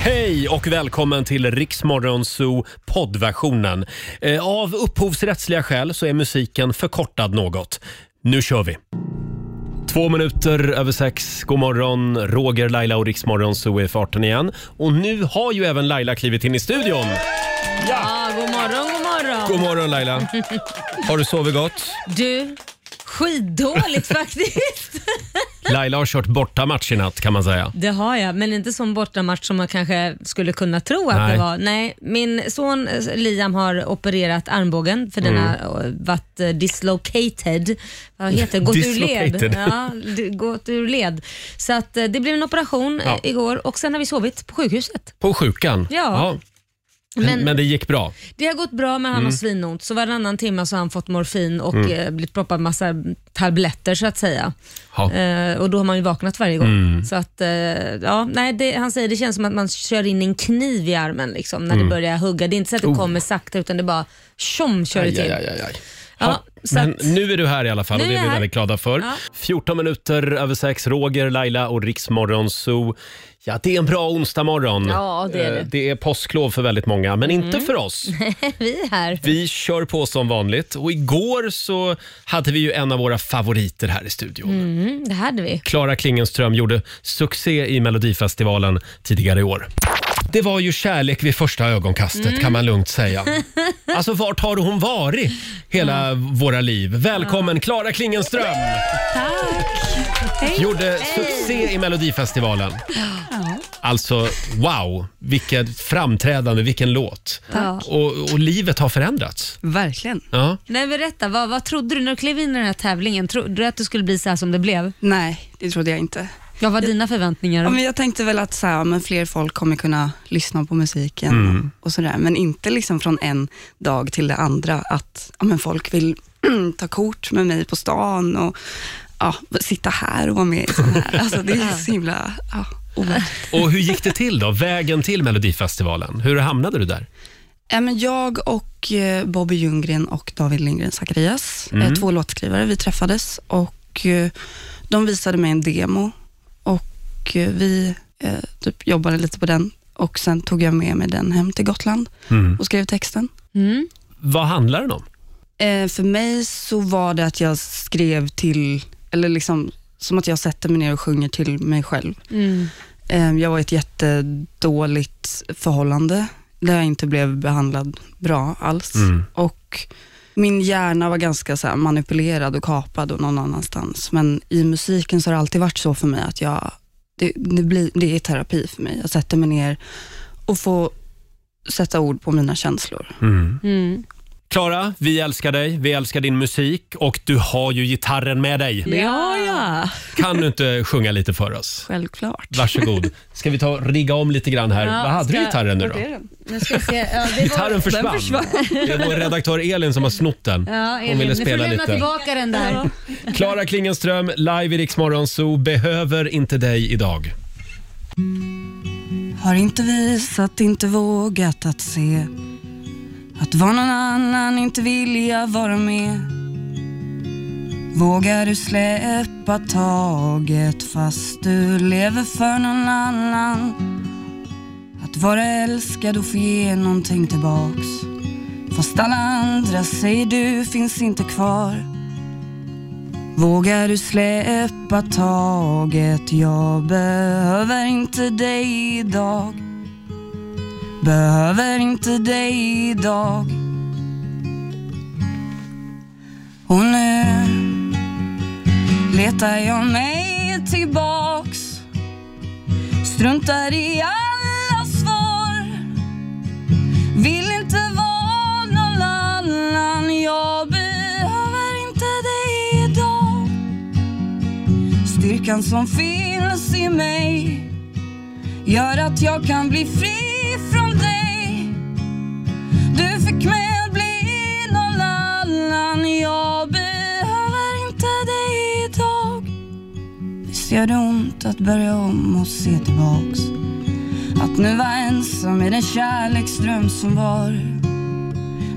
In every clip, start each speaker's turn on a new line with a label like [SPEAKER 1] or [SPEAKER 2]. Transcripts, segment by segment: [SPEAKER 1] Hej och välkommen till Riksmorgon Zoo poddversionen. Eh, Av upphovsrättsliga skäl så är musiken förkortad något. Nu kör vi! Två minuter över sex. God morgon, Roger, Laila och Riksmorgon Zoo är i farten igen. Och nu har ju även Laila klivit in i studion.
[SPEAKER 2] Ja, god morgon, god morgon.
[SPEAKER 1] God morgon Laila! Har du sovit gott?
[SPEAKER 2] Du, skitdåligt faktiskt.
[SPEAKER 1] Laila har kört bortamatch i natt kan man säga.
[SPEAKER 2] Det har jag, men inte sån bortamatch som man kanske skulle kunna tro att
[SPEAKER 1] Nej.
[SPEAKER 2] det var. Nej, min son eh, Liam har opererat armbågen för
[SPEAKER 1] Mm.
[SPEAKER 2] den har eh, varit eh, dislocated. Vad heter det? Gått ur led.
[SPEAKER 1] Dislocated.
[SPEAKER 2] Ja, d- gått ur led. Så att eh, det blev en operation eh,
[SPEAKER 1] Ja.
[SPEAKER 2] igår och sen har vi sovit på sjukhuset.
[SPEAKER 1] På sjukan?
[SPEAKER 2] Ja.
[SPEAKER 1] Men,
[SPEAKER 2] Men-
[SPEAKER 1] men det gick bra?
[SPEAKER 2] Det har gått bra men han
[SPEAKER 1] Mm.
[SPEAKER 2] har svinont så varannan timme så har han fått morfin och eh, blivit proppad massa tabletter så att säga.
[SPEAKER 1] Ja.
[SPEAKER 2] Eh, och då har man ju vaknat varje gång.
[SPEAKER 1] Mm.
[SPEAKER 2] Så att, eh, ja, nej, det, han säger det känns som att man kör in en kniv i armen liksom, när
[SPEAKER 1] Mm.
[SPEAKER 2] det börjar hugga. Det är inte så att det kommer sakta utan det bara tjom kör det till.
[SPEAKER 1] Oh. Aj, aj, aj, aj.
[SPEAKER 2] Ja, så
[SPEAKER 1] Men
[SPEAKER 2] att,
[SPEAKER 1] nu är du här i alla fall och
[SPEAKER 2] Nu
[SPEAKER 1] det
[SPEAKER 2] är
[SPEAKER 1] är vi
[SPEAKER 2] jag här.
[SPEAKER 1] väldigt glada för.
[SPEAKER 2] Ja.
[SPEAKER 1] 14 minuter över sex, Roger, Laila och Riksmorgon Zoo. Ja, det är en bra onsdagmorgon.
[SPEAKER 2] Ja, det är det. Mm.
[SPEAKER 1] Eh, Det är påsklov för väldigt många, men inte för oss.
[SPEAKER 2] vi är här.
[SPEAKER 1] Vi kör på som vanligt och igår så hade vi ju en av våra favoriter här i studion.
[SPEAKER 2] Mm, det hade vi.
[SPEAKER 1] Klara Klingenström gjorde succé i Melodifestivalen tidigare i år. Det var ju kärlek vid första ögonkastet kan man lugnt säga. Alltså vart har hon varit hela våra liv? Välkommen Klara Klingenström!
[SPEAKER 3] Hej.
[SPEAKER 1] Gjorde succé i Melodifestivalen. Alltså wow, vilket framträdande, vilken låt.
[SPEAKER 2] Ja.
[SPEAKER 1] Och, och livet har förändrats.
[SPEAKER 3] Verkligen.
[SPEAKER 1] Ja.
[SPEAKER 2] Nej, berätta, vad, vad trodde du när du klev in i den här tävlingen? Trodde du att det skulle bli så här som det blev?
[SPEAKER 3] Nej, det trodde jag inte.
[SPEAKER 2] Vad var dina förväntningar?
[SPEAKER 3] Ja, men jag tänkte väl att så här, ja, men fler folk kommer kunna lyssna på musiken och sådär, men inte liksom från en dag till det andra att ja, men folk vill ta kort med mig på stan och ja, sitta här och vara med i sån här. Alltså, det är så himla ja, overkligt.
[SPEAKER 1] Och hur gick det till då? Vägen till Melodifestivalen? Hur hamnade du där?
[SPEAKER 3] Ja, men jag och eh, Bobby Ljunggren och David Lindgren Zacharias, eh, två låtskrivare, vi träffades och eh, de visade mig en demo och eh, vi eh, typ jobbade lite på den och sen tog jag med mig den hem till Gotland och skrev texten.
[SPEAKER 2] Mm.
[SPEAKER 1] Vad handlar den om?
[SPEAKER 3] Eh, för mig så var det att jag skrev till, eller liksom som att jag sätter mig ner och sjunger till mig själv.
[SPEAKER 2] Mm.
[SPEAKER 3] Eh, Jag var i ett jättedåligt förhållande där jag inte blev behandlad bra alls.
[SPEAKER 1] Mm.
[SPEAKER 3] Och min hjärna var ganska så här manipulerad och kapad och någon annanstans. Men i musiken så har det alltid varit så för mig att jag, det, det, blir, det är terapi för mig. Jag sätter mig ner och får sätta ord på mina känslor.
[SPEAKER 1] Mm.
[SPEAKER 2] Mm.
[SPEAKER 1] Klara, vi älskar dig. Vi älskar din musik och du har ju gitarren med dig.
[SPEAKER 2] Ja, ja.
[SPEAKER 1] Kan du inte sjunga lite för oss?
[SPEAKER 3] Självklart.
[SPEAKER 1] Varsågod. Ska vi ta och rigga om lite grann här?
[SPEAKER 2] Ja,
[SPEAKER 1] Vad hade du
[SPEAKER 2] ska-
[SPEAKER 1] gitarren nu då?
[SPEAKER 2] Nu ska vi se. Ja, det var...
[SPEAKER 1] Gitarren försvann. Det är vår redaktör Elin som har snott den.
[SPEAKER 2] Ja, Elin,
[SPEAKER 1] Hon ville
[SPEAKER 2] nu får
[SPEAKER 1] spela
[SPEAKER 2] du lämna
[SPEAKER 1] lite.
[SPEAKER 2] tillbaka den där.
[SPEAKER 1] Klara Klingenström, live i Rix Morgon Zoo, behöver inte dig idag.
[SPEAKER 3] Har inte visat, inte vågat att se Att vara någon annan, inte vilja vara med Vågar du släppa taget fast du lever för någon annan Att vara älskad och få ge någonting tillbaks Fast alla andra säger du finns inte kvar Vågar du släppa taget? Jag behöver inte dig idag Behöver inte dig idag Och nu letar jag mig tillbaks Struntar i alla svar vill inte vara någon annan Jag behöver inte dig idag Styrkan som finns i mig Gör att jag kan bli fri från dig Du fick mig att bli någon annan Jag behöver inte dig idag Visst gör det ont att börja om och se tillbaks att nu vara ensam i den kärleksdröm som var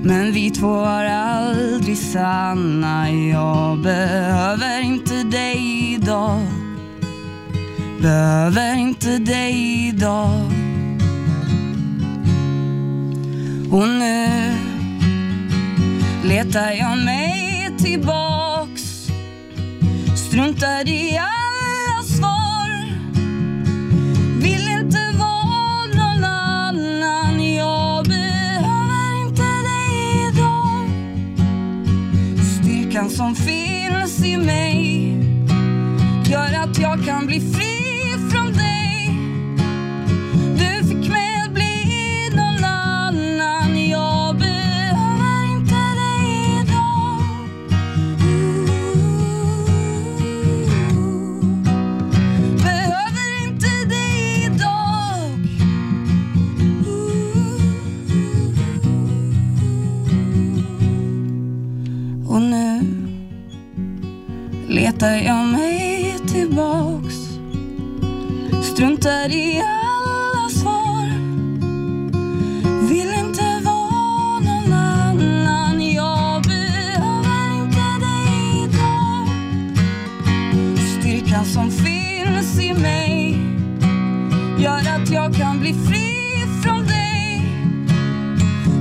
[SPEAKER 3] Men vi två var aldrig sanna Jag behöver inte dig idag Behöver inte dig idag
[SPEAKER 4] Och nu letar jag mig tillbaks Struntar i alla svar Vill inte vara någon annan Jag behöver inte dig idag Styrkan som finns i mig gör att jag kan bli fri från dig Du fick mig att bli någon annan Jag behöver inte dig idag Behöver inte dig idag Och nu letar jag mig tillbaks Struntar i alla svar Vill inte vara någon annan Jag behöver inte dig idag Styrkan som finns i mig Gör att jag kan bli fri från dig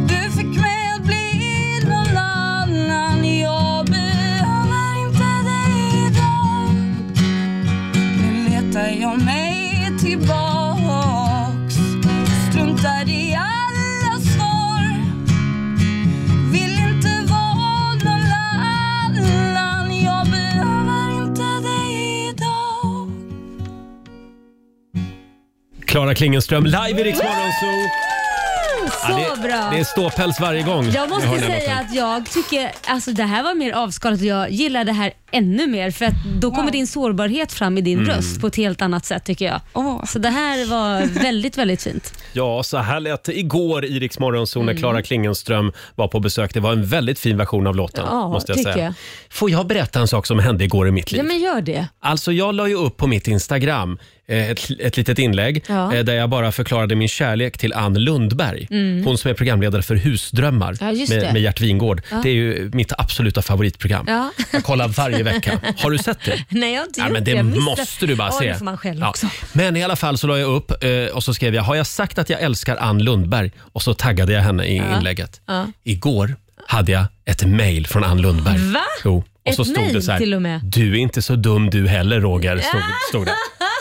[SPEAKER 4] du fick mig att bli någon annan Jag behöver inte dig idag Nu letar jag mig tillbaks Struntar i alla svar Vill inte vara någon annan Jag behöver inte dig idag
[SPEAKER 1] Klara Klingenström live i Rix Morgonzoo.
[SPEAKER 2] Så
[SPEAKER 1] Ja, det,
[SPEAKER 2] bra!
[SPEAKER 1] Det är ståpäls varje gång
[SPEAKER 2] Jag måste
[SPEAKER 1] hör den
[SPEAKER 2] säga
[SPEAKER 1] låten.
[SPEAKER 2] att jag tycker, alltså det här var mer avskalat och jag gillar det här ännu mer för att då kommer din sårbarhet fram i din
[SPEAKER 1] Mm.
[SPEAKER 2] röst på ett helt annat sätt tycker jag.
[SPEAKER 4] Åh.
[SPEAKER 2] Så det här var väldigt, väldigt fint.
[SPEAKER 1] Ja, så här lät det igår i Rix Morgonzoo
[SPEAKER 2] Mm.
[SPEAKER 1] när Klara Klingenström var på besök. Det var en väldigt fin version av låten.
[SPEAKER 2] Ja,
[SPEAKER 1] måste jag
[SPEAKER 2] tycker
[SPEAKER 1] säga.
[SPEAKER 2] jag.
[SPEAKER 1] Får jag berätta en sak som hände igår i mitt liv?
[SPEAKER 2] Ja men gör det.
[SPEAKER 1] Alltså jag la ju upp på mitt Instagram eh, ett, ett litet inlägg
[SPEAKER 2] Ja.
[SPEAKER 1] eh, där jag bara förklarade min kärlek till Ann Lundberg. Hon som är programledare för Husdrömmar
[SPEAKER 2] Mm. Ja, just
[SPEAKER 1] med,
[SPEAKER 2] det.
[SPEAKER 1] med Gert Wingård. Det är ju mitt absoluta favoritprogram.
[SPEAKER 2] Ja.
[SPEAKER 1] Jag kollar varje vecka. Har du sett det?
[SPEAKER 2] Nej jag har inte
[SPEAKER 1] Ja,
[SPEAKER 2] gjort
[SPEAKER 1] men det
[SPEAKER 2] jag missade-
[SPEAKER 1] måste du bara
[SPEAKER 2] Ja,
[SPEAKER 1] se.
[SPEAKER 2] det får man själv
[SPEAKER 1] Ja.
[SPEAKER 2] också.
[SPEAKER 1] Men i alla fall så la jag upp eh, och så skrev jag, har jag sagt att jag älskar Ann Lundberg? Och så taggade jag henne i inlägget. Igår hade jag ett mejl från Ann Lundberg.
[SPEAKER 2] Va?
[SPEAKER 1] Jo. Och
[SPEAKER 2] Ett
[SPEAKER 1] så stod det
[SPEAKER 2] mejl
[SPEAKER 1] så här,
[SPEAKER 2] till och med.
[SPEAKER 1] du är inte så dum du heller Roger, stod, stod det.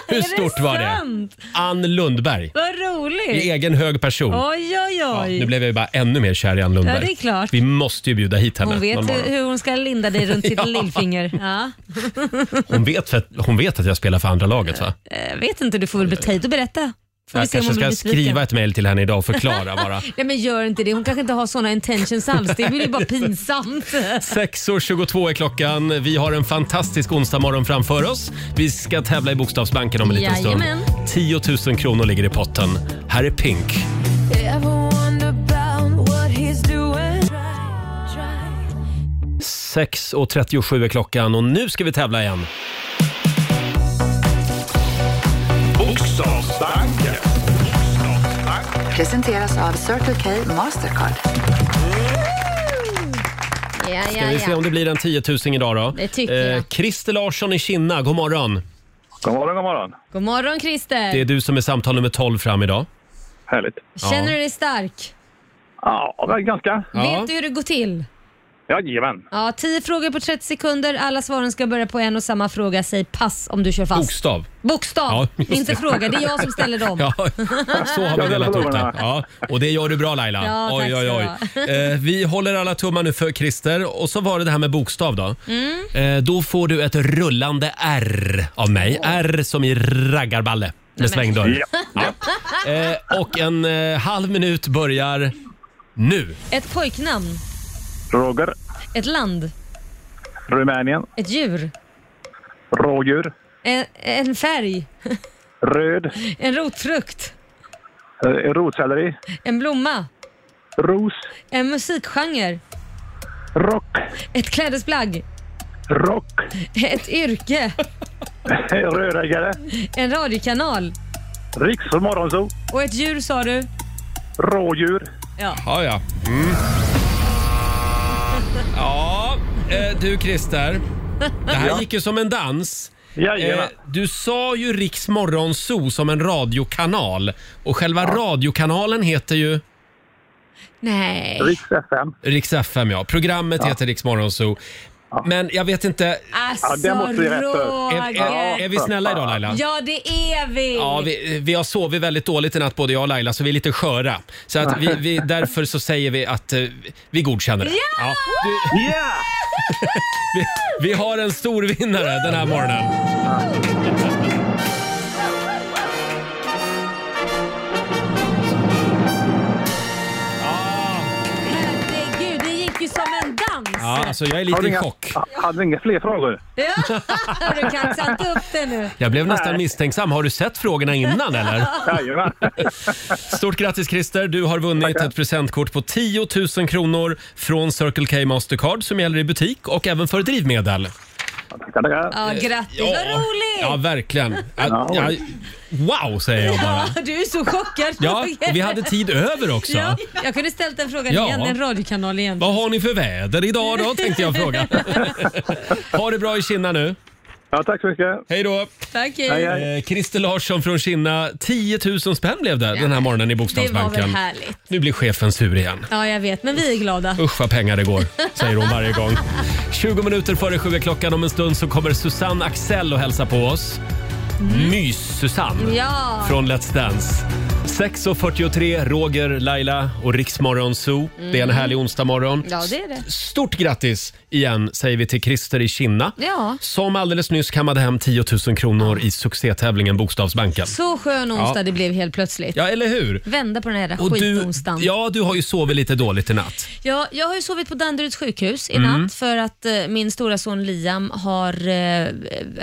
[SPEAKER 1] Hur
[SPEAKER 2] Är
[SPEAKER 1] stort var det?
[SPEAKER 2] sant?
[SPEAKER 1] Ann Lundberg,
[SPEAKER 2] Vad
[SPEAKER 1] i
[SPEAKER 2] roligt!
[SPEAKER 1] egen hög person.
[SPEAKER 2] Oj, oj,
[SPEAKER 1] Ja,
[SPEAKER 2] oj.
[SPEAKER 1] nu blev jag ju bara ännu mer kär i Ann Lundberg.
[SPEAKER 2] Ja, det är klart.
[SPEAKER 1] Vi måste ju bjuda hit henne
[SPEAKER 2] hon vet
[SPEAKER 1] någon
[SPEAKER 2] hur,
[SPEAKER 1] morgon.
[SPEAKER 2] hur hon ska linda dig runt ditt
[SPEAKER 1] Ja.
[SPEAKER 2] lillfinger. Ja.
[SPEAKER 1] Hon, vet att, hon vet att jag spelar för andra laget va?
[SPEAKER 2] Eh, vet inte, du får väl be tid att berätta. Får vi
[SPEAKER 1] Jag
[SPEAKER 2] se om
[SPEAKER 1] kanske
[SPEAKER 2] hon blir
[SPEAKER 1] ska
[SPEAKER 2] besviken.
[SPEAKER 1] skriva ett mejl till henne idag och förklara bara.
[SPEAKER 2] Nej men gör inte det. Hon kanske inte har såna intentions alls. Det blir ju bara pinsamt.
[SPEAKER 1] 6.22 är klockan. Vi har en fantastisk onsdagmorgon framför oss. Vi ska tävla i Bokstavsbanken om en liten
[SPEAKER 2] Jajamän.
[SPEAKER 1] stund. 10 000 kronor ligger i potten. Här är Pink.
[SPEAKER 5] Ever wonder about what he's doing?
[SPEAKER 1] 6.37 är klockan och nu ska vi tävla igen.
[SPEAKER 6] Bokstavsbanken.
[SPEAKER 3] Presenteras av Circle K Mastercard.
[SPEAKER 2] Ja,
[SPEAKER 1] Ska
[SPEAKER 2] ja,
[SPEAKER 1] vi se
[SPEAKER 2] ja.
[SPEAKER 1] om det blir en 10 000 idag då? Eh,
[SPEAKER 2] Det tycker jag.
[SPEAKER 1] Christer Larsson i Kinna, god morgon.
[SPEAKER 7] God morgon, god morgon.
[SPEAKER 2] God morgon Christer.
[SPEAKER 1] Det är du som är samtal nummer 12 fram idag.
[SPEAKER 7] Härligt.
[SPEAKER 2] Känner du dig stark?
[SPEAKER 7] Ja, men ganska.
[SPEAKER 2] Vet du hur det går till?
[SPEAKER 7] Jajamän.
[SPEAKER 2] Ja, 10 frågor på 30 sekunder. Alla svaren ska börja på en och samma fråga. Säg pass om du kör fast.
[SPEAKER 1] Bokstav. Ja,
[SPEAKER 2] Bokstav,
[SPEAKER 1] just det.
[SPEAKER 2] inte fråga. Det är jag som ställer dem.
[SPEAKER 1] Ja, så har vi delat upp det. Ja, och det gör du bra Laila.
[SPEAKER 2] Ja, tack
[SPEAKER 1] oj, oj, oj. Eh, vi håller alla tummar nu för Christer. Och så var det det här med bokstav då.
[SPEAKER 2] Mm.
[SPEAKER 1] Eh, då får du ett rullande R av mig. R som i raggarballe med svängdörr. Eh, och en eh, halv minut börjar nu.
[SPEAKER 2] Ett pojknamn,
[SPEAKER 7] Roger,
[SPEAKER 2] ett land,
[SPEAKER 7] Rumänien,
[SPEAKER 2] ett djur,
[SPEAKER 7] rådjur,
[SPEAKER 2] en, en färg,
[SPEAKER 7] röd,
[SPEAKER 2] en rotfrukt,
[SPEAKER 7] eh, rotselleri,
[SPEAKER 2] en blomma,
[SPEAKER 7] ros,
[SPEAKER 2] en musikgenre,
[SPEAKER 7] rock,
[SPEAKER 2] ett klädesplagg,
[SPEAKER 7] rock, Eh,
[SPEAKER 2] ett yrke,
[SPEAKER 7] rödäggare,
[SPEAKER 2] en radiokanal
[SPEAKER 7] riks för morgonzoo,
[SPEAKER 2] och ett djur sa du.
[SPEAKER 7] rådjur.
[SPEAKER 1] Ja, ja. Mm. Ja, eh, du Christer. Det här gick ju som en dans. Eh,
[SPEAKER 7] Jajamän.
[SPEAKER 1] du sa ju Riks Morgonzoo som en radiokanal och själva radiokanalen heter ju...
[SPEAKER 2] Nej.
[SPEAKER 8] Riks FM.
[SPEAKER 1] Rix FM ja. Programmet heter Rix Morgonzoo. Men jag vet inte,
[SPEAKER 2] Alltså
[SPEAKER 8] det måste vi rätta upp.
[SPEAKER 1] är, är, är
[SPEAKER 2] Roger.
[SPEAKER 1] vi snälla idag Laila?
[SPEAKER 2] Ja, det Ah, är vi.
[SPEAKER 1] Ja, vi, vi har sovit väldigt dåligt i natt både jag och Laila så vi är lite sköra. Så att vi, vi, därför så säger vi att eh, vi godkänner det. Ja! du,
[SPEAKER 8] Ja!
[SPEAKER 1] vi, vi har en stor vinnare den här morgonen.
[SPEAKER 2] Herregud, det gick ju som en dans.
[SPEAKER 1] Ja, alltså jag
[SPEAKER 8] Har
[SPEAKER 1] är lite
[SPEAKER 8] du
[SPEAKER 1] i
[SPEAKER 8] inga-
[SPEAKER 1] chock.
[SPEAKER 8] ha- Hade du inga fler frågor?
[SPEAKER 2] Ja, har du kaxat upp det nu?
[SPEAKER 1] Jag blev nästan
[SPEAKER 8] Nej.
[SPEAKER 1] misstänksam. Har du sett frågorna innan eller?
[SPEAKER 8] Jajamän.
[SPEAKER 1] Stort grattis Christer! Du har vunnit ett presentkort på 10 000 kronor från Circle K Mastercard som gäller i butik och även för drivmedel.
[SPEAKER 8] Tackar, tackar.
[SPEAKER 2] Ja, grattis, vad
[SPEAKER 1] Eh, Ja,
[SPEAKER 2] roligt!
[SPEAKER 1] verkligen. Ja, ja, wow, säger jag bara.
[SPEAKER 2] du är så chockad
[SPEAKER 1] Ja,
[SPEAKER 2] Roger.
[SPEAKER 1] och vi hade tid över också.
[SPEAKER 2] Ja, jag kunde ställt den frågan
[SPEAKER 1] Ja.
[SPEAKER 2] igen, en radiokanal igen.
[SPEAKER 1] Vad har ni för väder idag då, tänkte jag fråga. ha det bra i Kinna nu.
[SPEAKER 8] Ja, tack så mycket.
[SPEAKER 1] Hej då!
[SPEAKER 2] Tack,
[SPEAKER 8] Hej,
[SPEAKER 2] hej.
[SPEAKER 8] hej.
[SPEAKER 1] Eh, Christer Larsson från Kinna. 10 000 spänn blev det den här morgonen i
[SPEAKER 2] Det var väl
[SPEAKER 1] Bokstavsbanken.
[SPEAKER 2] härligt?
[SPEAKER 1] Nu blir chefen sur igen.
[SPEAKER 2] Ja, jag vet, men vi är glada.
[SPEAKER 1] Usch vad pengar det går, säger hon varje gång. 20 minuter före sju är klockan. Om en stund så kommer Susanne Axel och hälsa på oss. Mys-Susanne
[SPEAKER 2] Ja.
[SPEAKER 1] från Let's Dance. 6.43, Roger, Laila och Riksmorgon Zoo. Det är en härlig onsdagmorgon.
[SPEAKER 2] Mm. Ja, det är det.
[SPEAKER 1] Stort grattis igen säger vi till Christer i Kinna.
[SPEAKER 2] Ja.
[SPEAKER 1] Som alldeles nyss kammade hem 10 000 kronor i succétävlingen Bokstavsbanken.
[SPEAKER 2] Så skön onsdag
[SPEAKER 1] Ja.
[SPEAKER 2] det blev helt plötsligt.
[SPEAKER 1] Ja, eller hur?
[SPEAKER 2] Vända på den här jävla
[SPEAKER 1] Och du,
[SPEAKER 2] skitonsdagen.
[SPEAKER 1] ja, du har ju sovit lite dåligt i natt.
[SPEAKER 2] Ja, jag har ju sovit på Danderyds sjukhus i natt
[SPEAKER 1] Mm.
[SPEAKER 2] för att eh, min stora son Liam har, eh,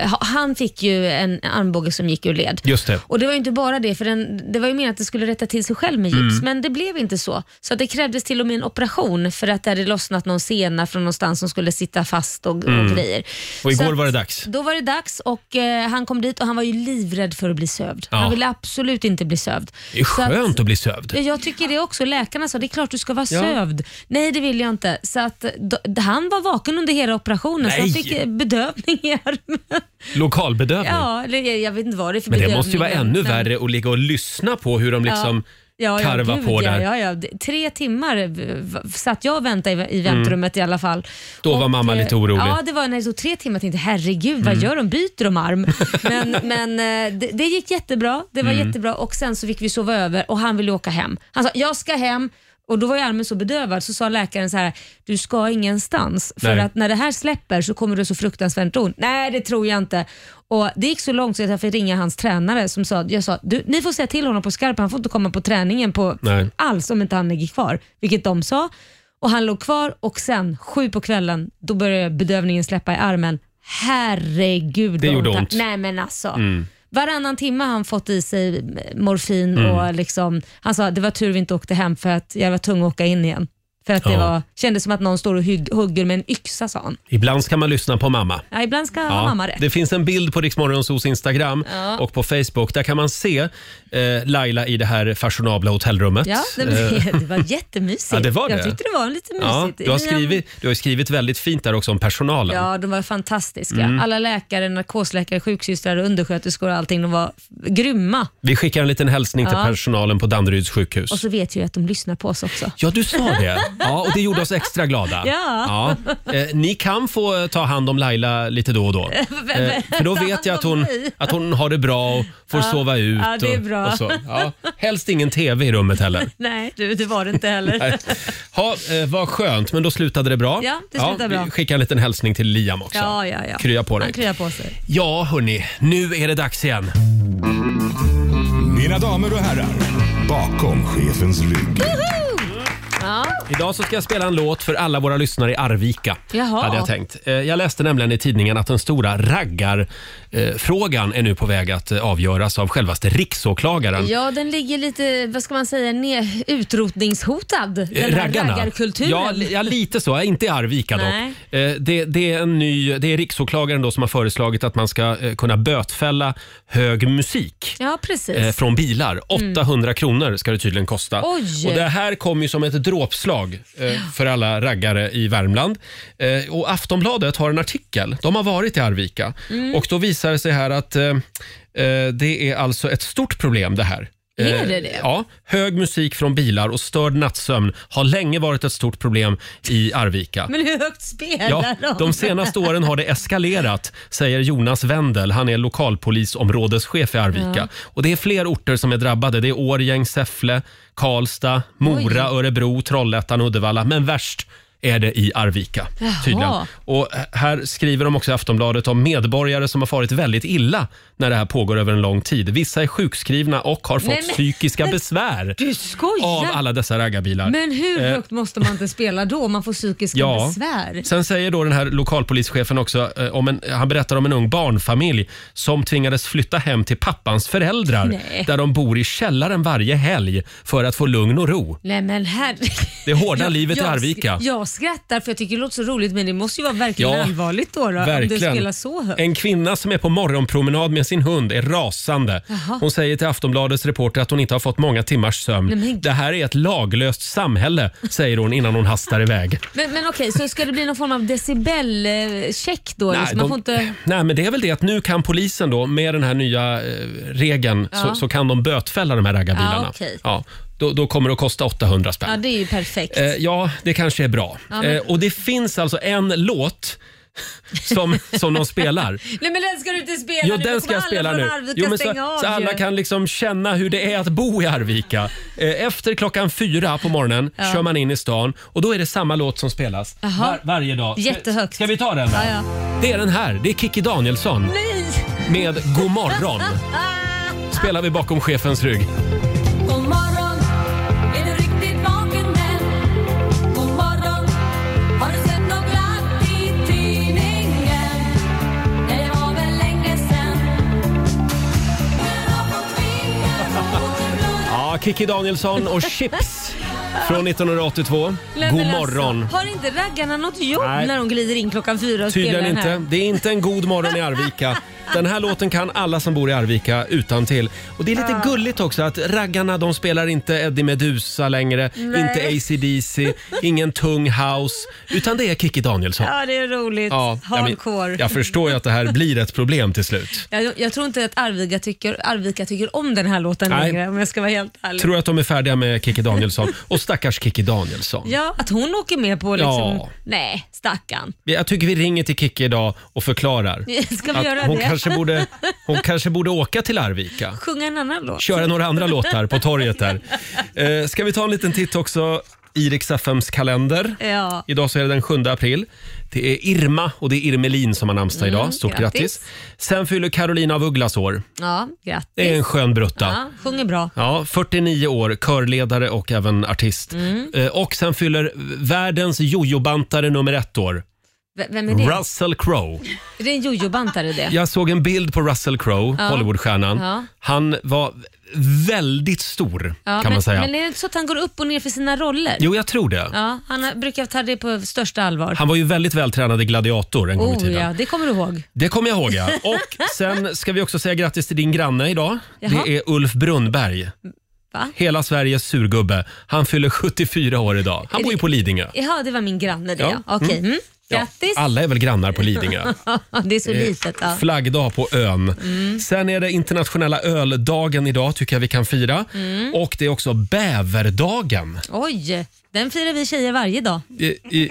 [SPEAKER 2] ha- han fick ju en armbåge som gick ur led.
[SPEAKER 1] Just det.
[SPEAKER 2] Och det var ju inte bara det, för den, det var ju meningen att det skulle rätta till sig själv med gips,
[SPEAKER 1] Mm.
[SPEAKER 2] men det blev inte så. Så att det krävdes till och med en operation för att det hade lossnat någon sena från någonstans som skulle sitta fast och, och grejer.
[SPEAKER 1] Mm. Och igår
[SPEAKER 2] Så att-
[SPEAKER 1] var det dags.
[SPEAKER 2] Då var det dags och eh, han kom dit och han var ju livrädd för att bli sövd.
[SPEAKER 1] Ja.
[SPEAKER 2] Han ville absolut inte bli sövd.
[SPEAKER 1] Det är
[SPEAKER 2] Så att-
[SPEAKER 1] skönt att bli sövd.
[SPEAKER 2] Ja, Jag tycker det också. Läkarna sa det är klart du ska vara sövd. Nej, det vill jag inte. Så att, d- han var vaken under hela operationen så han
[SPEAKER 1] Nej.
[SPEAKER 2] fick eh, bedövning i armen.
[SPEAKER 1] Lokalbedövning.
[SPEAKER 2] Ja, eller eh, jag, jag vet inte vad det är för
[SPEAKER 1] Men det
[SPEAKER 2] bedövning,
[SPEAKER 1] måste ju vara ännu värre att ligga och lyssna på hur de liksom karvar
[SPEAKER 2] gud,
[SPEAKER 1] på
[SPEAKER 2] ja,
[SPEAKER 1] där.
[SPEAKER 2] Ja, ja. D- Tre timmar eh, v- v- satt jag och väntade i, i väntrummet i alla fall.
[SPEAKER 1] Mm. Då var mamma
[SPEAKER 2] eh,
[SPEAKER 1] lite orolig.
[SPEAKER 2] Ja, det var när det stod tre timmar. Jag tänkte herregud, vad gör de? Byter de arm? Men, men eh, det, det gick jättebra. Det var jättebra och sen så fick vi sova över och han ville åka hem. Han sa, jag ska hem. Och Då var ju armen så bedövad så sa läkaren så här, du ska ingenstans för
[SPEAKER 1] Nej.
[SPEAKER 2] att när det här släpper så kommer du så fruktansvärt ont. Nej, det tror jag inte. Och Det gick så långt så att jag fick ringa hans tränare som sa, jag sa, du, ni får säga till honom på skarpen, han får inte komma på träningen på
[SPEAKER 1] Nej.
[SPEAKER 2] alls om inte han ligger kvar, vilket de sa. Och Han låg kvar och sen sju på kvällen, då började bedövningen släppa i armen. Herregud.
[SPEAKER 1] Det
[SPEAKER 2] vad
[SPEAKER 1] gjorde
[SPEAKER 2] han-
[SPEAKER 1] ont. Mm.
[SPEAKER 2] Nej men alltså. Varannan timme har han fått i sig morfin
[SPEAKER 1] Mm.
[SPEAKER 2] och liksom, han sa det var tur vi inte åkte hem för att jag var tvungen att åka in igen. För att det
[SPEAKER 1] Ja.
[SPEAKER 2] var, kändes som att någon står och hugg, hugger med en yxa sa han.
[SPEAKER 1] Ibland ska man lyssna på mamma.
[SPEAKER 2] Ja, ibland ska
[SPEAKER 1] Ja,
[SPEAKER 2] mamma rätt.
[SPEAKER 1] Det finns en bild på Riksmorgonsos Instagram och på Facebook. Där kan man se eh, Laila i det här fashionabla hotellrummet.
[SPEAKER 2] Ja, det,
[SPEAKER 1] Eh,
[SPEAKER 2] det var jättemysigt.
[SPEAKER 1] Ja, det var det.
[SPEAKER 2] Jag tyckte det var lite
[SPEAKER 1] ja,
[SPEAKER 2] mysigt.
[SPEAKER 1] du, har
[SPEAKER 2] Mina-
[SPEAKER 1] skrivit, du har ju skrivit väldigt fint där också om personalen.
[SPEAKER 2] Ja, de var fantastiska.
[SPEAKER 1] Mm.
[SPEAKER 2] Alla läkare, narkosläkare, sjuksystrar, undersköterskor och allting, de var f- grymma.
[SPEAKER 1] Vi skickar en liten hälsning till
[SPEAKER 2] Ja.
[SPEAKER 1] personalen på Danderyds sjukhus.
[SPEAKER 2] Och så vet jag ju att de lyssnar på oss också.
[SPEAKER 1] Ja, du sa det. Ja, och det gjorde oss extra glada.
[SPEAKER 2] Ja.
[SPEAKER 1] Ja. Eh, ni kan få eh, ta hand om Laila lite då och då. Eh, för då
[SPEAKER 2] ta
[SPEAKER 1] vet
[SPEAKER 2] hand
[SPEAKER 1] jag att
[SPEAKER 2] om
[SPEAKER 1] hon,
[SPEAKER 2] mig.
[SPEAKER 1] att hon har det bra och får sova ut.
[SPEAKER 2] ja, det är
[SPEAKER 1] och-
[SPEAKER 2] bra.
[SPEAKER 1] Och så. Ja. Helst ingen TV i rummet heller.
[SPEAKER 2] Nej, du, det var det inte heller.
[SPEAKER 1] Nej. Ha, eh, vad skönt, men då slutade det bra.
[SPEAKER 2] Ja, det slutade bra.
[SPEAKER 1] Vi skickar en liten hälsning till Liam också.
[SPEAKER 2] Ja, ja, ja.
[SPEAKER 1] Krya på
[SPEAKER 2] Han
[SPEAKER 1] dig.
[SPEAKER 2] kryar på sig.
[SPEAKER 1] Ja, hörni, nu är det dags igen.
[SPEAKER 7] Mina damer och herrar, bakom chefens rygg.
[SPEAKER 2] Ja.
[SPEAKER 1] Idag så ska jag spela en låt för alla våra lyssnare i Arvika.
[SPEAKER 2] Jaha.
[SPEAKER 1] Hade jag, tänkt. Eh, jag läste nämligen i tidningen att den stora raggarfrågan är nu på väg att eh, avgöras av självaste riksåklagaren.
[SPEAKER 2] ja, den ligger lite, vad ska man säga, ner, utrotningshotad.
[SPEAKER 1] Eh,
[SPEAKER 2] Den här raggarkulturen.
[SPEAKER 1] Ja, li- ja, lite så. Inte i Arvika
[SPEAKER 2] Nej.
[SPEAKER 1] dock. Eh, Det, det, är en ny, det är riksåklagaren då som har föreslagit att man ska eh, kunna bötfälla hög musik.
[SPEAKER 2] Ja, precis.
[SPEAKER 1] eh, från bilar. 800 kronor ska det tydligen kosta.
[SPEAKER 2] Oj.
[SPEAKER 1] Och Det här kom ju som ett dråpslag eh, för alla raggare i Värmland. Eh, och Aftonbladet har en artikel. De har varit i Arvika och då visar det sig här att eh, eh, det är alltså ett stort problem det här.
[SPEAKER 6] Är
[SPEAKER 1] Eh,
[SPEAKER 6] det det?
[SPEAKER 1] Ja. Hög musik från bilar och störd nattsömn har länge varit ett stort problem i Arvika.
[SPEAKER 2] Men hur högt spelar
[SPEAKER 1] Ja, de senaste åren har det eskalerat, säger Jonas Wendel. Han är lokalpolisområdeschef i Arvika.
[SPEAKER 2] Ja.
[SPEAKER 1] Och det är fler orter som är drabbade. Det är Årjäng, Säffle, Karlstad, Mora, Örebro, Trollhättan och Uddevalla. Men värst är det i Arvika,
[SPEAKER 2] Jaha.
[SPEAKER 1] tydligen. Och här skriver de också i Aftonbladet om medborgare som har farit väldigt illa när det här pågår över en lång tid. Vissa är sjukskrivna och har fått
[SPEAKER 2] Nej, men-
[SPEAKER 1] psykiska besvär
[SPEAKER 2] Du skojar!
[SPEAKER 1] av alla dessa raggarbilar.
[SPEAKER 2] Men hur
[SPEAKER 1] Eh,
[SPEAKER 2] högt måste man inte spela då om man får psykiska
[SPEAKER 1] Ja.
[SPEAKER 2] besvär?
[SPEAKER 1] Sen säger då den här lokalpolischefen också, eh, om en, han berättar om en ung barnfamilj som tvingades flytta hem till pappans föräldrar
[SPEAKER 2] Nej.
[SPEAKER 1] där de bor i källaren varje helg för att få lugn och ro.
[SPEAKER 2] Nej men herregud.
[SPEAKER 1] Det hårda livet i
[SPEAKER 2] jag,
[SPEAKER 1] Arvika.
[SPEAKER 2] Jag skrattar för jag tycker det låter så roligt men det måste ju vara verkligen
[SPEAKER 1] Ja,
[SPEAKER 2] allvarligt då, då om det spelar så högt.
[SPEAKER 1] En kvinna som är på morgonpromenad med sin hund är rasande.
[SPEAKER 2] Jaha.
[SPEAKER 1] Hon säger till Aftonbladets reporter att hon inte har fått många timmars sömn.
[SPEAKER 2] Nej, men-
[SPEAKER 1] Det här är ett laglöst samhälle, säger hon innan hon hastar iväg.
[SPEAKER 2] Men, men okej, så ska det bli någon form av decibelcheck då? eller så man
[SPEAKER 1] de-
[SPEAKER 2] får inte...
[SPEAKER 1] nej, men det är väl det att nu kan polisen då med den här nya eh, regeln så,
[SPEAKER 2] Ja.
[SPEAKER 1] så kan de bötfälla de här raggarbilarna.
[SPEAKER 2] Ja, okej.
[SPEAKER 1] ja, då, då kommer det att kosta 800
[SPEAKER 2] Ja,
[SPEAKER 1] spänn.
[SPEAKER 2] det är ju perfekt.
[SPEAKER 1] Ja, eh, ja det kanske är bra.
[SPEAKER 2] Ja, men-
[SPEAKER 1] eh, och det finns alltså en låt som, som de spelar.
[SPEAKER 2] Nej men den ska du inte spela
[SPEAKER 1] Jo,
[SPEAKER 2] nu.
[SPEAKER 1] den
[SPEAKER 2] Då
[SPEAKER 1] ska
[SPEAKER 2] kommer
[SPEAKER 1] jag spela
[SPEAKER 2] alla
[SPEAKER 1] nu.
[SPEAKER 2] från Arvika
[SPEAKER 1] Jo, men så,
[SPEAKER 2] stänga av
[SPEAKER 1] så alla
[SPEAKER 2] ju.
[SPEAKER 1] kan liksom känna hur det är att bo i Arvika. Eh, Efter klockan fyra på morgonen kör man in i stan och då är det samma låt som spelas
[SPEAKER 2] Jaha.
[SPEAKER 1] var, varje dag. Ska-
[SPEAKER 2] Jättehögt.
[SPEAKER 1] Ska vi ta den? Då?
[SPEAKER 2] Ja, ja.
[SPEAKER 1] Det är den här. Det är Kikki Danielsson
[SPEAKER 2] Nej!
[SPEAKER 1] med God morgon.
[SPEAKER 2] Ah!
[SPEAKER 1] Spelar vi bakom chefens rygg.
[SPEAKER 9] God morgon, är du riktigt vaken än? God morgon, har du sett något glatt i tidningen? Nej, det var väl länge sen. Men har fått tvinga någon blod
[SPEAKER 1] Ja, Kikki Danielsson och Chips från 1982.
[SPEAKER 2] Nej,
[SPEAKER 1] God
[SPEAKER 2] men alltså,
[SPEAKER 1] morgon.
[SPEAKER 2] Har inte raggarna något jobb
[SPEAKER 1] Nej.
[SPEAKER 2] när de glider in klockan fyra och
[SPEAKER 1] Tydligen
[SPEAKER 2] spelar den här?
[SPEAKER 1] inte. Det är inte en god morgon i Arvika. Den här låten kan alla som bor i Arvika utan till. Och det är lite gulligt också att raggarna de spelar inte Eddie Meduza längre, inte AC/DC, ingen tung house, utan det är Kikki Danielsson.
[SPEAKER 2] Ja, det är roligt.
[SPEAKER 1] jag, men-
[SPEAKER 2] Hardcore.
[SPEAKER 1] jag förstår ju att det här blir ett problem till slut.
[SPEAKER 2] Jag, jag tror inte att Arvika tycker, Arvika tycker om den här låten
[SPEAKER 1] Nej.
[SPEAKER 2] längre om jag ska vara helt ärlig.
[SPEAKER 1] Tror att de är färdiga med Kikki Danielsson och stackars Kikki Danielsson.
[SPEAKER 2] Ja, att hon åker med på liksom...
[SPEAKER 1] Ja.
[SPEAKER 2] Nej, stackarn.
[SPEAKER 1] Jag tycker vi ringer till Kikki idag och förklarar.
[SPEAKER 2] Ska vi
[SPEAKER 1] att
[SPEAKER 2] göra
[SPEAKER 1] hon,
[SPEAKER 2] det?
[SPEAKER 1] Kanske borde, hon kanske borde åka till Arvika.
[SPEAKER 2] Sjunga en annan låt.
[SPEAKER 1] Köra några andra låtar på torget där. Eh, ska vi ta en liten titt också i Rix FMs kalender?
[SPEAKER 2] Ja.
[SPEAKER 1] Idag så är det den 7 april. Det är Irma och det är Irmelin som har namnsdag idag. Stort grattis.
[SPEAKER 2] Mm, grattis.
[SPEAKER 1] Sen fyller Carolina av Ugglas år.
[SPEAKER 2] Ja, grattis.
[SPEAKER 1] Det är en skön brutta.
[SPEAKER 2] Ja, sjunger bra.
[SPEAKER 1] Ja, 49 år, körledare och även artist.
[SPEAKER 2] Mm.
[SPEAKER 1] Eh, Och sen fyller världens jojobantare nummer ett år,
[SPEAKER 2] V- vem är det?
[SPEAKER 1] Russell Crowe.
[SPEAKER 2] Är det en jojobantare det?
[SPEAKER 1] Jag såg en bild på Russell Crowe, Hollywoodstjärnan.
[SPEAKER 2] Ja.
[SPEAKER 1] Han var väldigt stor
[SPEAKER 2] Ja,
[SPEAKER 1] kan
[SPEAKER 2] men,
[SPEAKER 1] man säga.
[SPEAKER 2] Men är det inte så att han går upp och ner för sina roller?
[SPEAKER 1] Jo, jag tror det.
[SPEAKER 2] Ja, han har- brukar ta det på största allvar.
[SPEAKER 1] Han var ju väldigt vältränad i Gladiator en gång i
[SPEAKER 2] oh
[SPEAKER 1] tiden.
[SPEAKER 2] ja, det kommer du ihåg.
[SPEAKER 1] Det kommer jag ihåg ja. Och sen ska vi också säga grattis till din granne idag.
[SPEAKER 2] Jaha.
[SPEAKER 1] Det är Ulf Brunnberg.
[SPEAKER 2] Va?
[SPEAKER 1] Hela Sveriges surgubbe. Han fyller 74 år idag. Han
[SPEAKER 2] Är
[SPEAKER 1] bor ju
[SPEAKER 2] det-
[SPEAKER 1] på Lidingö.
[SPEAKER 2] Jaha, det var min granne det
[SPEAKER 1] Ja.
[SPEAKER 2] ja. Okej, mm.
[SPEAKER 1] Ja,
[SPEAKER 2] grattis.
[SPEAKER 1] alla är väl grannar på Lidingö.
[SPEAKER 2] det är så litet. Ja.
[SPEAKER 1] Eh,
[SPEAKER 2] Mm.
[SPEAKER 1] Flaggdag på ön. Sen är det internationella öldagen idag, tycker jag vi kan fira.
[SPEAKER 2] Mm.
[SPEAKER 1] Och det är också bäverdagen.
[SPEAKER 2] Oj, den firar vi tjejer varje dag.
[SPEAKER 1] I, i,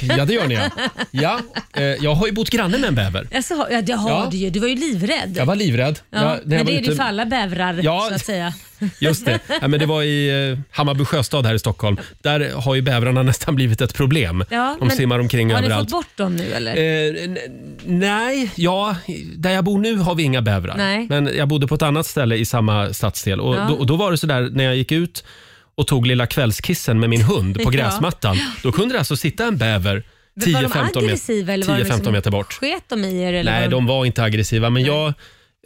[SPEAKER 1] ja, det gör ni ja. ja eh, jag har ju bott granne med en bäver.
[SPEAKER 2] Alltså, ja, det har
[SPEAKER 1] Ja.
[SPEAKER 2] du ju. Du var ju livrädd.
[SPEAKER 1] Jag var livrädd.
[SPEAKER 2] Ja,
[SPEAKER 1] jag, när jag
[SPEAKER 2] men
[SPEAKER 1] var
[SPEAKER 2] det är det
[SPEAKER 1] ute-
[SPEAKER 2] för alla bävrar
[SPEAKER 1] Ja.
[SPEAKER 2] så att säga.
[SPEAKER 1] Just det. Ja, men det var i eh, Hammarby sjöstad här i Stockholm. Där har ju bävrarna nästan blivit ett problem.
[SPEAKER 2] Ja,
[SPEAKER 1] De
[SPEAKER 2] men
[SPEAKER 1] simmar omkring
[SPEAKER 2] Har ni
[SPEAKER 1] överallt.
[SPEAKER 2] fått bort dem nu eller?
[SPEAKER 1] Eh, n- nej, ja, där jag bor nu har vi inga bävrar.
[SPEAKER 2] Nej.
[SPEAKER 1] Men jag bodde på ett annat ställe i samma stadsdel och,
[SPEAKER 2] Ja.
[SPEAKER 1] då, och då var det sådär när jag gick ut och tog lilla kvällskissen med min hund på
[SPEAKER 2] Ja.
[SPEAKER 1] gräsmattan. Då kunde det alltså sitta en bäver
[SPEAKER 2] var de
[SPEAKER 1] 10-15
[SPEAKER 2] aggressiva eller var de
[SPEAKER 1] 10-15
[SPEAKER 2] liksom-
[SPEAKER 1] meter bort.
[SPEAKER 2] Sket de i er eller?
[SPEAKER 1] Nej,
[SPEAKER 2] var
[SPEAKER 1] de var inte aggressiva men jag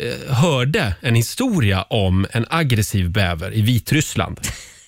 [SPEAKER 1] eh, hörde en historia om en aggressiv bäver i Vitryssland.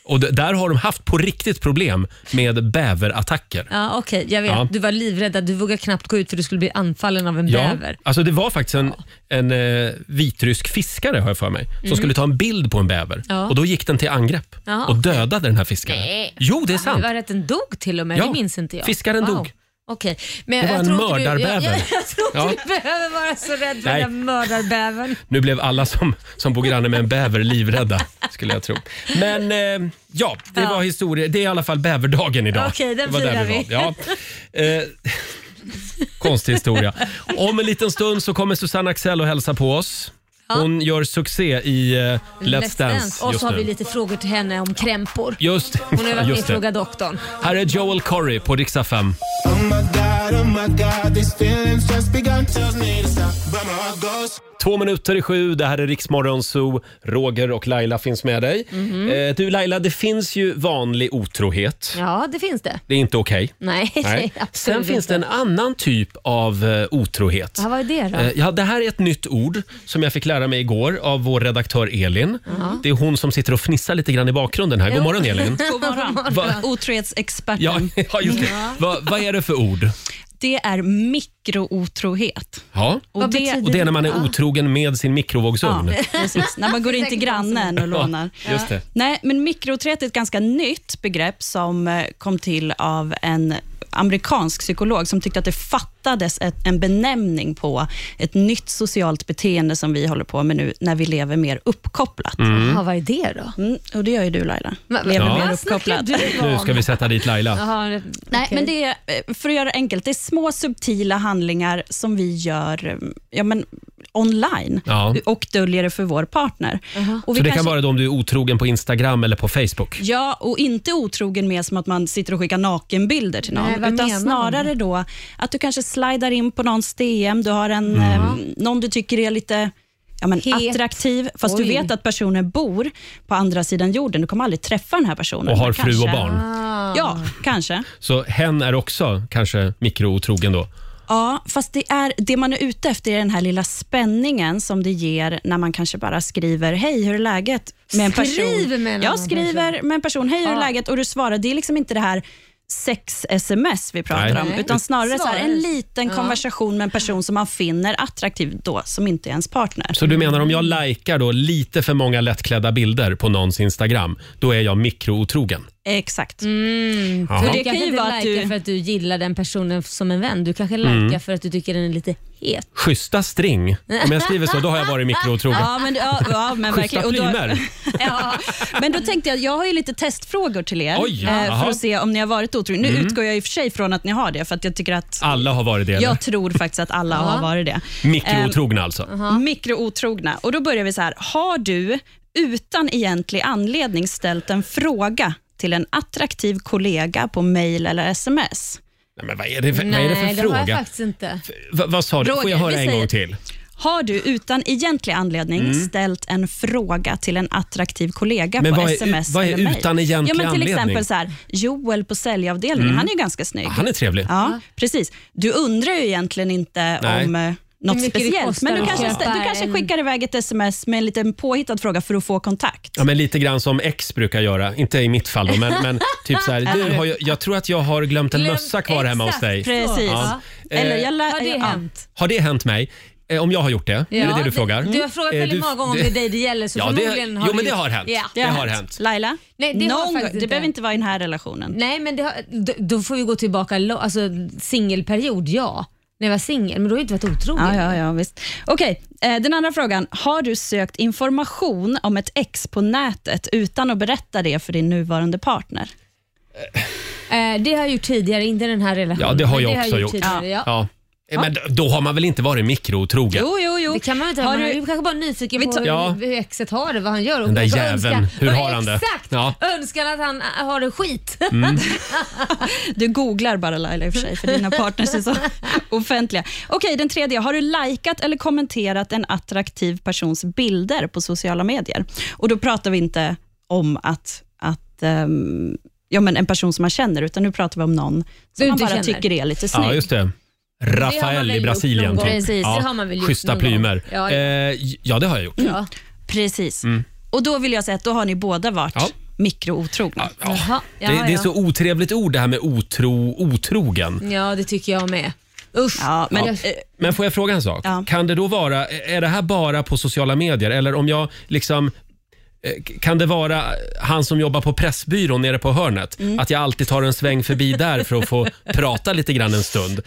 [SPEAKER 1] Och d- där har de haft på riktigt problem med bäverattacker.
[SPEAKER 2] Ja, okej, jag vet.
[SPEAKER 1] Ja.
[SPEAKER 2] Du var livrädd. att Du vågade knappt gå ut för du skulle bli anfallen av en bäver.
[SPEAKER 1] alltså det var faktiskt en, en eh, vitrysk fiskare har jag för mig, som skulle ta en bild på en bäver.
[SPEAKER 2] Mm. Ja.
[SPEAKER 1] Och Då gick den till angrepp
[SPEAKER 2] Ja.
[SPEAKER 1] och dödade den här fiskaren. Jo, det är
[SPEAKER 2] Det
[SPEAKER 1] sant.
[SPEAKER 2] var att den dog till och med.
[SPEAKER 1] Ja,
[SPEAKER 2] Det minns inte jag.
[SPEAKER 1] Fiskaren
[SPEAKER 2] Wow.
[SPEAKER 1] dog.
[SPEAKER 2] Okej. Men
[SPEAKER 1] Det var en
[SPEAKER 2] tror inte
[SPEAKER 1] mördarbäver.
[SPEAKER 2] Du, jag, jag, jag tror inte
[SPEAKER 1] Ja.
[SPEAKER 2] du behöver vara så rädd för
[SPEAKER 1] Nej.
[SPEAKER 2] den där mördarbävern.
[SPEAKER 1] Nu blev alla som, som bor granne med en bäver livrädda, skulle jag tro. Men eh, ja, det var historia. Det är i alla fall bäverdagen idag.
[SPEAKER 2] Okej, den
[SPEAKER 1] Det var där
[SPEAKER 2] firar vi.
[SPEAKER 1] var. Ja. Eh, konstig historia. Om en liten stund så kommer Susanne Axel och hälsa på oss. Hon gör succé i eh, Let's, Dance,
[SPEAKER 2] Och
[SPEAKER 1] just
[SPEAKER 2] så har
[SPEAKER 1] nu.
[SPEAKER 2] vi lite frågor till henne om krämpor.
[SPEAKER 1] Just,
[SPEAKER 2] Hon har ju varit med i
[SPEAKER 1] just
[SPEAKER 2] Fråga
[SPEAKER 1] det.
[SPEAKER 2] doktorn.
[SPEAKER 1] Här är Joel Corry på Riksdag 5.
[SPEAKER 6] Oh my god, oh my god, these feelings just begun. Tells me to stop, but my heart goes.
[SPEAKER 1] Två minuter i sju, det här är Riksmorgon Zoo. Roger och Laila finns med dig. Eh, du Laila, det finns ju vanlig otrohet.
[SPEAKER 2] Mhm. Ja, det finns det.
[SPEAKER 1] Det är inte okej.
[SPEAKER 2] Nej,
[SPEAKER 1] Nej.
[SPEAKER 2] absolut
[SPEAKER 1] Sen finns
[SPEAKER 2] inte.
[SPEAKER 1] det en annan typ av eh, otrohet.
[SPEAKER 2] Ja, vad är det då?
[SPEAKER 1] Eh, Ja, det här är ett nytt ord som jag fick lära mig igår av vår redaktör Elin. Det är hon som sitter och fnissar lite grann i bakgrunden här. God morgon Elin.
[SPEAKER 10] God morgon.
[SPEAKER 1] Va,
[SPEAKER 10] Otrohetsexperten.
[SPEAKER 1] ja, ja, just det. Va, vad är det för ord?
[SPEAKER 10] Det är mikrootrohet.
[SPEAKER 1] Ja.
[SPEAKER 2] Vad
[SPEAKER 10] Och det,
[SPEAKER 2] betyder
[SPEAKER 1] Och det är när man är otrogen med sin mikrovågsugn.
[SPEAKER 10] ja, precis. När man går in till grannen och lånar.
[SPEAKER 1] Just det.
[SPEAKER 10] Nej, men mikrootrohet är ett ganska nytt begrepp som eh, kom till av en amerikansk psykolog som tyckte att det fattades ett, en benämning på ett nytt socialt beteende som vi håller på med nu när vi lever mer uppkopplat. Mm.
[SPEAKER 2] Ja, vad är det då?
[SPEAKER 10] och det gör ju du Laila.
[SPEAKER 2] Men-
[SPEAKER 10] lever
[SPEAKER 1] Ja.
[SPEAKER 10] mer
[SPEAKER 2] Vad snackar
[SPEAKER 10] Mm. uppkopplad.
[SPEAKER 2] du om?
[SPEAKER 1] Nu ska vi sätta dit Laila.
[SPEAKER 2] Jaha,
[SPEAKER 10] Nej, men det är, eh, för att göra det enkelt, det är små subtila handlingar som vi gör eh, ja, men, online
[SPEAKER 1] Ja.
[SPEAKER 10] och döljer det för vår partner. Och vi
[SPEAKER 1] Så det kan
[SPEAKER 10] kanske-
[SPEAKER 1] vara då om du är otrogen på Instagram eller på Facebook.
[SPEAKER 10] Ja, och inte otrogen med som att man sitter och skickar nakenbilder till någon,
[SPEAKER 2] Nej, vad menar
[SPEAKER 10] utan
[SPEAKER 2] man?
[SPEAKER 10] snarare då att du kanske slidar in på någons DM, du har
[SPEAKER 1] Mm.
[SPEAKER 10] en, eh, någon du tycker är lite Ja, men
[SPEAKER 2] Het.
[SPEAKER 10] attraktiv, fast
[SPEAKER 2] Oj.
[SPEAKER 10] du vet att personen bor på andra sidan jorden. Du kommer aldrig träffa den här personen.
[SPEAKER 1] Och har
[SPEAKER 10] Men
[SPEAKER 1] fru och
[SPEAKER 10] kanske-
[SPEAKER 1] barn.
[SPEAKER 2] Ah.
[SPEAKER 10] Ja, kanske.
[SPEAKER 1] Så hen är också kanske mikrootrogen då.
[SPEAKER 10] Ja, fast det, är, det man är ute efter är den här lilla spänningen som det ger när man kanske bara skriver “Hej, hur är läget?” med en
[SPEAKER 2] Skriver
[SPEAKER 10] person.
[SPEAKER 2] med en annan
[SPEAKER 10] Jag skriver med en person “Hej, hur är
[SPEAKER 2] Ja.
[SPEAKER 10] läget?” och du svarar. Det är liksom inte det här sex-sms vi pratar
[SPEAKER 1] Nej.
[SPEAKER 10] om,
[SPEAKER 1] Nej.
[SPEAKER 10] utan snarare så här, en
[SPEAKER 2] Svarar.
[SPEAKER 10] liten konversation med en person som man finner attraktiv då, som inte är ens partner.
[SPEAKER 1] Så du menar om jag likar då lite för många lättklädda bilder på någons Instagram, då är jag mikrootrogen?
[SPEAKER 10] Exakt.
[SPEAKER 2] Mm.
[SPEAKER 1] Jaha.
[SPEAKER 2] För det
[SPEAKER 10] Mm. Det
[SPEAKER 2] kan
[SPEAKER 10] kan ju
[SPEAKER 2] inte
[SPEAKER 10] vara
[SPEAKER 2] vara
[SPEAKER 10] att
[SPEAKER 2] du...
[SPEAKER 10] du-
[SPEAKER 2] för att du gillar den personen som en vän. Du kanske likar
[SPEAKER 1] Mm.
[SPEAKER 2] för att du tycker den är lite het.
[SPEAKER 1] Schyssta string. Om jag skriver så, då har jag varit mikrootrogen.
[SPEAKER 10] Ja, men, ja, ja, men
[SPEAKER 1] Schyssta
[SPEAKER 10] verkligen. Och då,
[SPEAKER 1] plymer.
[SPEAKER 10] ja, men då tänkte jag, jag har ju lite testfrågor till er eh,
[SPEAKER 1] Oj, jaha. Mm.
[SPEAKER 10] för att se om ni har varit otrogna. Nu utgår jag i och för sig från att ni har det, för att jag tycker att
[SPEAKER 1] Alla har varit det, eller?
[SPEAKER 10] Jag tror faktiskt att alla har varit det.
[SPEAKER 1] Mikrootrogna alltså.
[SPEAKER 10] Eh, mikrootrogna. Och då börjar vi så här. Har du utan egentlig anledning ställt en fråga till en attraktiv kollega på mail eller sms?
[SPEAKER 1] Nej, men vad är det för, vad är det för
[SPEAKER 2] det har jag
[SPEAKER 1] fråga?
[SPEAKER 2] faktiskt inte.
[SPEAKER 1] Va, vad sa du? Får
[SPEAKER 10] Roger,
[SPEAKER 1] jag
[SPEAKER 10] vi
[SPEAKER 1] höra en
[SPEAKER 10] säger-
[SPEAKER 1] gång till?
[SPEAKER 10] Har du utan egentlig anledning ställt en fråga till en attraktiv kollega
[SPEAKER 1] Mm. Men
[SPEAKER 10] på
[SPEAKER 1] vad är-
[SPEAKER 10] sms
[SPEAKER 1] vad är
[SPEAKER 10] eller mail?
[SPEAKER 1] utan egentlig
[SPEAKER 10] ja, men Till
[SPEAKER 1] anledning?
[SPEAKER 10] exempel så här, Joel på säljavdelningen, han är ju ganska snygg.
[SPEAKER 1] Ah, Han är trevlig.
[SPEAKER 10] Ja, precis. Du undrar ju egentligen inte
[SPEAKER 1] Nej.
[SPEAKER 10] om eh, något
[SPEAKER 2] mycket det
[SPEAKER 10] speciellt,
[SPEAKER 2] kostar
[SPEAKER 10] men du
[SPEAKER 2] att
[SPEAKER 10] kanske,
[SPEAKER 2] köpa
[SPEAKER 10] stä- du kanske
[SPEAKER 2] en-
[SPEAKER 10] skickar iväg ett sms med en liten påhittad fråga för att få kontakt.
[SPEAKER 1] Ja, men lite grann som ex brukar göra. Inte i mitt fall då, men, men typ så här. Du, har jag, jag tror att jag har glömt en
[SPEAKER 2] Glömt-
[SPEAKER 1] mössa kvar hemma hos
[SPEAKER 2] exakt.
[SPEAKER 1] dig.
[SPEAKER 10] Precis.
[SPEAKER 1] Ja. Eh,
[SPEAKER 10] Eller jag lä-
[SPEAKER 2] Har det
[SPEAKER 10] ja.
[SPEAKER 2] hänt?
[SPEAKER 1] Har det hänt mig? Eh, Om jag har gjort det? är det det du frågar?
[SPEAKER 2] Du har frågat
[SPEAKER 1] Eh,
[SPEAKER 2] väldigt
[SPEAKER 1] du-
[SPEAKER 2] många gånger om det är dig det gäller, så
[SPEAKER 1] Ja, det-
[SPEAKER 2] förmodligen har
[SPEAKER 1] jo,
[SPEAKER 2] du
[SPEAKER 1] men det
[SPEAKER 2] gjort-
[SPEAKER 1] har hänt.
[SPEAKER 2] Ja.
[SPEAKER 1] Det har hänt.
[SPEAKER 10] Laila,
[SPEAKER 2] Nej, det har
[SPEAKER 10] någon,
[SPEAKER 2] faktiskt
[SPEAKER 10] gång-
[SPEAKER 2] inte
[SPEAKER 10] det behöver
[SPEAKER 2] hänt.
[SPEAKER 10] inte vara i den här relationen.
[SPEAKER 2] Nej, men det har, då, då får vi gå tillbaka, lo- alltså singelperiod, ja. När jag var singel, men då har jag inte varit otrogen.
[SPEAKER 10] Ja, ja, ja, visst. Okej, eh, den andra frågan. Har du sökt information om ett ex på nätet utan att berätta det för din nuvarande partner?
[SPEAKER 2] Eh, det har jag gjort tidigare, inte den här relationen.
[SPEAKER 1] Ja, det har
[SPEAKER 2] men
[SPEAKER 1] jag också gjort.
[SPEAKER 2] tidigare, ja.
[SPEAKER 1] Ja. Eh, Men d- då har man väl inte varit mikrootrogen?
[SPEAKER 10] Jo, jo, jo.
[SPEAKER 2] Det kan man väl inte.
[SPEAKER 10] Har
[SPEAKER 2] Har
[SPEAKER 10] du-
[SPEAKER 2] du, kanske bara nyfiken
[SPEAKER 10] Vi
[SPEAKER 2] på
[SPEAKER 10] tar-
[SPEAKER 2] hur,
[SPEAKER 1] Ja.
[SPEAKER 2] hur exet har det, vad han gör. Och
[SPEAKER 1] Den där
[SPEAKER 2] kanske
[SPEAKER 1] jäveln,
[SPEAKER 2] önskar-
[SPEAKER 1] hur har han det?
[SPEAKER 2] Exakt!
[SPEAKER 1] Ja.
[SPEAKER 2] Önskan att han äh, har det skit.
[SPEAKER 10] Du googlar bara Laila i och för sig, för dina partners är så offentliga. Okej, den tredje. Har du likat eller kommenterat en attraktiv persons bilder på sociala medier? Och Då pratar vi inte om att, att ehm, ja, men en person som man känner, utan nu pratar vi om någon som
[SPEAKER 2] Du
[SPEAKER 10] man
[SPEAKER 2] inte
[SPEAKER 10] bara
[SPEAKER 2] känner.
[SPEAKER 10] tycker är lite snygg.
[SPEAKER 1] Ja, just det. Rafael
[SPEAKER 2] väl
[SPEAKER 1] i
[SPEAKER 2] gjort
[SPEAKER 1] Brasilien.
[SPEAKER 2] någon gång.
[SPEAKER 1] typ.
[SPEAKER 2] Precis,
[SPEAKER 1] ja.
[SPEAKER 2] det har man väl gjort
[SPEAKER 1] Schyssta
[SPEAKER 2] någon gång.
[SPEAKER 1] plymer.
[SPEAKER 2] Ja, ja.
[SPEAKER 1] Eh, ja, det har jag gjort.
[SPEAKER 2] Ja.
[SPEAKER 10] Precis. Och Då vill jag säga att då har ni båda varit
[SPEAKER 1] Mm. Ja.
[SPEAKER 10] mikrootrogna.
[SPEAKER 2] Jaha, ja,
[SPEAKER 1] det, det är
[SPEAKER 2] ja.
[SPEAKER 1] så otrevligt ord det här med otro, otrogen.
[SPEAKER 2] ja, det tycker jag med. Usch.
[SPEAKER 10] Ja, men, eh,
[SPEAKER 1] Men får jag fråga en sak?
[SPEAKER 10] Ja.
[SPEAKER 1] Kan det då vara, är det här bara på sociala medier eller om jag liksom eh, k- kan det vara han som jobbar på Pressbyrån nere på hörnet?
[SPEAKER 2] Mm.
[SPEAKER 1] Att jag alltid tar en sväng förbi där för att få prata lite grann en stund.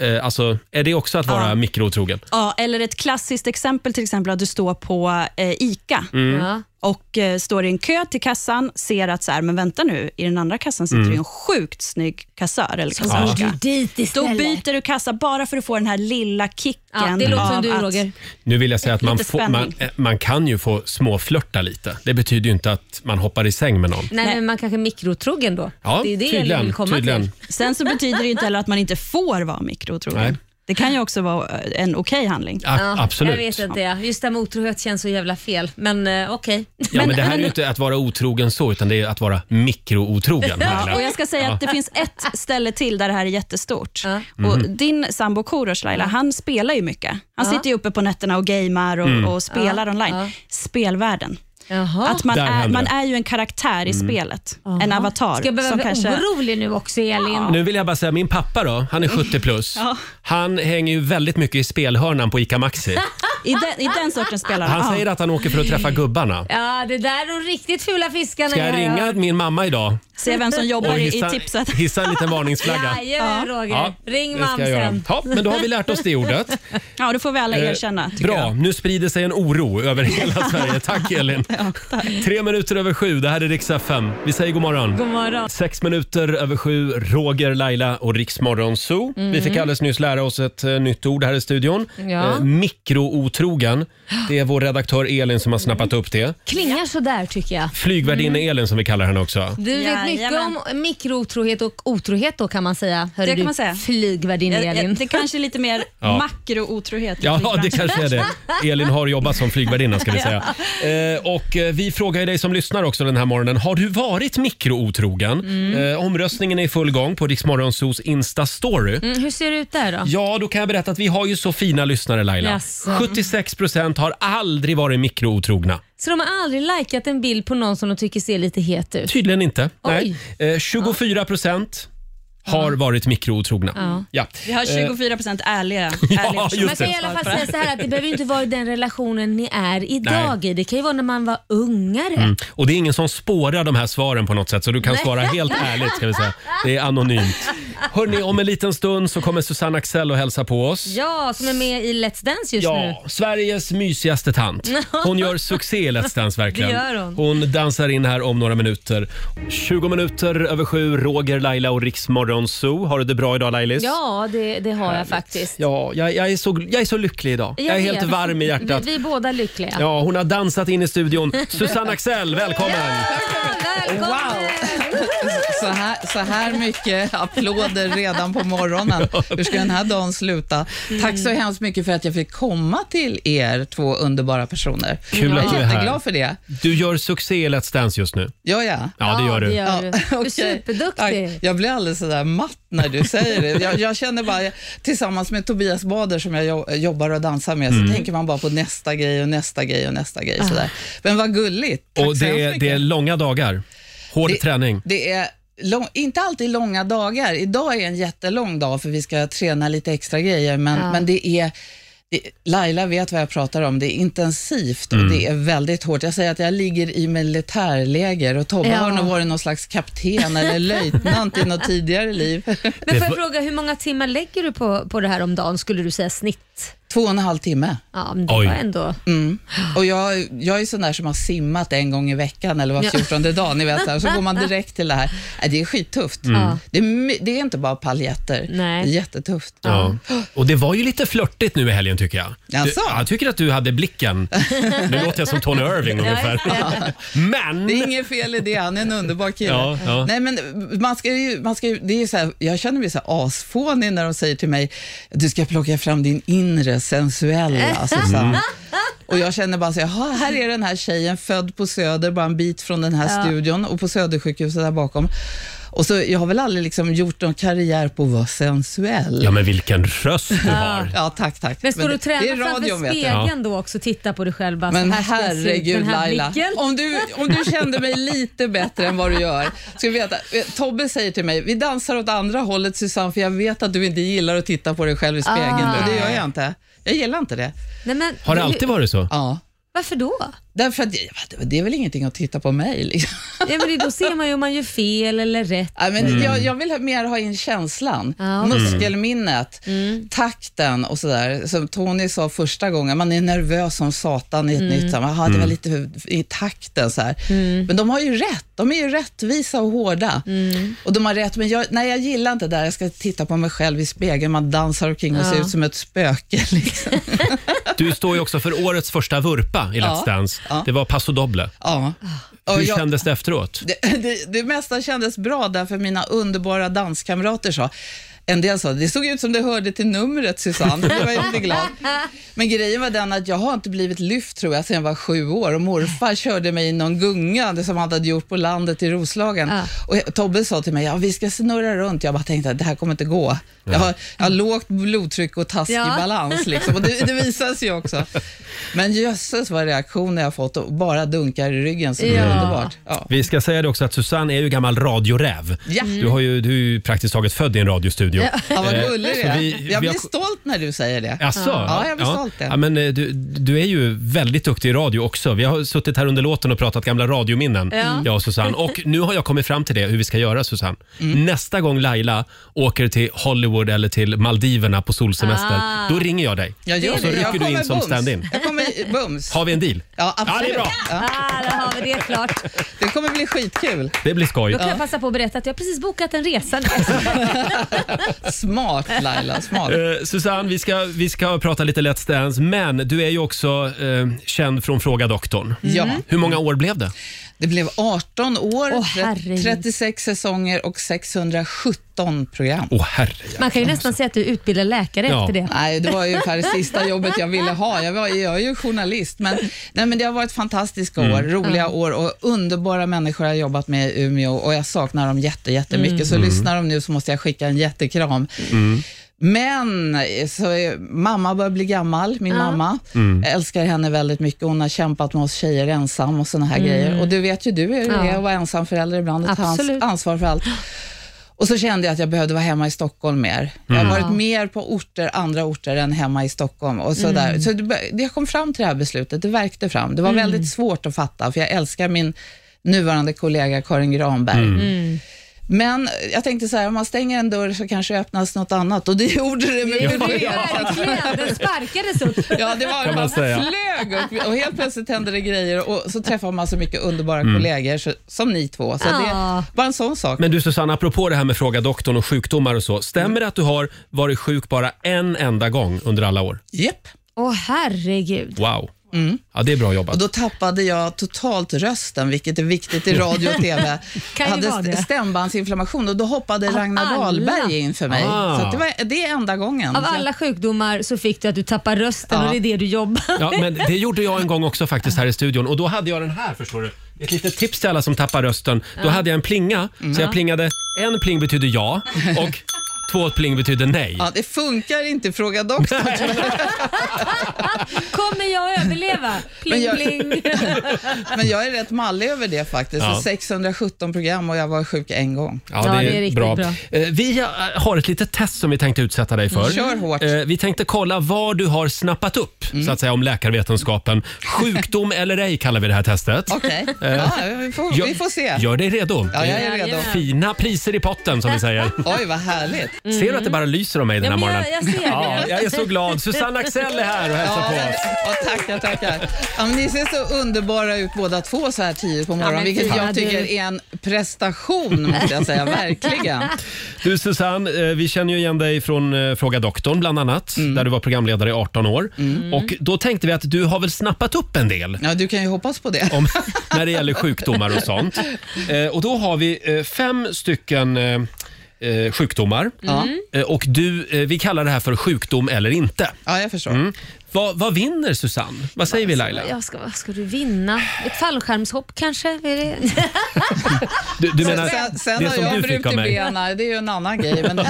[SPEAKER 1] Eh, alltså, är det också att vara mikrotrogen?
[SPEAKER 10] Ja, eller ett klassiskt exempel till exempel att du står på eh, ICA
[SPEAKER 1] Mm.
[SPEAKER 2] Ja.
[SPEAKER 10] och eh, står i en kö till kassan, ser att så här, men vänta nu, i den andra kassan sitter det ju en sjukt snygg kassör eller
[SPEAKER 2] Går
[SPEAKER 10] kassörska.
[SPEAKER 2] du dit
[SPEAKER 10] Då
[SPEAKER 2] istället?
[SPEAKER 10] byter du kassa bara för att få den här lilla kicken.
[SPEAKER 2] ja, det låter som
[SPEAKER 10] av
[SPEAKER 2] du
[SPEAKER 10] att-
[SPEAKER 2] Roger.
[SPEAKER 1] Nu vill jag säga att man,
[SPEAKER 10] Lite
[SPEAKER 1] får, man,
[SPEAKER 10] spänning.
[SPEAKER 1] eh, man kan ju få småflörta lite. Det betyder ju inte att man hoppar i säng med någon.
[SPEAKER 2] Nej, men man kanske är mikrotrogen då.
[SPEAKER 1] Ja,
[SPEAKER 2] det är det jag vill
[SPEAKER 1] tydligen.
[SPEAKER 2] komma
[SPEAKER 1] tydligen.
[SPEAKER 2] till.
[SPEAKER 10] Sen så betyder det ju inte heller att man inte får vara
[SPEAKER 1] Nej.
[SPEAKER 10] mikrotrogen. Det kan ju också vara eh, en okej handling.
[SPEAKER 1] A-
[SPEAKER 2] Ja,
[SPEAKER 1] absolut.
[SPEAKER 2] Jag vet inte, ja. just det här med otrohet känns så jävla fel. Men eh, okej.
[SPEAKER 1] Ja, men, det här är ju
[SPEAKER 10] men-
[SPEAKER 1] inte att vara otrogen så, utan det är att vara mikrootrogen. Laila.
[SPEAKER 10] Ja, och jag ska säga
[SPEAKER 1] Ja.
[SPEAKER 10] att det finns ett ställe till där det här är jättestort. Och
[SPEAKER 1] Mhm.
[SPEAKER 10] din sambo Korosh, Laila, han spelar ju mycket. Han sitter ju uppe på nätterna och gamear och,
[SPEAKER 1] Mm.
[SPEAKER 10] och spelar online. Spelvärlden.
[SPEAKER 2] Jaha.
[SPEAKER 10] Att man
[SPEAKER 1] Där
[SPEAKER 10] är,
[SPEAKER 1] händer
[SPEAKER 10] man
[SPEAKER 1] det. Mm.
[SPEAKER 10] är ju en karaktär i spelet. En avatar.
[SPEAKER 2] Ska jag
[SPEAKER 10] som
[SPEAKER 2] behöva bli
[SPEAKER 10] kanske...
[SPEAKER 2] orolig nu också Elin?
[SPEAKER 1] Nu vill jag bara säga, min pappa då, han är 70 plus. Han hänger ju väldigt mycket i spelhörnan på ICA Maxi.
[SPEAKER 10] I, den, I den sortens spelare.
[SPEAKER 1] Han
[SPEAKER 10] ja.
[SPEAKER 1] säger att han åker för att träffa gubbarna.
[SPEAKER 2] Ja, det där är de riktigt fula fiskarna.
[SPEAKER 1] Ska jag
[SPEAKER 2] här,
[SPEAKER 1] ringa min mamma idag
[SPEAKER 10] Se vem som
[SPEAKER 1] och
[SPEAKER 10] jobbar i, i
[SPEAKER 1] hissa,
[SPEAKER 10] tipset.
[SPEAKER 1] hissa en liten
[SPEAKER 2] Ja.
[SPEAKER 1] varningsflagga?
[SPEAKER 2] Jajamän Roger, ring
[SPEAKER 1] det
[SPEAKER 2] mam
[SPEAKER 1] ska jag göra.
[SPEAKER 2] sen.
[SPEAKER 1] Ja, men då har vi lärt oss det ordet.
[SPEAKER 10] Ja, då får vi alla
[SPEAKER 1] Eh,
[SPEAKER 10] erkänna. tycker
[SPEAKER 1] Bra,
[SPEAKER 10] jag.
[SPEAKER 1] nu sprider sig en oro över hela Sverige. Tack Elin. Tre minuter över sju, det här är riks FM. Vi säger god morgon.
[SPEAKER 2] God morgon.
[SPEAKER 1] Sex minuter över sju, Roger, Laila och Riksmorgon Zoo. Vi fick alldeles nyss lära oss ett eh, nytt ord här i studion.
[SPEAKER 2] Ja.
[SPEAKER 1] Eh, mikrootrogen. Det är vår redaktör Elin som har snappat upp det.
[SPEAKER 2] Klingar sådär tycker jag.
[SPEAKER 1] Flygvärdinne Elin som vi kallar henne också.
[SPEAKER 2] Du vet mycket
[SPEAKER 10] Jajamän.
[SPEAKER 2] om mikrotrohet och otrohet då kan man säga. Hörru
[SPEAKER 10] Det kan
[SPEAKER 2] du,
[SPEAKER 10] man säga.
[SPEAKER 2] Flygvärdinne
[SPEAKER 10] Eh, eh,
[SPEAKER 2] Elin.
[SPEAKER 10] Det kanske är lite mer
[SPEAKER 1] Ja.
[SPEAKER 10] makrootrohet. i
[SPEAKER 1] Ja, det
[SPEAKER 10] branschen.
[SPEAKER 1] kanske är det. Elin har jobbat som flygvärdinna ska vi säga. Eh, och eh, vi frågar ju dig som lyssnar också den här morgonen. Har du varit mikrootrogen? Eh, omröstningen är i full gång på Riksmorgonsos Insta-story.
[SPEAKER 2] Mm, hur ser det ut där då?
[SPEAKER 1] Ja, då kan jag berätta att vi har ju så fina lyssnare Laila.
[SPEAKER 2] Jaså. Mm.
[SPEAKER 1] 76 procent har aldrig varit mikrootrogna.
[SPEAKER 2] Så de har aldrig likat en bild på någon som de tycker ser lite het ut?
[SPEAKER 1] Tydligen inte.
[SPEAKER 2] Oj.
[SPEAKER 1] Nej. Eh, 24 procent har varit mikrootrogna.
[SPEAKER 2] Ja.
[SPEAKER 1] Ja.
[SPEAKER 10] Vi har 24 procent ärliga. ärliga personer.
[SPEAKER 2] Man
[SPEAKER 1] Eh. just
[SPEAKER 2] kan i alla fall säga så här att det behöver ju inte vara i den relationen ni är idag i. Det kan ju vara när man var ungare.
[SPEAKER 1] Eh, Och det är ingen som spårar de här svaren på något sätt så du kan svara helt ärligt ska vi säga. Det är anonymt. Hörni, om en liten stund så kommer Susanne Axel och hälsa på oss.
[SPEAKER 2] Ja, som är med i Let's Dance just nu.
[SPEAKER 1] Ja, Sveriges mysigaste tant. Hon gör succé i Let's Dance verkligen.
[SPEAKER 2] Det gör hon.
[SPEAKER 1] dansar in här om några minuter. 20 minuter över sju, Roger, Laila och Riksmorgon Zoo. Har du det bra idag Lailis?
[SPEAKER 2] Ja, det, det har jag faktiskt.
[SPEAKER 1] Ja, jag, jag, är så, jag är så lycklig idag. Jag, är
[SPEAKER 2] vet.
[SPEAKER 1] helt varm i hjärtat.
[SPEAKER 2] Vi, vi är båda lyckliga.
[SPEAKER 1] Ja, hon har dansat in i studion. Susanne Axel, välkommen!
[SPEAKER 2] Välkommen!
[SPEAKER 11] Så här, så här mycket applåder redan på morgonen. Hur ska den här dagen sluta? Tack så hemskt mycket för att jag fick komma till er två underbara personer.
[SPEAKER 1] Kul
[SPEAKER 11] jag
[SPEAKER 1] att du är
[SPEAKER 11] är
[SPEAKER 1] här.
[SPEAKER 11] jätteglad för det.
[SPEAKER 1] Du gör succé i Let's Dance just nu.
[SPEAKER 11] Ja, ja.
[SPEAKER 1] Ja, det gör du.
[SPEAKER 11] Ja,
[SPEAKER 2] du. Du är
[SPEAKER 11] okej.
[SPEAKER 2] superduktig.
[SPEAKER 11] Aj, Jag blir alldeles sådär matt när du säger det. Jag, jag känner bara, jag- tillsammans med Tobias Bader som jag jo- jobbar och dansar med,
[SPEAKER 1] Mm.
[SPEAKER 11] så tänker man bara på nästa grej och nästa grej och nästa grej. Sådär. Men vad gulligt. Tack
[SPEAKER 1] Och
[SPEAKER 11] så
[SPEAKER 1] det
[SPEAKER 11] hemskt
[SPEAKER 1] är,
[SPEAKER 11] mycket.
[SPEAKER 1] det är långa dagar. Hård
[SPEAKER 11] Det-
[SPEAKER 1] träning.
[SPEAKER 11] Det är lång, inte alltid långa dagar. Idag är en jättelång dag för vi ska träna lite extra grejer, men, men det är det, Laila vet vad jag pratar om. Det är intensivt och det är väldigt hårt. Jag säger att jag ligger i militärläger och Tobbe
[SPEAKER 2] Ja.
[SPEAKER 11] har nog varit någon slags kapten eller löjtnant i något tidigare liv.
[SPEAKER 2] Men får
[SPEAKER 1] Det
[SPEAKER 2] jag
[SPEAKER 1] var-
[SPEAKER 2] fråga, hur många timmar lägger du på, på det här om dagen skulle du säga snitt?
[SPEAKER 11] Två och en halv timme.
[SPEAKER 2] Ja, men det
[SPEAKER 1] Oj.
[SPEAKER 2] var
[SPEAKER 11] Mm,
[SPEAKER 2] ändå...
[SPEAKER 11] Och jag, jag är sån där som har simmat en gång i veckan eller var
[SPEAKER 2] Ja.
[SPEAKER 11] fjortonde dag, ni vet, så, här, så går man direkt till det här. Nej, Det är skittufft. Det, är, my- det är inte bara paljetter.
[SPEAKER 2] Mm. Nej.
[SPEAKER 11] Det är jättetufft.
[SPEAKER 1] Ja. Och det var ju lite flörtigt nu i helgen tycker jag. Du,
[SPEAKER 11] Jaså?
[SPEAKER 1] ja, jag tycker att du hade blicken. Nu låter jag som Tony Irving ungefär.
[SPEAKER 11] Det
[SPEAKER 1] Men...
[SPEAKER 11] är inget fel i det, han är en underbar kille.
[SPEAKER 1] Ja, ja.
[SPEAKER 11] Nej, men man ska ju, man ska ju, det är ju så här, jag känner mig så här asfånig när de säger till mig, du ska plocka fram din inre
[SPEAKER 2] Mm.
[SPEAKER 11] sensuella Susanne. Och jag känner bara så här, "Jaha, här är den här tjejen född på Söder, bara en bit från den här studion och på Södersjukhuset där bakom. Och så, jag har väl aldrig liksom gjort någon karriär på att vara sensuell.
[SPEAKER 1] Ja, men vilken röst du har.
[SPEAKER 11] Ja, tack, tack.
[SPEAKER 2] Men står du och
[SPEAKER 11] det- det är
[SPEAKER 2] tränar framför
[SPEAKER 11] radion, vet du.
[SPEAKER 2] spegeln då också och tittar på dig själv? Bara,
[SPEAKER 11] Men
[SPEAKER 2] så Alltså, här ska jag se ut,
[SPEAKER 11] herregud
[SPEAKER 2] den här
[SPEAKER 11] Laila,
[SPEAKER 2] blicken.
[SPEAKER 11] om du, om du kände mig lite bättre än vad du gör. Ska du veta, eh, Tobbe säger till mig, vi dansar åt andra hållet Susanne, för jag vet att du inte gillar att titta på dig själv i spegeln.
[SPEAKER 2] Ah.
[SPEAKER 11] Och det gör jag inte. Jag gillar inte det.
[SPEAKER 2] Nej, men,
[SPEAKER 1] Har det alltid varit så?
[SPEAKER 11] Ja.
[SPEAKER 2] Varför då?
[SPEAKER 11] Därför att det, det är väl ingenting att titta på mig. Liksom.
[SPEAKER 2] Ja, men det- då ser man ju om man gör fel eller rätt.
[SPEAKER 11] Ja, men jag, jag vill ha- mer ha in känslan,
[SPEAKER 2] Ja, okej.
[SPEAKER 11] muskelminnet, takten och sådär. Som Tony sa första gången, man är nervös som satan i ett
[SPEAKER 12] Mm.
[SPEAKER 11] nytt sammanhang. Jaha, det var
[SPEAKER 12] Mm.
[SPEAKER 11] lite för- i takten så här. Men de har ju rätt, de är ju rättvisa och hårda. Och de har rätt, men jag, nej, jag gillar inte det där. Jag ska titta på mig själv i spegeln, man dansar omkring och ser
[SPEAKER 1] Ja.
[SPEAKER 11] ut som ett spöke. Liksom.
[SPEAKER 1] Du står ju också för årets första vurpa i Let's
[SPEAKER 11] Ja.
[SPEAKER 1] Dance.
[SPEAKER 11] Ja.
[SPEAKER 1] Det var Paso Doble.
[SPEAKER 11] Ja.
[SPEAKER 1] Hur
[SPEAKER 11] Och jag-
[SPEAKER 1] kändes det efteråt?
[SPEAKER 11] Det, det, det mesta kändes bra därför mina underbara danskamrater sa, en del sa, det såg ut som det hörde till numret Susanne, det var jag inte glad. Men grejen var den att jag har inte blivit lyft tror jag sedan jag var sju år och morfar körde mig i någon gunga det som han hade gjort på landet i Roslagen. Och jag- Tobbe sa till mig, ja, vi ska snurra runt. Jag bara tänkte att det här kommer inte gå. Jag har, jag har lågt blodtryck och taskig
[SPEAKER 12] Ja.
[SPEAKER 11] balans liksom. och det, det visade sig ju också. Men jösses vad reaktioner jag fått och bara dunkar i ryggen så det är
[SPEAKER 1] Ja.
[SPEAKER 11] underbart. Ja.
[SPEAKER 1] Vi ska säga det också att Susanne är ju gammal radioräv.
[SPEAKER 11] Ja.
[SPEAKER 1] Du, har ju, du är ju praktiskt taget född i en radiostudio.
[SPEAKER 11] Ja, vad
[SPEAKER 1] Eh,
[SPEAKER 11] gullig du
[SPEAKER 1] så
[SPEAKER 11] är.
[SPEAKER 1] vi- vi
[SPEAKER 11] jag
[SPEAKER 1] har-
[SPEAKER 11] blir stolt när du säger det.
[SPEAKER 1] Jaså?
[SPEAKER 11] Ja, jag blir stolt.
[SPEAKER 1] Ja, men eh, du, du är ju väldigt duktig i radio också. Vi har suttit här under låten och pratat gamla radiominnen,
[SPEAKER 12] Ja.
[SPEAKER 1] jag och Susanne. Och nu har jag kommit fram till det, hur vi ska göra Susanne.
[SPEAKER 11] Mm.
[SPEAKER 1] Nästa gång Laila åker till Hollywood eller till Maldiverna på solsemester,
[SPEAKER 11] Ah.
[SPEAKER 1] då ringer jag dig.
[SPEAKER 11] Jag gör
[SPEAKER 1] och så
[SPEAKER 11] det.
[SPEAKER 1] rycker
[SPEAKER 11] Jag
[SPEAKER 1] du in
[SPEAKER 11] kommer
[SPEAKER 1] som
[SPEAKER 11] bums.
[SPEAKER 1] stand-in.
[SPEAKER 11] Jag kommer bums.
[SPEAKER 1] Har vi en deal?
[SPEAKER 11] Ja, absolut.
[SPEAKER 1] Ja, det är bra.
[SPEAKER 2] Ah, då har vi det klart.
[SPEAKER 11] Det kommer bli skitkul.
[SPEAKER 1] Det blir skoj.
[SPEAKER 2] Då kan jag passa på att berätta att jag precis bokat en resa nu.
[SPEAKER 11] Smart Laila, smart.
[SPEAKER 1] Eh, Susanne, vi ska, vi ska prata lite Let's Dance, men du är ju också eh, känd från Fråga doktorn.
[SPEAKER 11] Ja.
[SPEAKER 1] Hur många år blev det?
[SPEAKER 11] Det blev 18 år,
[SPEAKER 2] Åh,
[SPEAKER 11] tre-
[SPEAKER 2] herregud.
[SPEAKER 11] 36 säsonger och 617 program.
[SPEAKER 1] Åh herre.
[SPEAKER 2] Man kan ju nästan säga att du utbildar läkare
[SPEAKER 11] Ja.
[SPEAKER 2] efter det.
[SPEAKER 11] Nej, det var ju ungefär det sista jobbet jag ville ha. Jag, var, jag är ju journalist, men, nej, men det har varit fantastiska år,
[SPEAKER 2] Mm.
[SPEAKER 11] roliga
[SPEAKER 2] Ja.
[SPEAKER 11] år och underbara människor jag har jobbat med i Umeå och jag saknar dem jätte, jättemycket.
[SPEAKER 12] Mm.
[SPEAKER 11] Så
[SPEAKER 12] Mm.
[SPEAKER 11] lyssnar de nu så måste jag skicka en jättekram. Men eh, så, eh, mamma börjar bli gammal, min mamma.
[SPEAKER 12] Mm.
[SPEAKER 11] Jag älskar henne väldigt mycket. Hon har kämpat med oss tjejer ensam och såna här
[SPEAKER 12] Mm.
[SPEAKER 11] grejer. Och du vet ju du hur det
[SPEAKER 12] Ja.
[SPEAKER 11] är att vara ensam förälder ibland och ta ans-
[SPEAKER 12] Absolut.
[SPEAKER 11] ansvar för allt. Och så kände jag att jag behövde vara hemma i Stockholm mer. Jag har
[SPEAKER 12] Mm.
[SPEAKER 11] varit
[SPEAKER 12] Ja.
[SPEAKER 11] mer på orter, andra orter än hemma i Stockholm. Och sådär.
[SPEAKER 12] Mm.
[SPEAKER 11] Så det, bör- jag kom fram till det här beslutet, det verkte fram. Det var
[SPEAKER 12] Mm.
[SPEAKER 11] väldigt svårt att fatta, för jag älskar min nuvarande kollega Karin Granberg.
[SPEAKER 12] Mm.
[SPEAKER 11] Mm. Men jag tänkte så här, om man stänger en dörr så kanske öppnas något annat och det gjorde det med
[SPEAKER 12] Ja.
[SPEAKER 11] mig.
[SPEAKER 12] Ja, verkligen. Den
[SPEAKER 2] sparkades upp.
[SPEAKER 11] Ja, det var
[SPEAKER 12] Kan man säga.
[SPEAKER 11] flög upp och helt plötsligt hände det grejer och så träffar man så mycket underbara
[SPEAKER 1] Mm.
[SPEAKER 11] kollegor så, som ni två. Så
[SPEAKER 1] Ja.
[SPEAKER 11] det var en sån sak.
[SPEAKER 1] Men du Susanne, apropå det här med Fråga doktorn och sjukdomar och så. Stämmer det att du har varit sjuk bara en enda gång under alla år?
[SPEAKER 11] Japp.
[SPEAKER 2] Åh herregud.
[SPEAKER 1] Wow. Ja, det är bra
[SPEAKER 11] Och
[SPEAKER 1] jobbat.
[SPEAKER 11] då tappade jag totalt rösten, vilket är viktigt i radio och TV.
[SPEAKER 12] Kan ju
[SPEAKER 11] jag
[SPEAKER 12] vara
[SPEAKER 11] hade
[SPEAKER 12] det.
[SPEAKER 11] stämbandsinflammation och då hoppade
[SPEAKER 2] Av
[SPEAKER 11] Ragnar
[SPEAKER 2] alla?
[SPEAKER 11] Dahlberg in för mig.
[SPEAKER 1] Ah.
[SPEAKER 11] Så att det, var, det är enda gången.
[SPEAKER 2] Av
[SPEAKER 11] Så-
[SPEAKER 2] alla sjukdomar så fick du att du tappar rösten
[SPEAKER 11] Mm. Ja.
[SPEAKER 2] och det är det du jobbar
[SPEAKER 1] Ja, men det gjorde jag en gång också faktiskt här i studion och då hade jag den här förstår du. Ett litet tips till alla som tappar rösten. Då
[SPEAKER 12] Ja.
[SPEAKER 1] hade jag en plinga, så jag
[SPEAKER 12] Ja.
[SPEAKER 1] plingade. En pling betyder ja och två pling betyder nej.
[SPEAKER 11] Ja, det funkar inte, fråga doktorn.
[SPEAKER 2] Kommer jag överleva? Pling,
[SPEAKER 11] Men jag-
[SPEAKER 2] pling.
[SPEAKER 11] Men jag är rätt mallig över det faktiskt.
[SPEAKER 1] Ja.
[SPEAKER 11] Så 617 program och jag var sjuk en gång.
[SPEAKER 1] Ja, det, är bra. Eh, Vi har- har ett litet test som vi tänkte utsätta dig för.
[SPEAKER 11] Mm. Kör hårt. Mm.
[SPEAKER 1] Eh, Vi tänkte kolla vad du har snappat upp så att säga, om läkarvetenskapen. Sjukdom eller ej kallar vi det här testet.
[SPEAKER 11] Okej,
[SPEAKER 1] Eh,
[SPEAKER 11] ja, vi, får,
[SPEAKER 1] gör-
[SPEAKER 11] vi får se.
[SPEAKER 1] Gör dig redo.
[SPEAKER 11] Ja, jag är
[SPEAKER 1] Det
[SPEAKER 11] redo.
[SPEAKER 1] Fina priser i potten som vi säger.
[SPEAKER 11] Oj, vad härligt.
[SPEAKER 1] Ser du att det bara lyser om mig den här
[SPEAKER 11] Ja, men jag-
[SPEAKER 1] morgonen?
[SPEAKER 11] jag ser
[SPEAKER 1] Ja,
[SPEAKER 11] det.
[SPEAKER 1] jag är så glad. Susanne Axel är här och hälsar Alltså, på oss.
[SPEAKER 11] Ja, tackar, tackar. Ja, men ni ser så underbara ut båda två så här tidigt på morgonen,
[SPEAKER 12] men
[SPEAKER 11] vilket
[SPEAKER 12] fina
[SPEAKER 11] jag tycker
[SPEAKER 12] du.
[SPEAKER 11] är en prestation, måste jag säga. Verkligen.
[SPEAKER 1] Du Susanne, eh, vi känner ju igen dig från eh, Fråga doktorn bland annat,
[SPEAKER 11] Mm.
[SPEAKER 1] där du var programledare i 18 år. Och då tänkte vi att du har väl snappat upp en del?
[SPEAKER 11] Ja, du kan ju hoppas på det.
[SPEAKER 1] Om, när det gäller sjukdomar och sånt. Eh, Och då har vi eh, fem stycken eh, eh, sjukdomar.
[SPEAKER 11] Ja.
[SPEAKER 1] Eh, Och du, eh, vi kallar det här för sjukdom eller inte.
[SPEAKER 11] Ja, jag förstår.
[SPEAKER 1] Mm. Vad, vad vinner Susanne? Vad säger
[SPEAKER 11] Alltså,
[SPEAKER 1] vi Laila?
[SPEAKER 2] Jag ska, vad ska du vinna? Ett fallskärmshopp kanske? Är det...
[SPEAKER 1] Du, du menar
[SPEAKER 11] Alltså, sen sen
[SPEAKER 1] det
[SPEAKER 11] har
[SPEAKER 1] som
[SPEAKER 11] jag
[SPEAKER 1] du fick av
[SPEAKER 11] brutit
[SPEAKER 1] mig?
[SPEAKER 11] benen, det är ju en annan grej. Men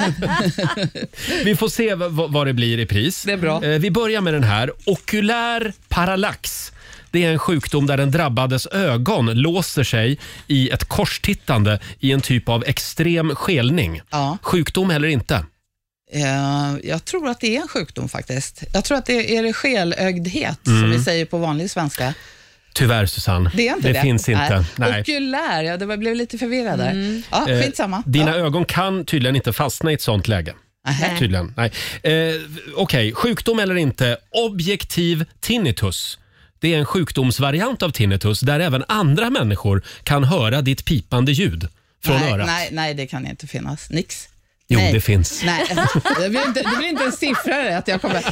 [SPEAKER 1] Vi får se v- v- vad det blir i pris. Det är
[SPEAKER 11] bra.
[SPEAKER 1] Vi börjar med den här. Okulär parallax. Det är en sjukdom där den drabbades ögon låser sig i ett korstittande i en typ av extrem skelning. Sjukdom eller inte?
[SPEAKER 11] Eh, jag tror att det är en sjukdom faktiskt. Jag tror att det är det skelögdhet, som
[SPEAKER 1] Mm.
[SPEAKER 11] vi säger på vanlig svenska.
[SPEAKER 1] Tyvärr Susanne.
[SPEAKER 11] Det är inte det.
[SPEAKER 1] finns inte. Nej.
[SPEAKER 11] Okulär, ja, det var- jag blev lite förvirrad där.
[SPEAKER 12] Mm.
[SPEAKER 11] Ja,
[SPEAKER 1] Eh,
[SPEAKER 11] skitsamma.
[SPEAKER 1] Dina ögon kan tydligen inte fastna i ett sånt läge.
[SPEAKER 11] Nähä.
[SPEAKER 1] Tydligen. Nej. Eh, Okej, sjukdom eller inte. Objektiv tinnitus. Det är en sjukdomsvariant av tinnitus där även andra människor kan höra ditt pipande ljud från
[SPEAKER 11] nej,
[SPEAKER 1] örat.
[SPEAKER 11] Nej, nej, det kan inte finnas. Nix.
[SPEAKER 1] Jo,
[SPEAKER 11] nej.
[SPEAKER 1] det finns.
[SPEAKER 11] Nej, det blir inte, det blir inte en siffra rätt. Jag kommer...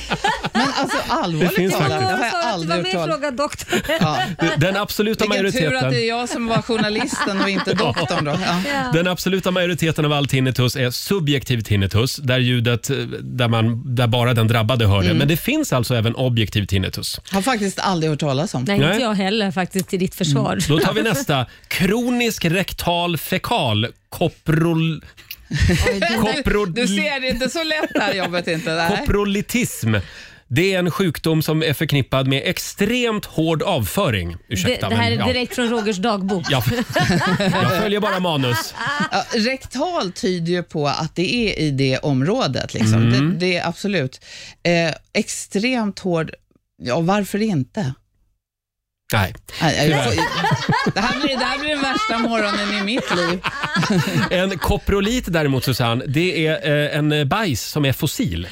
[SPEAKER 11] Men alltså allvarligt
[SPEAKER 1] Det finns
[SPEAKER 11] talat, det
[SPEAKER 1] faktiskt.
[SPEAKER 11] har jag
[SPEAKER 2] Du var
[SPEAKER 11] aldrig
[SPEAKER 2] med
[SPEAKER 11] hört
[SPEAKER 2] i
[SPEAKER 11] talas
[SPEAKER 2] Fråga doktorn.
[SPEAKER 11] Ja.
[SPEAKER 1] Den absoluta
[SPEAKER 11] Vilken
[SPEAKER 1] majoriteten...
[SPEAKER 11] tur att det är jag som var journalisten och inte doktorn då. Ja.
[SPEAKER 2] Ja.
[SPEAKER 1] Den absoluta majoriteten av all tinnitus är subjektiv tinnitus, där ljudet eh, där, man, där bara den drabbade hör det.
[SPEAKER 11] Mm.
[SPEAKER 1] Men det finns alltså även objektiv tinnitus.
[SPEAKER 11] Har faktiskt aldrig hört talas om.
[SPEAKER 2] Nej,
[SPEAKER 1] Nej.
[SPEAKER 2] inte jag heller faktiskt till ditt försvar.
[SPEAKER 11] Mm,
[SPEAKER 1] Då tar vi nästa. Kronisk rektal fekal koprol, Koprol-
[SPEAKER 11] Du ser, det är inte så lätt det här jobbet inte. Nej.
[SPEAKER 1] koprolitism. Det är en sjukdom som är förknippad med extremt hård avföring.
[SPEAKER 2] Det,
[SPEAKER 1] Ursäkta,
[SPEAKER 2] det här
[SPEAKER 1] men,
[SPEAKER 2] är
[SPEAKER 1] ja.
[SPEAKER 2] direkt från Rogers dagbok.
[SPEAKER 1] Ja. Jag följer bara manus.
[SPEAKER 11] Ja, rektal tyder ju på att det är i det området. Liksom.
[SPEAKER 1] Mm.
[SPEAKER 11] Det, det är absolut. Eh, extremt hård, ja varför inte?
[SPEAKER 1] Nej.
[SPEAKER 11] Nej, jag
[SPEAKER 1] Tyvärr.
[SPEAKER 11] får, det, här blir, det här blir den värsta morgonen i mitt liv.
[SPEAKER 1] En koprolit däremot Susanne, det är eh, en bajs som är fossil.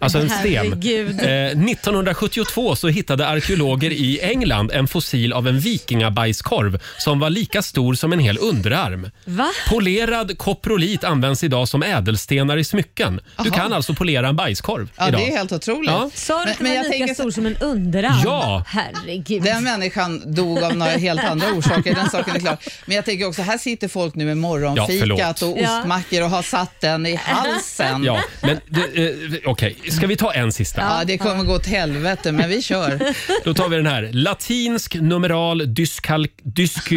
[SPEAKER 1] Alltså en sten.
[SPEAKER 2] Herregud.
[SPEAKER 1] Eh, 1972 så hittade arkeologer i England en fossil av en vikingabajskorv som var lika stor som en hel underarm.
[SPEAKER 2] Va?
[SPEAKER 1] Polerad koprolit används idag som ädelstenar i smycken. Du
[SPEAKER 11] Aha.
[SPEAKER 1] kan alltså polera en bajskorv
[SPEAKER 11] Ja,
[SPEAKER 1] idag.
[SPEAKER 11] det är helt otroligt.
[SPEAKER 1] Ja.
[SPEAKER 2] Sa du
[SPEAKER 11] Men-
[SPEAKER 2] att
[SPEAKER 11] men
[SPEAKER 2] den
[SPEAKER 11] jag
[SPEAKER 2] var lika
[SPEAKER 11] tänker så-
[SPEAKER 2] stor som en underarm?
[SPEAKER 1] Ja.
[SPEAKER 2] Herregud.
[SPEAKER 11] Den människan dog av några helt andra orsaker, den saken är klar. Men jag tänker också, här sitter folk nu med morgonfikat
[SPEAKER 1] Ja,
[SPEAKER 11] och
[SPEAKER 2] förlåt. Ja.
[SPEAKER 11] ostmackor och har satt den i halsen.
[SPEAKER 1] Ja,
[SPEAKER 11] Ja.
[SPEAKER 1] men eh, okej, ska vi ta en sista?
[SPEAKER 11] det kommer gå åt helvete, men vi kör.
[SPEAKER 1] Då tar vi den här. Latinsk numeral dyskalk... Dysk...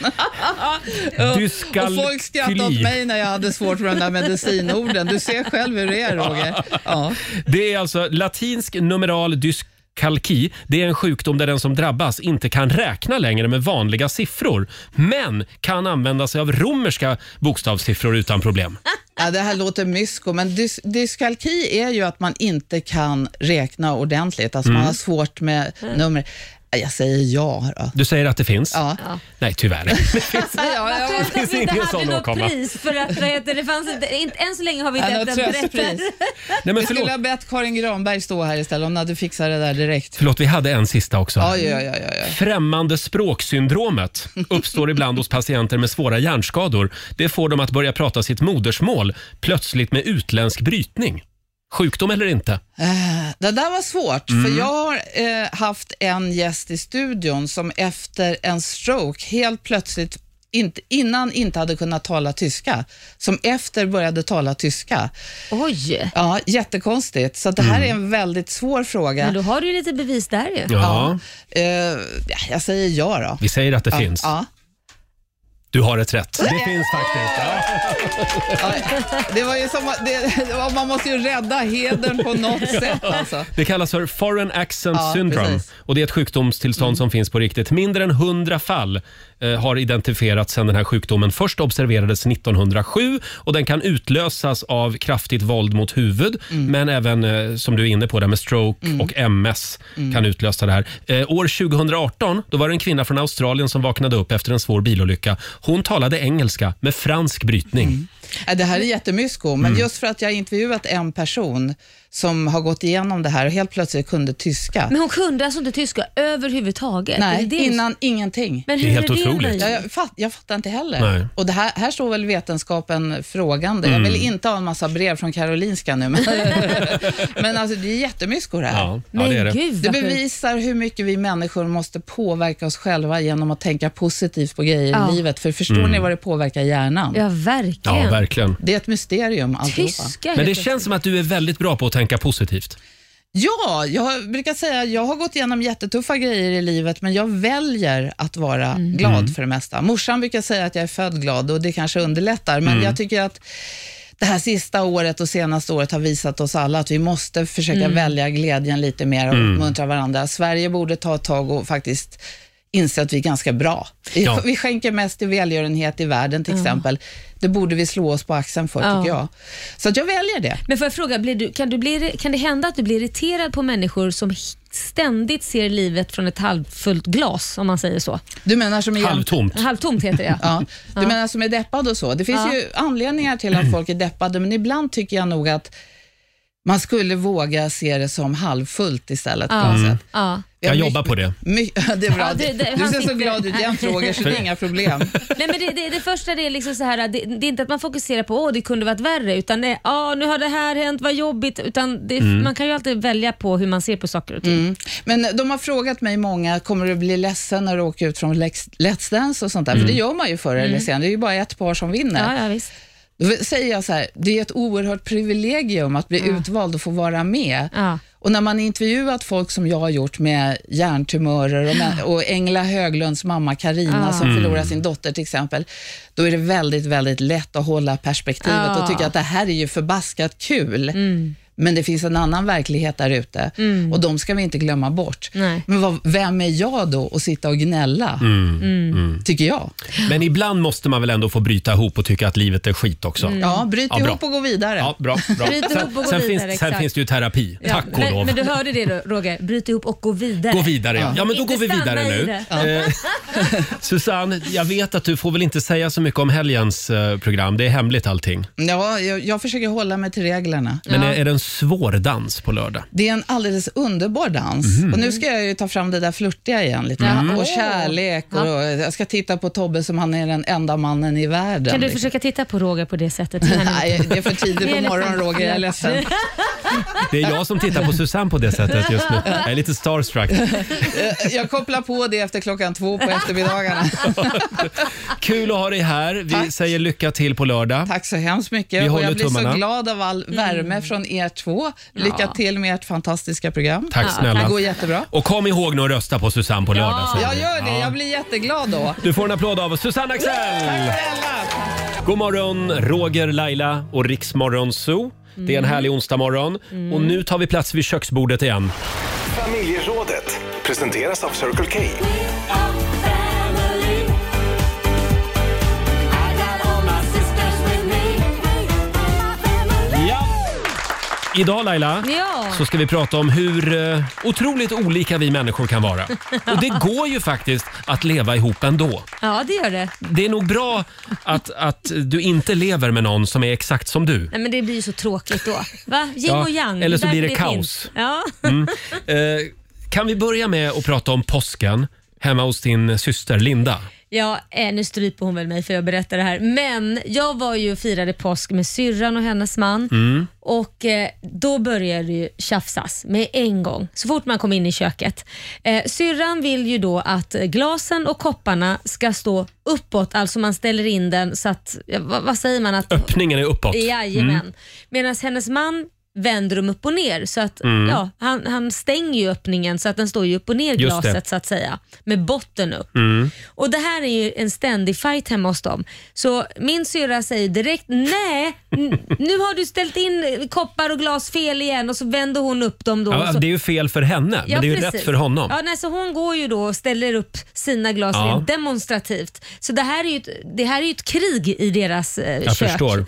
[SPEAKER 11] Och
[SPEAKER 1] Dyskalkyli.
[SPEAKER 11] folk skrattade åt mig när jag hade svårt med de där medicinorden. Du ser själv hur det är, Roger. Ja.
[SPEAKER 1] Det är alltså latinsk numeral dyskalki. Det är en sjukdom där den som drabbas inte kan räkna längre med vanliga siffror, men kan använda sig av romerska bokstavssiffror utan problem.
[SPEAKER 11] Ja, det här låter mysko, men dys- dyskalki är ju att man inte kan räkna ordentligt. Alltså
[SPEAKER 1] Mm.
[SPEAKER 11] man har svårt med nummer. Ja, Jag säger ja. alltså. Då.
[SPEAKER 1] Du säger att det finns?
[SPEAKER 11] Ja.
[SPEAKER 1] Nej, tyvärr.
[SPEAKER 11] Ja, ja,
[SPEAKER 1] finns
[SPEAKER 2] Skönt att vi inte
[SPEAKER 1] ingen
[SPEAKER 2] hade
[SPEAKER 1] sån
[SPEAKER 2] något
[SPEAKER 1] åkomma.
[SPEAKER 2] pris för att vad heter, det fanns inte, inte, än så länge har vi inte
[SPEAKER 11] Ja, något
[SPEAKER 2] haft en berättare.
[SPEAKER 11] tröstpris.
[SPEAKER 1] Nej, men
[SPEAKER 11] Vi skulle
[SPEAKER 1] förlåt.
[SPEAKER 11] ha bett Karin Granberg stå här istället. Hon hade fixat det där direkt.
[SPEAKER 1] förlåt, vi hade en sista också.
[SPEAKER 11] Ja, ja, ja, ja, ja.
[SPEAKER 1] Främmande språksyndromet uppstår ibland hos patienter med svåra hjärnskador. Det får dem att börja prata sitt modersmål plötsligt med utländsk brytning. Sjukdom eller inte?
[SPEAKER 11] Eh, Det där var svårt, för jag har eh, haft en gäst i studion som efter en stroke helt plötsligt inte, innan inte hade kunnat tala tyska, som efter började tala tyska.
[SPEAKER 2] Oj,
[SPEAKER 11] Ja, jättekonstigt. Så det här är en väldigt svår fråga.
[SPEAKER 2] men då har du ju lite bevis där ju.
[SPEAKER 1] Ja,
[SPEAKER 11] Eh, ja, jag säger ja då.
[SPEAKER 1] vi säger att det finns.
[SPEAKER 11] Ja,
[SPEAKER 1] Du har ett rätt. Det finns faktiskt. Ja.
[SPEAKER 11] ja, det var ju som, att- det, det var- man måste ju rädda hedern på något sätt alltså.
[SPEAKER 1] Det kallas för foreign accent
[SPEAKER 11] Ja,
[SPEAKER 1] syndrome
[SPEAKER 11] precis. Mm.
[SPEAKER 1] och det är ett sjukdomstillstånd som finns på riktigt. Mindre än 100 fall eh, har identifierats sedan den här sjukdomen först observerades 1907 och den kan utlösas av kraftigt våld mot huvud,
[SPEAKER 11] Mm.
[SPEAKER 1] men även eh, som du är inne på där med stroke och MS
[SPEAKER 11] Mm.
[SPEAKER 1] kan utlösa det här. Eh, år 2018 då var det en kvinna från Australien som vaknade upp efter en svår bilolycka. Hon talade engelska med fransk brytning.
[SPEAKER 11] Mm. Ja, Det här är jättemysko,
[SPEAKER 1] Mm.
[SPEAKER 11] men just för att jag har intervjuat en person som har gått igenom det här och helt plötsligt kunde tyska.
[SPEAKER 2] Men hon kunde alltså inte tyska överhuvudtaget?
[SPEAKER 11] Nej,
[SPEAKER 2] Är det det?
[SPEAKER 11] innan ingenting.
[SPEAKER 2] Men
[SPEAKER 1] Det
[SPEAKER 2] hur
[SPEAKER 1] är helt
[SPEAKER 2] är det
[SPEAKER 1] otroligt.
[SPEAKER 2] möjligt?
[SPEAKER 11] Ja, jag, fatt, jag fattar inte heller.
[SPEAKER 1] Nej. Mm.
[SPEAKER 11] Och det här, här står väl vetenskapen frågande. Jag vill inte ha en massa brev från Karolinska nu, men, men alltså, det är jättemysko det här.
[SPEAKER 1] Ja, ja,
[SPEAKER 2] Men
[SPEAKER 1] det är det.
[SPEAKER 2] gud
[SPEAKER 11] Det
[SPEAKER 2] vad sjukt.
[SPEAKER 11] bevisar hur mycket vi människor måste påverka oss själva genom att tänka positivt på grejer
[SPEAKER 2] Ja.
[SPEAKER 11] i livet. För förstår
[SPEAKER 1] Mm.
[SPEAKER 11] ni vad det påverkar hjärnan?
[SPEAKER 2] Ja,
[SPEAKER 1] Ja,
[SPEAKER 2] verkligen.
[SPEAKER 1] verkligen.
[SPEAKER 11] Det är ett mysterium alltihopa.
[SPEAKER 2] Tyska
[SPEAKER 1] Men det
[SPEAKER 2] helt
[SPEAKER 1] känns som att du är väldigt bra på att tänka positivt.
[SPEAKER 11] Ja, jag brukar säga jag har gått igenom jättetuffa grejer i livet, men jag väljer att vara
[SPEAKER 2] Mm.
[SPEAKER 11] glad för det mesta. Morsan brukar säga att jag är född glad och det kanske underlättar, men jag tycker att det här sista året och senaste året har visat oss alla att vi måste
[SPEAKER 2] Mm.
[SPEAKER 11] försöka välja glädjen lite mer och uppmuntra varandra. Sverige borde ta ett tag och faktiskt inser att vi är ganska bra.
[SPEAKER 1] Ja.
[SPEAKER 11] Vi skänker mest till välgörenhet i världen till
[SPEAKER 2] Ja.
[SPEAKER 11] exempel. Det borde vi slå oss på axeln för,
[SPEAKER 2] Ja.
[SPEAKER 11] tycker jag. Så att jag väljer det.
[SPEAKER 2] Men får jag fråga, blir du, kan, du bli, kan det hända att du blir irriterad på människor som h- ständigt ser livet från ett halvfullt glas, om man säger så?
[SPEAKER 11] Du menar som är
[SPEAKER 1] Halvtomt.
[SPEAKER 2] Halvtomt heter det,
[SPEAKER 11] Ja. Du menar som är deppad och så. Det finns
[SPEAKER 2] Ja.
[SPEAKER 11] ju anledningar till att folk är deppade, men ibland tycker jag nog att man skulle våga se det som halvfullt istället. På
[SPEAKER 2] Ja.
[SPEAKER 11] något sätt.
[SPEAKER 2] Ja.
[SPEAKER 1] Mm. Jag jobbar på det.
[SPEAKER 11] My- det är bra.
[SPEAKER 2] Ja, det- det-
[SPEAKER 11] du
[SPEAKER 2] han
[SPEAKER 11] ser så
[SPEAKER 2] sitter-
[SPEAKER 11] glad ut. Jag frågar så det är inga problem.
[SPEAKER 2] Nej, men det, det, det första det är liksom så här, det, det är inte att man fokuserar på åh det kunde varit värre, utan det är, "Ah, nu har det här hänt, vad jobbigt. Utan det,
[SPEAKER 1] Mm.
[SPEAKER 2] Man kan ju alltid välja på hur man ser på saker och ting.
[SPEAKER 11] Mm. Men de har frågat mig många, kommer du bli ledsen när du åker ut från Lex- Let's Dance och sånt där?
[SPEAKER 1] Mm.
[SPEAKER 11] För det gör man ju förr eller senare. Det är ju bara ett par som vinner.
[SPEAKER 2] Mm. Ja, ja, visst.
[SPEAKER 11] Då säger jag så här, det är ett oerhört privilegium att bli utvald och få vara med.
[SPEAKER 2] Ja.
[SPEAKER 11] Och när man intervjuat folk som jag har gjort med hjärntumörer och, mä- och Engla Höglunds mamma Karina
[SPEAKER 2] Ja.
[SPEAKER 11] som
[SPEAKER 1] Ah. Mm.
[SPEAKER 11] förlorar sin dotter till exempel, då är det väldigt, väldigt lätt att hålla perspektivet
[SPEAKER 2] Ja.
[SPEAKER 1] Ah.
[SPEAKER 11] och tycka att det här är ju förbaskat kul.
[SPEAKER 1] Mm.
[SPEAKER 11] Men det finns en annan verklighet där ute och de ska vi inte glömma bort.
[SPEAKER 2] Nej.
[SPEAKER 11] Men vad, vem är jag då att sitta och gnälla,
[SPEAKER 1] Mm.
[SPEAKER 11] tycker jag.
[SPEAKER 1] Men ibland måste man väl ändå få bryta ihop och tycka att livet är skit också.
[SPEAKER 11] Ja, bryt
[SPEAKER 1] Mm. Ja, bra.
[SPEAKER 11] ihop och gå vidare.
[SPEAKER 1] Ja, bra. bra.
[SPEAKER 2] Mm. Bryt ihop och gå
[SPEAKER 1] Sen, sen,
[SPEAKER 2] vidare,
[SPEAKER 1] finns, sen
[SPEAKER 2] exakt.
[SPEAKER 1] finns det ju terapi. Tack och
[SPEAKER 2] men,
[SPEAKER 1] lov.
[SPEAKER 2] men du hörde det då, Roger, bryt ihop och gå vidare.
[SPEAKER 1] Gå vidare ja. ja men då
[SPEAKER 2] Inte
[SPEAKER 1] går vi vidare
[SPEAKER 2] stanna i
[SPEAKER 1] nu.
[SPEAKER 2] det.
[SPEAKER 1] Eh, Susanne, jag vet att du får väl inte säga så mycket om helgens eh, program. Det är hemligt allting.
[SPEAKER 11] Ja, jag, jag försöker hålla mig till reglerna.
[SPEAKER 1] Men är, är det en svår dans på lördag?
[SPEAKER 11] Det är en alldeles underbar dans.
[SPEAKER 1] Mhm.
[SPEAKER 11] Och nu ska jag ju ta fram det där flörtiga igen lite grann. Och kärlek och jag ska titta på Tobbe som han är den enda mannen i världen.
[SPEAKER 2] Kan du
[SPEAKER 11] liksom.
[SPEAKER 2] försöka titta på Roger på det sättet? Kan han-
[SPEAKER 11] Nej, det är för tidigt
[SPEAKER 2] Det är
[SPEAKER 11] på
[SPEAKER 2] lite-
[SPEAKER 11] morgonen Roger, jag är ledsen.
[SPEAKER 1] Det är jag som tittar på Susanne på det sättet just nu. Jag är lite starstruck.
[SPEAKER 11] Eh, Jag kopplar på det efter klockan två på eftermiddagarna.
[SPEAKER 1] Kul att ha dig här. Vi
[SPEAKER 11] Tack.
[SPEAKER 1] säger lycka till på lördag.
[SPEAKER 11] Tack så hemskt
[SPEAKER 1] Vi
[SPEAKER 11] mycket. Och
[SPEAKER 1] håller
[SPEAKER 11] jag blir
[SPEAKER 1] tummarna. Mm.
[SPEAKER 11] så glad av all värme från er två. Lycka till med ert fantastiska program.
[SPEAKER 1] Tack
[SPEAKER 11] Det
[SPEAKER 1] snälla.
[SPEAKER 11] går jättebra.
[SPEAKER 1] Och kom ihåg nu att rösta på Susanne på lördag. säger
[SPEAKER 11] Jag
[SPEAKER 1] vi.
[SPEAKER 11] gör
[SPEAKER 1] Ja.
[SPEAKER 11] det, jag blir jätteglad då.
[SPEAKER 1] Du får en applåd av Susanne Axel! God morgon, Roger, Laila och Riksmorgon Zoo. Det är en härlig onsdagmorgon och nu tar vi plats vid köksbordet igen.
[SPEAKER 7] Familjerådet presenteras av Circle K.
[SPEAKER 1] Ja. Idag Laila
[SPEAKER 2] Ja.
[SPEAKER 1] så ska vi prata om hur eh, otroligt olika vi människor kan vara. Och det går ju faktiskt att leva ihop ändå.
[SPEAKER 2] ja, det gör det.
[SPEAKER 1] Det är nog bra att, att du inte lever med någon som är exakt som du.
[SPEAKER 2] Nej, men det blir ju så tråkigt då. Va? Yin
[SPEAKER 1] Ja,
[SPEAKER 2] och yang.
[SPEAKER 1] eller så
[SPEAKER 2] är
[SPEAKER 1] blir det
[SPEAKER 2] därför
[SPEAKER 1] kaos.
[SPEAKER 2] finns. Ja.
[SPEAKER 1] Eh, kan vi börja med att prata om påsken hemma hos din syster Linda?
[SPEAKER 2] Ja, eh, nu stryper hon väl mig för jag berättar det här. Men jag var ju och firade påsk med syrran och hennes man och eh, då började det ju tjafsas med en gång, så fort man kom in i köket. Eh, syrran vill ju då att glasen och kopparna ska stå uppåt, alltså man ställer in den så att, ja, vad, vad säger man? Att,
[SPEAKER 1] Öppningen är uppåt.
[SPEAKER 2] Jajamän.
[SPEAKER 1] Mm.
[SPEAKER 2] Medan hennes man vänder dem upp och ner så att
[SPEAKER 1] Mm.
[SPEAKER 2] ja, han, han stänger ju öppningen så att den står ju upp och ner
[SPEAKER 1] Just det. Mm.
[SPEAKER 2] glaset så att säga med botten upp. Och Det här är ju en ständig fight hemma hos dem. Så min syrra säger direkt nej, n- nu har du ställt in koppar och glas fel igen och så vänder hon upp dem då.
[SPEAKER 1] Ja,
[SPEAKER 2] och så,
[SPEAKER 1] det är ju fel för henne, men det är ju
[SPEAKER 2] precis.
[SPEAKER 1] rätt för honom.
[SPEAKER 2] Ja, nej, så hon går ju då och ställer upp sina glas
[SPEAKER 1] Ja.
[SPEAKER 2] rent demonstrativt. Så det här är ju ett, det här är ju ett krig i deras eh,
[SPEAKER 1] Jag
[SPEAKER 2] kök.
[SPEAKER 1] förstår.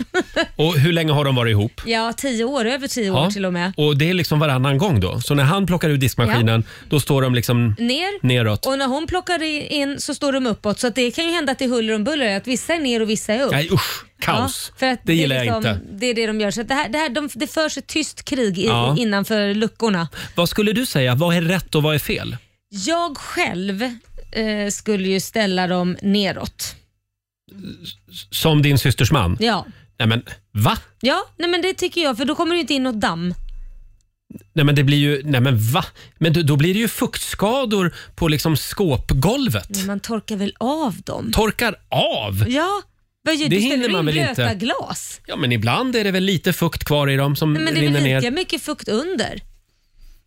[SPEAKER 1] Och hur länge har de varit ihop?
[SPEAKER 2] Ja, tio år, över tio år
[SPEAKER 1] Ja.
[SPEAKER 2] till och med.
[SPEAKER 1] Och det är liksom varannan gång då. Så när han plockar ut diskmaskinen, då står de liksom
[SPEAKER 2] Ner.
[SPEAKER 1] neråt.
[SPEAKER 2] Och när hon plockar i- in så står de uppåt. Så att det kan ju hända att det är huller om buller, att vissa är ner och vissa är upp.
[SPEAKER 1] Nej usch, kaos.
[SPEAKER 2] Ja, för att
[SPEAKER 1] det gillar
[SPEAKER 2] är liksom,
[SPEAKER 1] jag inte.
[SPEAKER 2] Det är det de gör. Så att det, här, det, här, de, det förs ett tyst krig i,
[SPEAKER 1] Ja.
[SPEAKER 2] innanför luckorna.
[SPEAKER 1] Vad skulle du säga, vad är rätt och vad är fel?
[SPEAKER 2] Jag själv eh, skulle ju ställa dem neråt.
[SPEAKER 1] Som din systers man?
[SPEAKER 2] Ja.
[SPEAKER 1] Nej men va?
[SPEAKER 2] Ja, nej men det tycker jag för då kommer det ju inte in något damm.
[SPEAKER 1] Nej men det blir ju, nej men va? Men då- då blir det ju fuktskador på liksom skåpgolvet.
[SPEAKER 2] Men man torkar väl av dem?
[SPEAKER 1] Torkar av?
[SPEAKER 2] Ja, vad gör
[SPEAKER 1] Det
[SPEAKER 2] du?
[SPEAKER 1] hinner
[SPEAKER 2] Ställer du
[SPEAKER 1] man
[SPEAKER 2] in
[SPEAKER 1] väl inte?
[SPEAKER 2] blöta glas?
[SPEAKER 1] Ja men ibland är det väl lite fukt kvar i dem som
[SPEAKER 2] Nej, men det är
[SPEAKER 1] rinner
[SPEAKER 2] väl
[SPEAKER 1] ner.
[SPEAKER 2] lika mycket fukt under?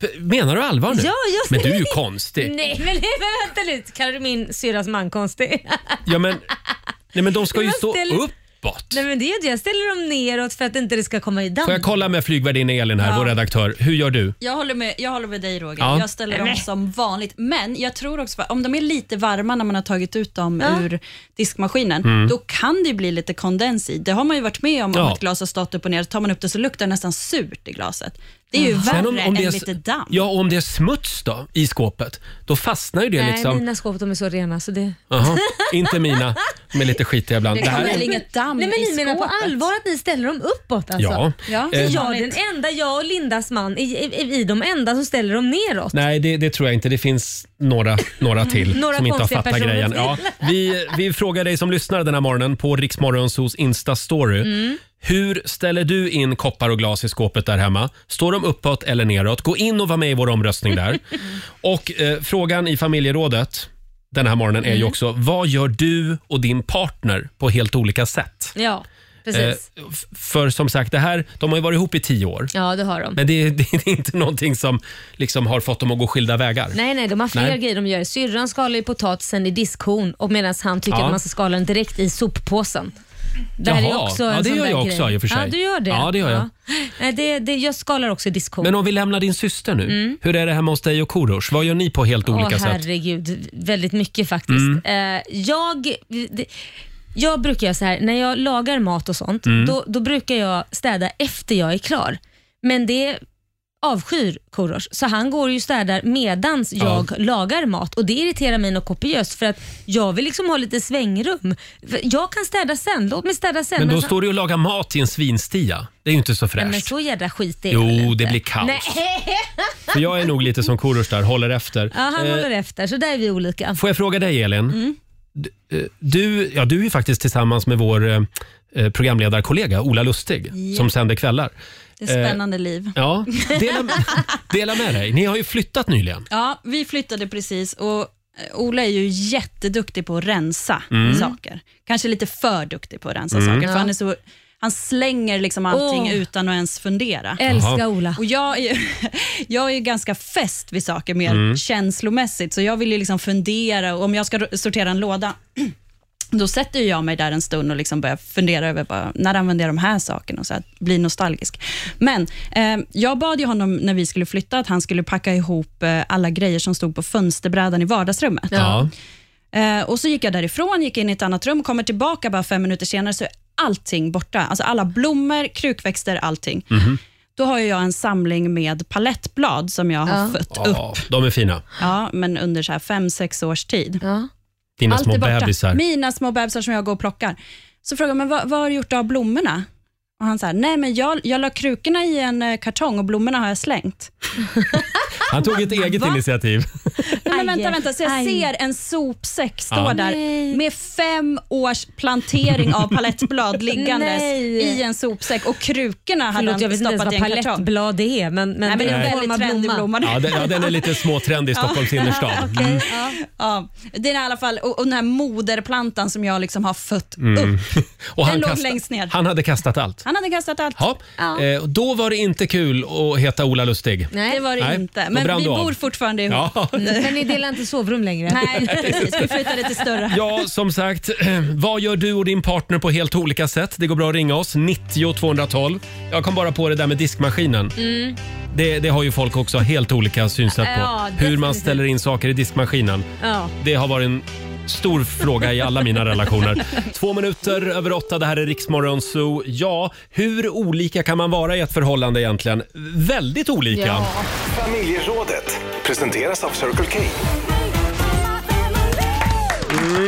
[SPEAKER 1] P- Menar du allvar nu?
[SPEAKER 2] Ja, jag
[SPEAKER 1] Men du är ju
[SPEAKER 2] säger-
[SPEAKER 1] konstig.
[SPEAKER 2] Nej, men vänta lite. Kallar du min syrras man konstig?
[SPEAKER 1] Ja, men, nej, men de ska ju
[SPEAKER 2] Jag
[SPEAKER 1] stå
[SPEAKER 2] ställer-
[SPEAKER 1] upp uppåt.
[SPEAKER 2] Nej men det är ju det. Jag ställer dem neråt för att inte det ska komma i damm.
[SPEAKER 1] Får jag kolla med flygvärdinna Elin här,
[SPEAKER 10] Ja.
[SPEAKER 1] vår redaktör. Hur gör du?
[SPEAKER 10] Jag håller, med, jag håller med dig Roger.
[SPEAKER 1] Ja.
[SPEAKER 10] Jag ställer dem
[SPEAKER 1] Nej.
[SPEAKER 10] som vanligt. Men jag tror också att om de är lite varma när man har tagit ut dem
[SPEAKER 2] Ja.
[SPEAKER 10] ur diskmaskinen,
[SPEAKER 1] Mm.
[SPEAKER 10] då kan det ju bli lite kondens i. Det har man ju varit med om, om
[SPEAKER 1] Ja.
[SPEAKER 10] ett glas har stått upp och ner. Tar man upp det så luktar det nästan surt i glaset. Det är ju värre än
[SPEAKER 1] är,
[SPEAKER 10] lite damm.
[SPEAKER 1] Ja, och om det är smuts då i skåpet, då fastnar ju det
[SPEAKER 2] Nej,
[SPEAKER 1] liksom.
[SPEAKER 2] mina skåp de är så rena så det...
[SPEAKER 1] Jaha, inte mina. De är lite skitiga ibland. Det här är-
[SPEAKER 10] damm
[SPEAKER 2] Nej, men
[SPEAKER 10] i
[SPEAKER 2] ni menar på
[SPEAKER 10] skåpet?
[SPEAKER 2] allvar att ni ställer dem uppåt alltså?
[SPEAKER 1] Ja.
[SPEAKER 2] ja.
[SPEAKER 1] Eh,
[SPEAKER 2] jag är den enda, jag och Lindas man, i, i, i de enda som ställer dem neråt.
[SPEAKER 1] Nej, det, det tror jag inte. Det finns några, några till
[SPEAKER 2] Några
[SPEAKER 1] som inte har
[SPEAKER 2] konstiga
[SPEAKER 1] fattat
[SPEAKER 2] personer
[SPEAKER 1] grejen.
[SPEAKER 2] till.
[SPEAKER 1] Ja, vi, vi frågar dig som lyssnar den här morgonen på Riksmorgonsos Insta-story.
[SPEAKER 2] Mm.
[SPEAKER 1] Hur ställer du in koppar och glas i skåpet där hemma? Står de uppåt eller neråt? Gå in och var med i vår omröstning där. Och eh, frågan i familjerådet den här morgonen är ju
[SPEAKER 2] Mm.
[SPEAKER 1] också, vad gör du och din partner på helt olika sätt?
[SPEAKER 2] Ja, precis.
[SPEAKER 1] Eh, f- för som sagt, det här, de har ju varit ihop i tio år.
[SPEAKER 2] Ja, det har de.
[SPEAKER 1] Men det, det är inte någonting som liksom har fått dem att gå skilda vägar.
[SPEAKER 2] Nej, nej, de har fler
[SPEAKER 1] Nej.
[SPEAKER 2] grejer de gör. Syrran skalar ju potatisen i diskhon och medan han tycker
[SPEAKER 1] Ja.
[SPEAKER 2] att man ska skala den direkt i soppåsen. Det här
[SPEAKER 1] Jaha.
[SPEAKER 2] är också en
[SPEAKER 1] Ja, det
[SPEAKER 2] sån
[SPEAKER 1] gör
[SPEAKER 2] där
[SPEAKER 1] jag också
[SPEAKER 2] grej.
[SPEAKER 1] i och för sig.
[SPEAKER 2] Ja, du gör det.
[SPEAKER 1] Ja, det gör jag.
[SPEAKER 2] Nej, det, det, jag skalar också i diskhon.
[SPEAKER 1] Men om vi lämnar din syster nu.
[SPEAKER 2] Mm.
[SPEAKER 1] Hur är det hemma hos dig och Korosh? Vad gör ni på helt olika
[SPEAKER 2] Åh,
[SPEAKER 1] sätt? Mm.
[SPEAKER 2] herregud. Väldigt mycket faktiskt. Eh, jag, det, jag brukar göra så här, när jag lagar mat och sånt,
[SPEAKER 9] Mm.
[SPEAKER 2] då, då brukar jag städa efter jag är klar. Men det avskyr Korosh, så han går ju och städar medans
[SPEAKER 9] Ja.
[SPEAKER 2] jag lagar mat och det irriterar mig något kopiöst för att jag vill liksom ha lite svängrum. För Jag kan städa sen, låt mig städa sen.
[SPEAKER 1] Men då
[SPEAKER 2] så-
[SPEAKER 1] står du och lagar mat i en svinstia. Det är ju inte så
[SPEAKER 2] Nej, men
[SPEAKER 1] fräscht.
[SPEAKER 2] så jädra skit är
[SPEAKER 1] Jo,
[SPEAKER 2] väl inte.
[SPEAKER 1] det blir kaos.
[SPEAKER 2] Nej.
[SPEAKER 1] För jag är nog lite som Korosh där, håller efter.
[SPEAKER 2] Ja, han
[SPEAKER 1] Eh,
[SPEAKER 2] håller efter, så där är vi olika.
[SPEAKER 1] Får jag fråga dig Elin?
[SPEAKER 2] Mm.
[SPEAKER 1] Eh, Du, ja, du är ju faktiskt tillsammans med vår eh, eh, programledarkollega Ola Lustig
[SPEAKER 10] Ja.
[SPEAKER 1] som sänder kvällar.
[SPEAKER 10] Det är
[SPEAKER 1] eh.
[SPEAKER 10] ett spännande liv.
[SPEAKER 1] Ja, dela, dela med dig. Ni har ju flyttat nyligen.
[SPEAKER 10] Ja, vi flyttade precis och eh, Ola är ju jätteduktig på att rensa
[SPEAKER 1] Mm.
[SPEAKER 10] saker. Kanske lite för duktig på att rensa
[SPEAKER 9] Mm.
[SPEAKER 10] saker, för
[SPEAKER 9] Ja.
[SPEAKER 10] han, är så, han slänger liksom allting
[SPEAKER 9] Åh.
[SPEAKER 10] utan att ens fundera.
[SPEAKER 9] Älskar Jaha.
[SPEAKER 2] Ola.
[SPEAKER 10] Och jag, är ju, jag är ju ganska fäst vid saker mer
[SPEAKER 9] Mm.
[SPEAKER 10] känslomässigt, så jag vill ju liksom fundera. Och om jag ska ro- sortera en låda, då sätter ju jag mig där en stund och liksom börjar fundera över bara, när använder jag de här sakerna och så här, bli nostalgisk. Men eh, jag bad ju honom när vi skulle flytta att han skulle packa ihop eh, alla grejer som stod på fönsterbrädan i vardagsrummet.
[SPEAKER 9] Ja.
[SPEAKER 10] Eh, och så gick jag därifrån, gick in i ett annat rum, kommer tillbaka bara fem minuter senare så är allting borta. Alltså alla blommor, krukväxter, allting.
[SPEAKER 1] Mhm.
[SPEAKER 10] Då har ju jag en samling med palettblad som jag har fött upp.
[SPEAKER 1] Ja, de är fina.
[SPEAKER 10] Ja, men under så här fem, sex års tid.
[SPEAKER 1] Dina små
[SPEAKER 10] är borta.
[SPEAKER 1] bebisar.
[SPEAKER 10] Mina små bebisar som jag går och plockar. Så frågar man, vad, vad har du gjort av blommorna? Och han säger, nej men jag, jag la krukorna i en eh, kartong och blommorna har jag slängt.
[SPEAKER 1] Han tog ett eget initiativ.
[SPEAKER 10] Nej, men vänta, vänta, så jag
[SPEAKER 2] Aj.
[SPEAKER 10] ser en sopsäck stå
[SPEAKER 1] Ja.
[SPEAKER 10] där med fem års plantering av palettblad liggandes
[SPEAKER 2] Nej.
[SPEAKER 10] i en sopsäck och krukorna hade
[SPEAKER 2] Förlåt, jag
[SPEAKER 10] han
[SPEAKER 2] vet inte ens
[SPEAKER 10] stoppat i en
[SPEAKER 2] vad
[SPEAKER 10] kartong.
[SPEAKER 2] palettblad det är, men, men
[SPEAKER 10] Nej, men det är en
[SPEAKER 1] Nej.
[SPEAKER 10] väldigt trendig blomma.
[SPEAKER 1] Ja, den, ja, den är lite småtrendig i Stockholms innerstad. Mm.
[SPEAKER 10] Ja. Ja. Det är i alla fall, och, och den här moderplantan som jag liksom har fött upp.
[SPEAKER 1] Mm.
[SPEAKER 10] Den låg längst ner.
[SPEAKER 1] han hade kastat allt.
[SPEAKER 10] Han hade kastat allt.
[SPEAKER 1] Ja. Eh, och då var det inte kul att heta Ola Lustig.
[SPEAKER 10] Nej, det var det
[SPEAKER 1] Nej,
[SPEAKER 10] inte.
[SPEAKER 1] då
[SPEAKER 10] Men
[SPEAKER 1] brann
[SPEAKER 10] vi
[SPEAKER 1] du av.
[SPEAKER 10] bor fortfarande ihop.
[SPEAKER 1] Ja.
[SPEAKER 2] Men ni delar inte sovrum längre?
[SPEAKER 10] Nej, precis. Vi flyttade till större.
[SPEAKER 1] Ja, som sagt, eh, vad gör du och din partner på helt olika sätt? Det går bra att ringa oss, 90 212. Jag kom bara på det där med diskmaskinen.
[SPEAKER 2] Mm.
[SPEAKER 1] Det, det har ju folk också helt olika synsätt på.
[SPEAKER 2] Ja,
[SPEAKER 1] Hur man
[SPEAKER 2] definitivt.
[SPEAKER 1] ställer in saker i diskmaskinen.
[SPEAKER 2] Ja.
[SPEAKER 1] Det har varit en stor fråga i alla mina relationer. Två minuter över åtta, det här är Riksmorgon Zoo. Ja, hur olika kan man vara i ett förhållande egentligen? Väldigt olika.
[SPEAKER 7] Familjerådet presenteras av Circle K.
[SPEAKER 1] Mm.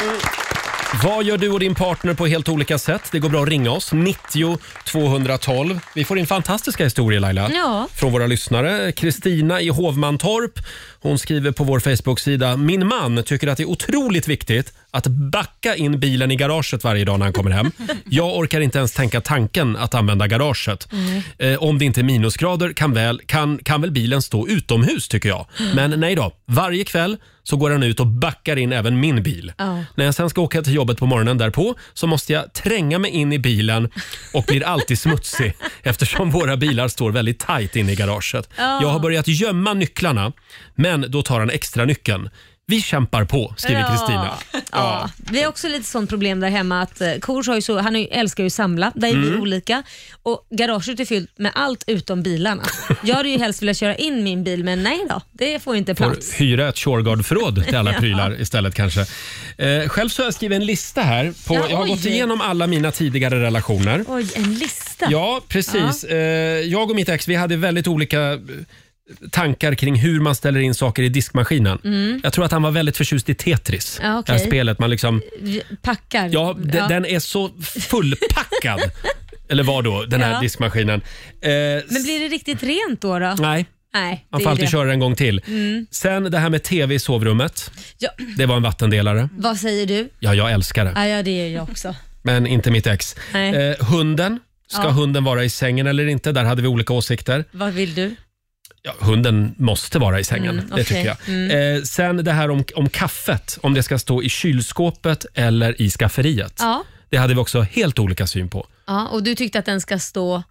[SPEAKER 1] Vad gör du och din partner på helt olika sätt? Det går bra att ringa oss, 90 212. Vi får in fantastiska historier Laila.
[SPEAKER 2] Ja.
[SPEAKER 1] Från våra lyssnare. Kristina i Hovmantorp. Hon skriver på vår Facebook-sida. Min man tycker att det är otroligt viktigt att backa in bilen i garaget varje dag när han kommer hem. Jag orkar inte ens tänka tanken att använda garaget.
[SPEAKER 9] Nej.
[SPEAKER 1] Eh, om det inte är minusgrader kan väl, kan, kan väl bilen stå utomhus tycker jag.
[SPEAKER 9] Mm.
[SPEAKER 1] Men nej då, varje kväll så går han ut och backar in även min bil.
[SPEAKER 9] Ja.
[SPEAKER 1] När jag sen ska åka till jobbet på morgonen därpå så måste jag tränga mig in i bilen och blir alltid smutsig eftersom våra bilar står väldigt tajt inne i garaget.
[SPEAKER 9] Ja.
[SPEAKER 1] Jag har börjat gömma nycklarna men då tar han extra nyckeln. Vi kämpar på, skriver
[SPEAKER 9] Ja.
[SPEAKER 1] Kristina.
[SPEAKER 2] Ja. Vi har också lite sånt problem där hemma att eh, Kors har ju så, han är ju- älskar ju att samla, där är vi
[SPEAKER 12] Mm.
[SPEAKER 2] olika. Och garaget är fyllt med allt utom bilarna. Jag hade ju helst velat köra in min bil men nej då, det får inte
[SPEAKER 1] Får
[SPEAKER 2] plats.
[SPEAKER 1] hyra ett Shurgard-förråd till alla
[SPEAKER 2] Ja.
[SPEAKER 1] prylar istället kanske. Eh, själv så har jag skrivit en lista här. På,
[SPEAKER 2] Ja,
[SPEAKER 1] jag har
[SPEAKER 2] oj.
[SPEAKER 1] gått igenom alla mina tidigare relationer.
[SPEAKER 2] Oj, en lista.
[SPEAKER 1] Ja, precis. Eh, jag och mitt ex vi hade väldigt olika eh, tankar kring hur man ställer in saker i diskmaskinen.
[SPEAKER 2] Mm.
[SPEAKER 1] Jag tror att han var väldigt förtjust i Tetris,
[SPEAKER 2] Ja, okej.
[SPEAKER 1] det här spelet. Man liksom,
[SPEAKER 2] Vi Packar.
[SPEAKER 1] ja, d- Den är så fullpackad, eller var då, den här
[SPEAKER 2] Ja.
[SPEAKER 1] diskmaskinen. Eh,
[SPEAKER 2] Men blir det riktigt rent då? då?
[SPEAKER 1] Nej,
[SPEAKER 2] Nej,
[SPEAKER 1] man
[SPEAKER 2] det
[SPEAKER 1] får
[SPEAKER 2] är
[SPEAKER 1] alltid
[SPEAKER 2] det.
[SPEAKER 1] köra den en gång till.
[SPEAKER 2] Mm.
[SPEAKER 1] Sen det här med tv i sovrummet.
[SPEAKER 2] Ja.
[SPEAKER 1] Det var en vattendelare.
[SPEAKER 2] Vad säger du?
[SPEAKER 1] Ja, jag älskar det.
[SPEAKER 2] Ja, ja, det gör jag också.
[SPEAKER 1] Men inte mitt ex.
[SPEAKER 2] Nej.
[SPEAKER 1] Eh, hunden. Ska
[SPEAKER 2] Ja.
[SPEAKER 1] hunden vara i sängen eller inte? Där hade vi olika åsikter.
[SPEAKER 2] Vad vill du?
[SPEAKER 1] Ja, hunden måste vara i sängen,
[SPEAKER 2] Mm,
[SPEAKER 1] det
[SPEAKER 2] okej.
[SPEAKER 1] tycker jag. Eh, sen det här om, om kaffet, om det ska stå i kylskåpet eller i skafferiet.
[SPEAKER 2] Ja.
[SPEAKER 1] Det hade vi också helt olika syn på.
[SPEAKER 2] ja, och du tyckte att den ska stå...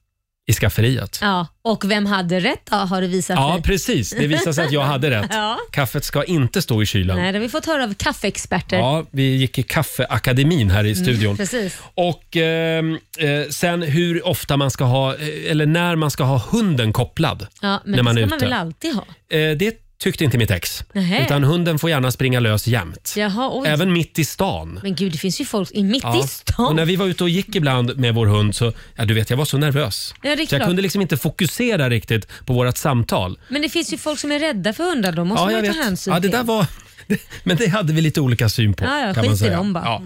[SPEAKER 1] I skafferiet.
[SPEAKER 2] Ja, och vem hade rätt då, har det visat
[SPEAKER 1] Ja,
[SPEAKER 2] sig?
[SPEAKER 1] precis. Det visade sig att jag hade rätt.
[SPEAKER 2] Ja.
[SPEAKER 1] Kaffet ska inte stå i kylen.
[SPEAKER 2] Nej, det har vi fått höra av kaffeexperter.
[SPEAKER 1] Ja, vi gick i kaffeakademin här i studion.
[SPEAKER 2] Mm, precis.
[SPEAKER 1] Och ehm, eh, sen hur ofta man ska ha, eh, eller när man ska ha hunden kopplad.
[SPEAKER 2] Ja, men
[SPEAKER 1] när man
[SPEAKER 2] det
[SPEAKER 1] är
[SPEAKER 2] ska man
[SPEAKER 1] ute.
[SPEAKER 2] väl alltid ha?
[SPEAKER 1] Eh, det tyckte inte mitt ex.
[SPEAKER 2] Nähä.
[SPEAKER 1] Utan hunden får gärna springa lös jämt.
[SPEAKER 2] Jaha, oj.
[SPEAKER 1] Även mitt i stan.
[SPEAKER 2] Men gud, det finns ju folk i mitt i
[SPEAKER 1] Och
[SPEAKER 2] stan.
[SPEAKER 1] när vi var ute och gick ibland med vår hund så, ja du vet jag var så nervös.
[SPEAKER 2] Ja, det är
[SPEAKER 1] så jag
[SPEAKER 2] klart.
[SPEAKER 1] kunde liksom inte fokusera riktigt på vårt samtal.
[SPEAKER 2] Men det finns ju folk som är rädda för hundar, de måste man ju ta hänsyn
[SPEAKER 1] Ja, det där
[SPEAKER 2] till.
[SPEAKER 1] var... Men det hade vi lite olika syn på.
[SPEAKER 2] Ja,
[SPEAKER 1] kan
[SPEAKER 2] ja, skit
[SPEAKER 1] man
[SPEAKER 2] i
[SPEAKER 1] säga.
[SPEAKER 2] dem bara.
[SPEAKER 1] Ja,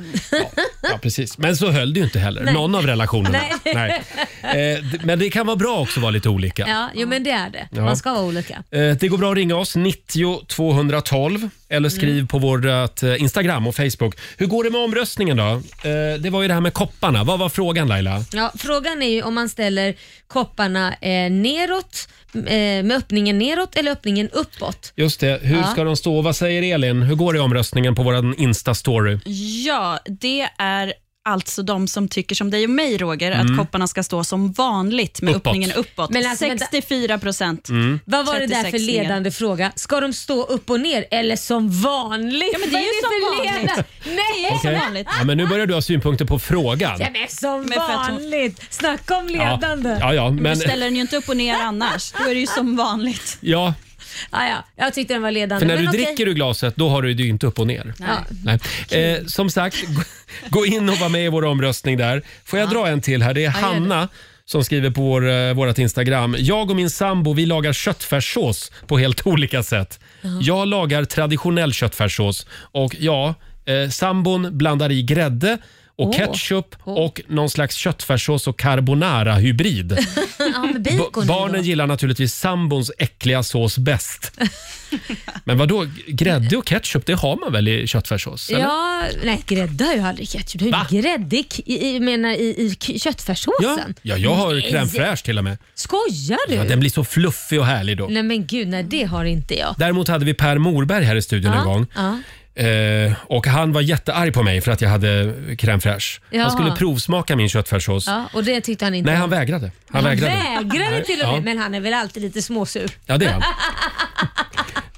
[SPEAKER 1] ja, precis. Men så höll det ju inte heller,
[SPEAKER 2] Nej.
[SPEAKER 1] någon av relationerna.
[SPEAKER 2] Nej.
[SPEAKER 1] Eh, d- men det kan vara bra också att vara lite olika.
[SPEAKER 2] Ja, jo, men det är det.
[SPEAKER 1] Ja.
[SPEAKER 2] Man ska vara olika.
[SPEAKER 1] Eh, Det går bra att ringa oss, 90 212
[SPEAKER 2] Mm.
[SPEAKER 1] eller skriv på vårt eh, Instagram och Facebook. Hur går det med omröstningen då? Eh, Det var ju det här med kopparna. Vad var frågan Laila?
[SPEAKER 2] Ja, frågan är ju om man ställer kopparna eh, neråt, eh, med öppningen neråt eller öppningen uppåt.
[SPEAKER 1] Just det, hur
[SPEAKER 2] Ja.
[SPEAKER 1] ska de stå? Vad säger Elin? Hur går det i omröstningen på vår Insta-story?
[SPEAKER 10] Ja, det är alltså de som tycker som dig och mig, Roger,
[SPEAKER 1] Mm.
[SPEAKER 10] att kopparna ska stå som vanligt med
[SPEAKER 1] Uppåt.
[SPEAKER 10] öppningen uppåt.
[SPEAKER 2] Men alltså, vänta.
[SPEAKER 10] 64 procent.
[SPEAKER 1] Mm.
[SPEAKER 2] Vad var det där för
[SPEAKER 10] 36
[SPEAKER 2] ledande fråga? Ska de stå upp och ner eller som vanligt?
[SPEAKER 10] Ja, men det
[SPEAKER 2] Vad
[SPEAKER 10] är ju som
[SPEAKER 2] för
[SPEAKER 10] vanligt.
[SPEAKER 2] leda- Nej!
[SPEAKER 10] Det är
[SPEAKER 1] Okej. Ja, men nu börjar du ha synpunkter på frågan.
[SPEAKER 2] Ja, men som
[SPEAKER 10] Men för att hon-
[SPEAKER 2] vanligt! Snacka om ledande.
[SPEAKER 1] Ja, ja, men-
[SPEAKER 10] Du ställer den ju inte upp och ner annars. Då är det ju som vanligt.
[SPEAKER 1] Ja,
[SPEAKER 2] Ja, Ah, ja, jag tyckte den var ledande.
[SPEAKER 1] för när du
[SPEAKER 2] men okej.
[SPEAKER 1] dricker ur glaset då har du det ju inte upp och ner.
[SPEAKER 2] Ja.
[SPEAKER 1] Nej. Eh, som sagt, gå- gå in och var med i vår omröstning där. Får jag dra en till här? Det är
[SPEAKER 2] Ja, gör det.
[SPEAKER 1] Hanna som skriver på vår, eh, vårat Instagram. Jag och min sambo vi lagar köttfärssås på helt olika sätt. Jag lagar traditionell köttfärssås och ja, eh, sambon blandar i grädde och
[SPEAKER 2] Åh.
[SPEAKER 1] ketchup och någon slags köttfärssås och carbonara-hybrid.
[SPEAKER 2] ja, med bacon
[SPEAKER 1] Ba-
[SPEAKER 2] i
[SPEAKER 1] barnen
[SPEAKER 2] då.
[SPEAKER 1] gillar naturligtvis sambons äckliga sås bäst. Men vad då grädde och ketchup, det har man väl i köttfärssås? eller?
[SPEAKER 2] Ja, nej grädde har jag aldrig ketchup. Du har ju grädde i, i, menar, i, i k- köttfärssåsen.
[SPEAKER 1] Ja, jag har
[SPEAKER 2] Nej.
[SPEAKER 1] crème fraîche till och med.
[SPEAKER 2] Skojar du?
[SPEAKER 1] Ja, den blir så fluffig och härlig då.
[SPEAKER 2] Nej men gud, nej det har inte jag.
[SPEAKER 1] Däremot hade vi Per Morberg här i studion en gång.
[SPEAKER 2] Ja.
[SPEAKER 1] Eh, och han var jättearg på mig för att jag hade crème fraîche.
[SPEAKER 2] Jaha.
[SPEAKER 1] Han skulle provsmaka min köttfärssås.
[SPEAKER 2] ja, och det tyckte han inte
[SPEAKER 1] Nej,
[SPEAKER 2] om.
[SPEAKER 1] han vägrade. Han, vägrade. Nej,
[SPEAKER 2] till och med,
[SPEAKER 1] ja.
[SPEAKER 2] men han är väl alltid lite småsur.
[SPEAKER 1] Ja, det är han.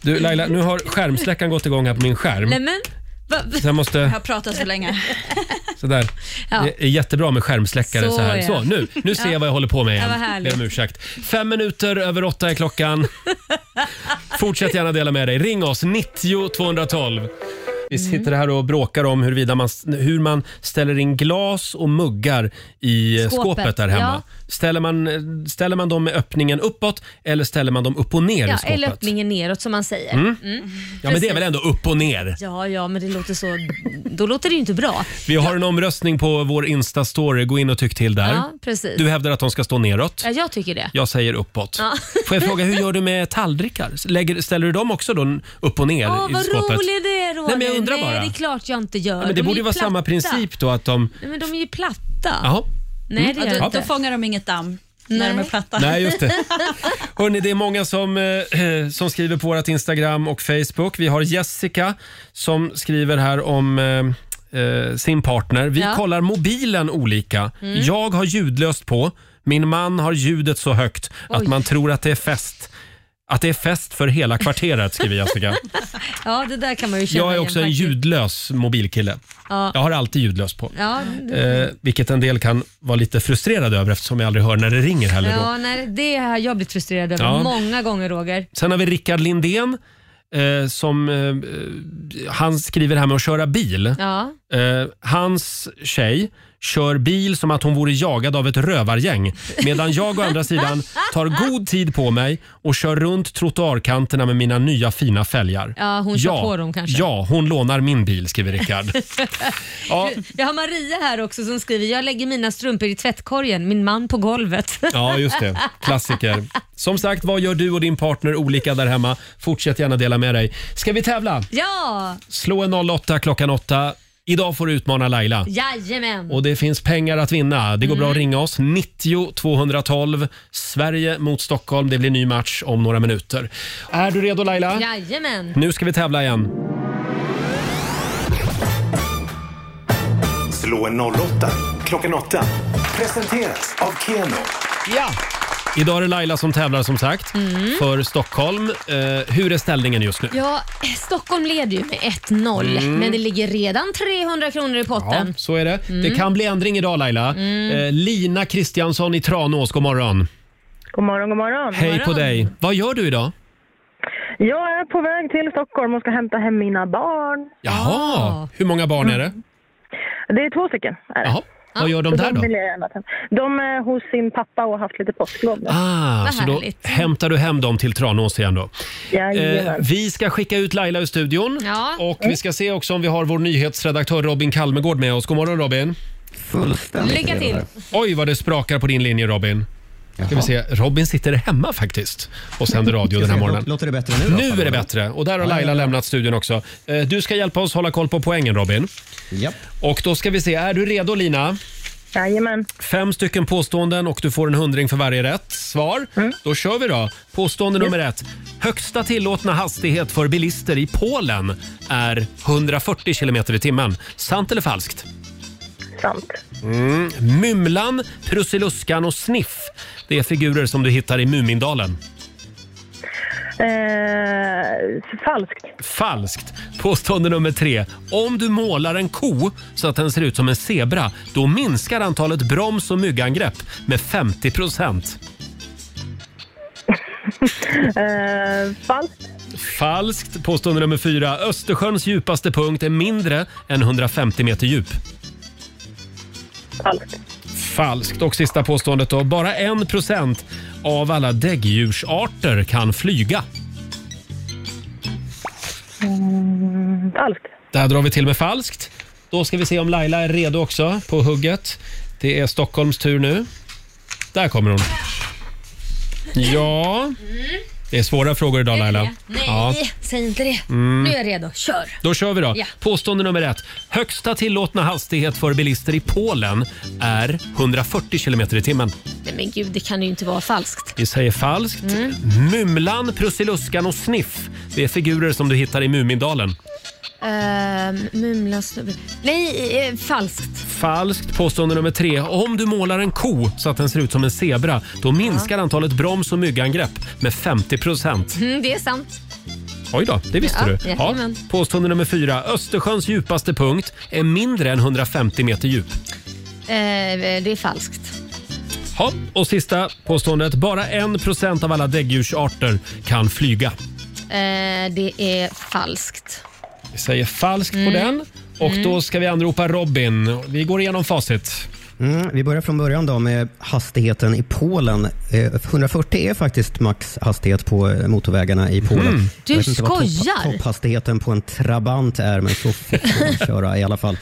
[SPEAKER 1] Du Laila, nu har skärmsläckaren gått igång här på min skärm.
[SPEAKER 2] Nej men, va,
[SPEAKER 1] Så jag måste- Jag har
[SPEAKER 10] pratat så länge.
[SPEAKER 1] Sådär.
[SPEAKER 2] Ja.
[SPEAKER 1] Det är jättebra med skärmsläckare så,
[SPEAKER 2] Så,
[SPEAKER 1] här.
[SPEAKER 2] ja.
[SPEAKER 1] Så, nu, nu ser jag
[SPEAKER 2] Ja.
[SPEAKER 1] vad jag håller på med igen.
[SPEAKER 2] Ja, vad härligt.
[SPEAKER 1] Ber om ursäkt. Fem minuter över åtta är klockan. Fortsätt gärna dela med dig. Ring oss, 90 212. Vi
[SPEAKER 2] Mm.
[SPEAKER 1] sitter här och bråkar om huruvida man, hur man ställer in glas och muggar i skåpet,
[SPEAKER 2] Skåpet,
[SPEAKER 1] skåpet där hemma. Ställer, man, eh, ställer man dem med öppningen uppåt eller ställer man dem upp och ner i
[SPEAKER 2] ja,
[SPEAKER 1] skåpet?
[SPEAKER 2] eller öppningen neråt som man säger.
[SPEAKER 1] Mm. ja, men det är
[SPEAKER 2] Precis.
[SPEAKER 1] väl ändå upp och ner?
[SPEAKER 2] Ja, ja, men det låter så... Då låter det ju inte bra.
[SPEAKER 1] Vi har en omröstning på vår Insta-story. Gå in och tyck till där.
[SPEAKER 2] Ja, precis.
[SPEAKER 1] Du hävdar att de ska stå neråt.
[SPEAKER 2] Ja, jag tycker det.
[SPEAKER 1] Jag säger uppåt.
[SPEAKER 2] Ja.
[SPEAKER 1] Får jag fråga, hur gör du med tallrikar? Lägger, ställer du dem också då upp och ner
[SPEAKER 2] Åh,
[SPEAKER 1] i
[SPEAKER 2] vad
[SPEAKER 1] skåpet?
[SPEAKER 2] rolig du är Roger.
[SPEAKER 1] Nej, men jag undrar bara.
[SPEAKER 2] Nej, det är klart jag inte gör.
[SPEAKER 1] Ja, men
[SPEAKER 2] De
[SPEAKER 1] det
[SPEAKER 2] är
[SPEAKER 1] borde ju vara
[SPEAKER 2] platta.
[SPEAKER 1] samma princip då att de...
[SPEAKER 2] Nej, men de är ju platta.
[SPEAKER 1] Jaha.
[SPEAKER 2] Nej, det
[SPEAKER 1] Mm.
[SPEAKER 2] gör jag
[SPEAKER 1] Ja.
[SPEAKER 2] inte.
[SPEAKER 1] Då
[SPEAKER 10] fångar de inget damm när de är platta.
[SPEAKER 1] Nej, just det. Hörrni, det är många som, eh, som skriver på vårt Instagram och Facebook. Vi har Jessica som skriver här om eh, eh, sin partner. Vi
[SPEAKER 13] Ja.
[SPEAKER 1] kollar mobilen olika.
[SPEAKER 13] Mm.
[SPEAKER 1] Jag har ljudlöst på. Min man har ljudet så högt att
[SPEAKER 13] Oj.
[SPEAKER 1] man tror att det är fest. Att det är fest för hela kvarteret, skriver Jessica.
[SPEAKER 2] Ja, det där kan man ju känna
[SPEAKER 1] Jag är också
[SPEAKER 2] igen
[SPEAKER 1] en
[SPEAKER 2] faktiskt.
[SPEAKER 1] ljudlös mobilkille.
[SPEAKER 2] Ja.
[SPEAKER 1] Jag har alltid ljudlös på.
[SPEAKER 2] Ja,
[SPEAKER 1] Eh, vilket en del kan vara lite frustrerade över eftersom jag aldrig hör när det ringer heller. Då.
[SPEAKER 2] ja nej, det har jag blivit frustrerad över
[SPEAKER 1] Ja.
[SPEAKER 2] många gånger Roger.
[SPEAKER 1] Sen har vi Rickard Lindén eh, som eh, han skriver det här med att köra bil.
[SPEAKER 2] Ja.
[SPEAKER 1] Eh, hans tjej kör bil som att hon vore jagad av ett rövargäng medan jag å andra sidan tar god tid på mig och kör runt trottoarkanterna med mina nya fina fälgar.
[SPEAKER 2] Ja, hon kör på dem kanske.
[SPEAKER 1] Ja, hon lånar min bil skriver Rickard. Ja.
[SPEAKER 2] Jag har Maria här också som skriver, jag lägger mina strumpor i tvättkorgen, min man på golvet.
[SPEAKER 1] Ja, just det. Klassiker. Som sagt, vad gör du och din partner olika där hemma? Fortsätt gärna dela med dig. Ska vi tävla?
[SPEAKER 2] Ja,
[SPEAKER 1] Slå en 08 klockan 8. Idag får du utmana Laila.
[SPEAKER 2] jajamän.
[SPEAKER 1] Och det finns pengar att vinna. Det går bra att ringa oss. 90 212. Sverige mot Stockholm. Det blir ny match om några minuter. Är du redo Laila?
[SPEAKER 2] Jajamän.
[SPEAKER 1] Nu ska vi tävla igen.
[SPEAKER 7] Slå en 08 klockan 8. Presenteras av Keno.
[SPEAKER 1] Ja! Idag är det Laila som tävlar som sagt för Stockholm. Eh, hur är ställningen just nu?
[SPEAKER 2] Ja, Stockholm leder ju med 1-0,
[SPEAKER 1] Mm.
[SPEAKER 2] men det ligger redan 300 kronor i
[SPEAKER 1] Ja,
[SPEAKER 2] potten.
[SPEAKER 1] så är det.
[SPEAKER 2] Mm.
[SPEAKER 1] Det kan bli ändring idag Laila. Eh, Lina Kristiansson i Tranås, god morgon.
[SPEAKER 12] God morgon, god morgon.
[SPEAKER 1] Hej på dig. Vad gör du idag?
[SPEAKER 12] Jag är på väg till Stockholm och ska hämta hem mina barn.
[SPEAKER 1] Jaha, hur många barn är det?
[SPEAKER 12] Det är två stycken. Är det.
[SPEAKER 1] Jaha. Vad gör de
[SPEAKER 12] Så
[SPEAKER 1] där då?
[SPEAKER 12] vill jag gärna ta hem. De är hos sin pappa och har haft lite påsklov nu.
[SPEAKER 1] Ah, så då hämtar du hem dem till Tranås igen då. Eh,
[SPEAKER 12] Jajamän.
[SPEAKER 1] vi ska skicka ut Laila ur studion och vi ska se också om vi har vår nyhetsredaktör Robin Kalmegård med oss. God morgon Robin. Fullständigt.
[SPEAKER 2] Lycka till.
[SPEAKER 1] Oj vad det sprakar på din linje Robin. Ska vi se. Robin sitter hemma faktiskt och sänder radio den här morgonen.
[SPEAKER 13] Låter det bättre nu då?
[SPEAKER 1] Nu är det bättre och där har Laila lämnat studion också. Eh, Du ska hjälpa oss hålla koll på poängen Robin. Och då ska vi se, är du redo Lina?
[SPEAKER 12] Jajamän.
[SPEAKER 1] Fem stycken påståenden och du får en hundring för varje rätt svar.
[SPEAKER 12] Mm.
[SPEAKER 1] Då kör vi då. Påstående nummer ett. Högsta tillåtna hastighet för bilister i Polen är 140 kilometer i timmen. Sant eller falskt?
[SPEAKER 12] Sant.
[SPEAKER 1] Mm. Mymlan, Prussiluskan och Sniff. Det är figurer som du hittar i Mumindalen.
[SPEAKER 12] Eh, falskt.
[SPEAKER 1] Falskt. Påstående nummer tre. Om du målar en ko så att den ser ut som en zebra, då minskar antalet broms och myggangrepp med 50 procent.
[SPEAKER 12] Eh, falskt.
[SPEAKER 1] Falskt. Påstående nummer fyra. Östersjöns djupaste punkt är mindre än 150 meter djup.
[SPEAKER 12] Falskt.
[SPEAKER 1] Falskt. Och sista påståendet då. Bara en procent av alla däggdjursarter kan flyga.
[SPEAKER 12] Mm, falskt.
[SPEAKER 1] Där drar vi till med falskt. Då ska vi se om Laila är redo också på hugget. Det är Stockholms tur nu. Där kommer hon. Ja, det är svåra frågor idag Laila.
[SPEAKER 2] Nej,
[SPEAKER 1] Ja.
[SPEAKER 2] säg inte det.
[SPEAKER 1] Mm.
[SPEAKER 2] Nu är jag redo. Kör!
[SPEAKER 1] Då kör vi då.
[SPEAKER 2] Ja.
[SPEAKER 1] Påstående nummer ett. Högsta tillåtna hastighet för bilister i Polen är 140 kilometer i timmen.
[SPEAKER 2] Nej, men gud, det kan ju inte vara falskt.
[SPEAKER 1] Vi säger falskt.
[SPEAKER 2] Mm.
[SPEAKER 1] Mumlan, Prussiluskan och Sniff. Det är figurer som du hittar i Mumindalen.
[SPEAKER 2] Ehm, mumla snubbe. Nej, eh, falskt.
[SPEAKER 1] Falskt. Påstående nummer tre. Om du målar en ko så att den ser ut som en zebra, då minskar antalet broms och myggangrepp med 50 procent.
[SPEAKER 2] Mm, det är sant.
[SPEAKER 1] Oj då, det visste
[SPEAKER 2] Ja,
[SPEAKER 1] du.
[SPEAKER 2] jajamän.
[SPEAKER 1] Påstående nummer fyra. Östersjöns djupaste punkt är mindre än 150 meter djup.
[SPEAKER 2] Eh, det är falskt.
[SPEAKER 1] Ja, och sista påståendet. Bara 1 av alla däggdjursarter kan flyga.
[SPEAKER 2] Eh, det är falskt.
[SPEAKER 1] Vi säger falskt
[SPEAKER 2] Mm.
[SPEAKER 1] på den. Och
[SPEAKER 2] Mm.
[SPEAKER 1] Då ska vi anropa Robin. Vi går igenom facit.
[SPEAKER 13] Mm, vi börjar från början då med hastigheten i Polen. Eh, 140 är faktiskt max hastighet på eh, motorvägarna i Polen.
[SPEAKER 2] Mm.
[SPEAKER 13] Jag
[SPEAKER 2] Du
[SPEAKER 13] vet inte vad
[SPEAKER 2] skojar.
[SPEAKER 13] Topp, topphastigheten på en Trabant är, men så fort får man köra i alla fall.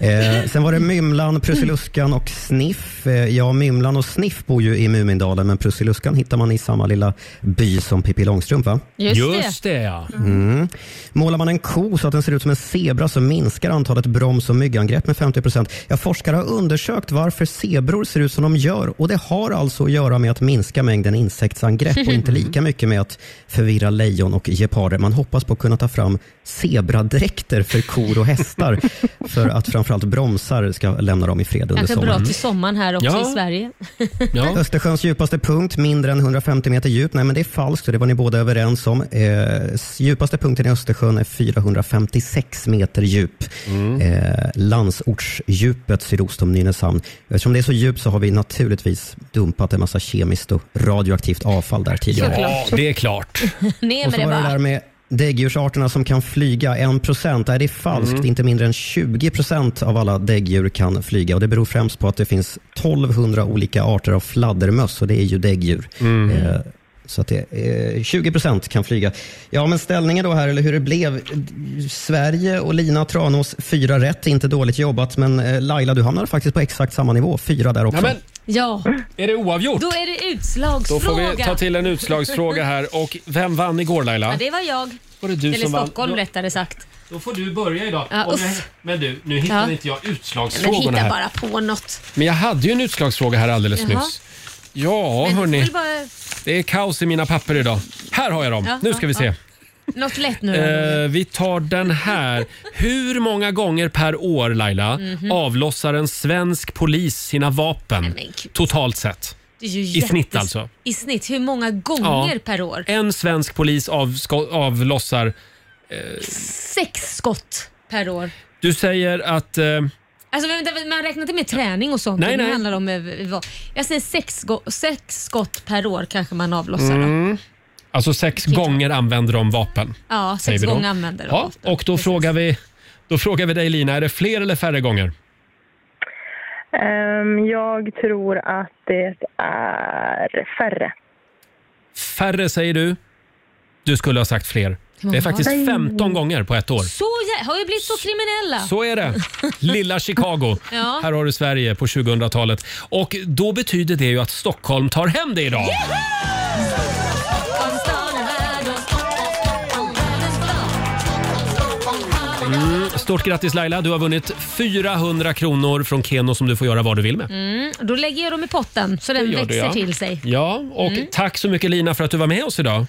[SPEAKER 13] Eh, sen var det Mymlan, Prussiluskan och Sniff. Eh, ja, Mymlan och Sniff bor ju i Mumindalen, men Prussiluskan hittar man i samma lilla by som Pippi Långstrump, va?
[SPEAKER 1] Just, det. ja.
[SPEAKER 13] Mm. Målar man en ko så att den ser ut som en zebra så minskar antalet broms och myggangrepp med 50 procent. Ja, forskare har undersökt varför zebror ser ut som de gör och det har alltså att göra med att minska mängden insektsangrepp och inte lika mycket med att förvirra lejon och geparder. Man hoppas på att kunna ta fram zebradräkter för kor och hästar för att framför framförallt bromsar ska lämna dem i fred under
[SPEAKER 2] Kanske bra
[SPEAKER 13] sommaren.
[SPEAKER 2] till sommaren här också
[SPEAKER 13] Ja.
[SPEAKER 2] i Sverige.
[SPEAKER 13] Östersjöns djupaste punkt, mindre än 150 meter djup. Nej, men det är falskt och det var ni båda överens om. Eh, s- djupaste punkten i Östersjön är 456 meter djup. Eh, landsortsdjupet sydost om Nynäshamn. Eftersom det är så djupt så har vi naturligtvis dumpat en massa kemiskt och radioaktivt avfall där tidigare.
[SPEAKER 1] Ja, det är klart.
[SPEAKER 2] Ner
[SPEAKER 13] Och
[SPEAKER 2] med
[SPEAKER 13] så
[SPEAKER 2] det
[SPEAKER 13] var det
[SPEAKER 2] bara.
[SPEAKER 13] där med däggdjursarterna som kan flyga 1%. Nej, det är falskt.
[SPEAKER 1] Mm.
[SPEAKER 13] Inte mindre än 20% av alla däggdjur kan flyga. Och det beror främst på att det finns 1200 olika arter av fladdermöss och det är ju däggdjur. Eh, så att det, eh, 20% kan flyga. Ja, men ställningen då här, eller hur det blev. Sverige och Lina Tranås, fyra rätt. Inte dåligt jobbat, men eh, Laila, du hamnar faktiskt på exakt samma nivå. Fyra där också.
[SPEAKER 1] Ja, men
[SPEAKER 2] Ja,
[SPEAKER 1] är det oavgjort?
[SPEAKER 2] då är det utslagsfråga.
[SPEAKER 1] Då får vi ta till en utslagsfråga här. Och vem vann igår Laila?
[SPEAKER 2] Ja, det var jag.
[SPEAKER 1] Var det du
[SPEAKER 2] Eller
[SPEAKER 1] som vann?
[SPEAKER 2] Stockholm rättare sagt.
[SPEAKER 1] Då får du börja idag.
[SPEAKER 2] Ja,
[SPEAKER 1] Om jag,
[SPEAKER 2] uff.
[SPEAKER 1] men du, nu hittade
[SPEAKER 2] Ja.
[SPEAKER 1] inte jag
[SPEAKER 2] Men
[SPEAKER 1] utslagsfrågorna
[SPEAKER 2] hitta
[SPEAKER 1] här.
[SPEAKER 2] bara på något.
[SPEAKER 1] Men jag hade ju en utslagsfråga här alldeles
[SPEAKER 2] Jaha.
[SPEAKER 1] nyss. Ja,
[SPEAKER 2] Men du får
[SPEAKER 1] hörni.
[SPEAKER 2] väl bara-
[SPEAKER 1] Det är kaos i mina papper idag. Här har jag dem.
[SPEAKER 2] Ja,
[SPEAKER 1] nu ska
[SPEAKER 2] ja,
[SPEAKER 1] vi se.
[SPEAKER 2] ja. Något lätt nu då.
[SPEAKER 1] Eh, vi tar den här. Hur många gånger per år, Laila,
[SPEAKER 2] Mhm.
[SPEAKER 1] avlossar en svensk polis sina vapen totalt sett?
[SPEAKER 2] Det är ju
[SPEAKER 1] I snitt
[SPEAKER 2] jättes-
[SPEAKER 1] alltså.
[SPEAKER 2] I snitt, hur många gånger
[SPEAKER 1] Ja.
[SPEAKER 2] per år?
[SPEAKER 1] En svensk polis avsko- avlossar... eh,
[SPEAKER 2] Sex skott per år.
[SPEAKER 1] du säger att... eh,
[SPEAKER 2] Alltså, men vänta, man räknar inte med träning och sånt.
[SPEAKER 1] Nej,
[SPEAKER 2] Det
[SPEAKER 1] nej.
[SPEAKER 2] Handlar om, eh, vad- jag säger sex, go- sex skott per år kanske man avlossar. då.
[SPEAKER 1] mm, alltså sex gånger använder de vapen.
[SPEAKER 2] Ja, sex
[SPEAKER 1] säger vi då.
[SPEAKER 2] gånger använder de
[SPEAKER 1] Ja, och då frågar, vi, då frågar vi dig Lina, är det fler eller färre gånger?
[SPEAKER 12] Ehm, jag tror att det är färre.
[SPEAKER 1] Färre säger du. Du skulle ha sagt fler. Det är faktiskt
[SPEAKER 2] Nej.
[SPEAKER 1] 15 gånger på ett år.
[SPEAKER 2] Så jä- har ju blivit så kriminella.
[SPEAKER 1] Så är det. Lilla Chicago.
[SPEAKER 2] Ja.
[SPEAKER 1] Här har du Sverige på 2000-talet. Och då betyder det ju att Stockholm tar hem det idag. Mm. Stort grattis Laila, du har vunnit 400 kronor från Keno som du får göra vad du vill med.
[SPEAKER 2] Mm, då lägger jag dem i potten så den
[SPEAKER 1] gör
[SPEAKER 2] växer
[SPEAKER 1] du, ja.
[SPEAKER 2] till sig.
[SPEAKER 1] Ja, och
[SPEAKER 2] Mm.
[SPEAKER 1] tack så mycket Lina för att du var med oss idag.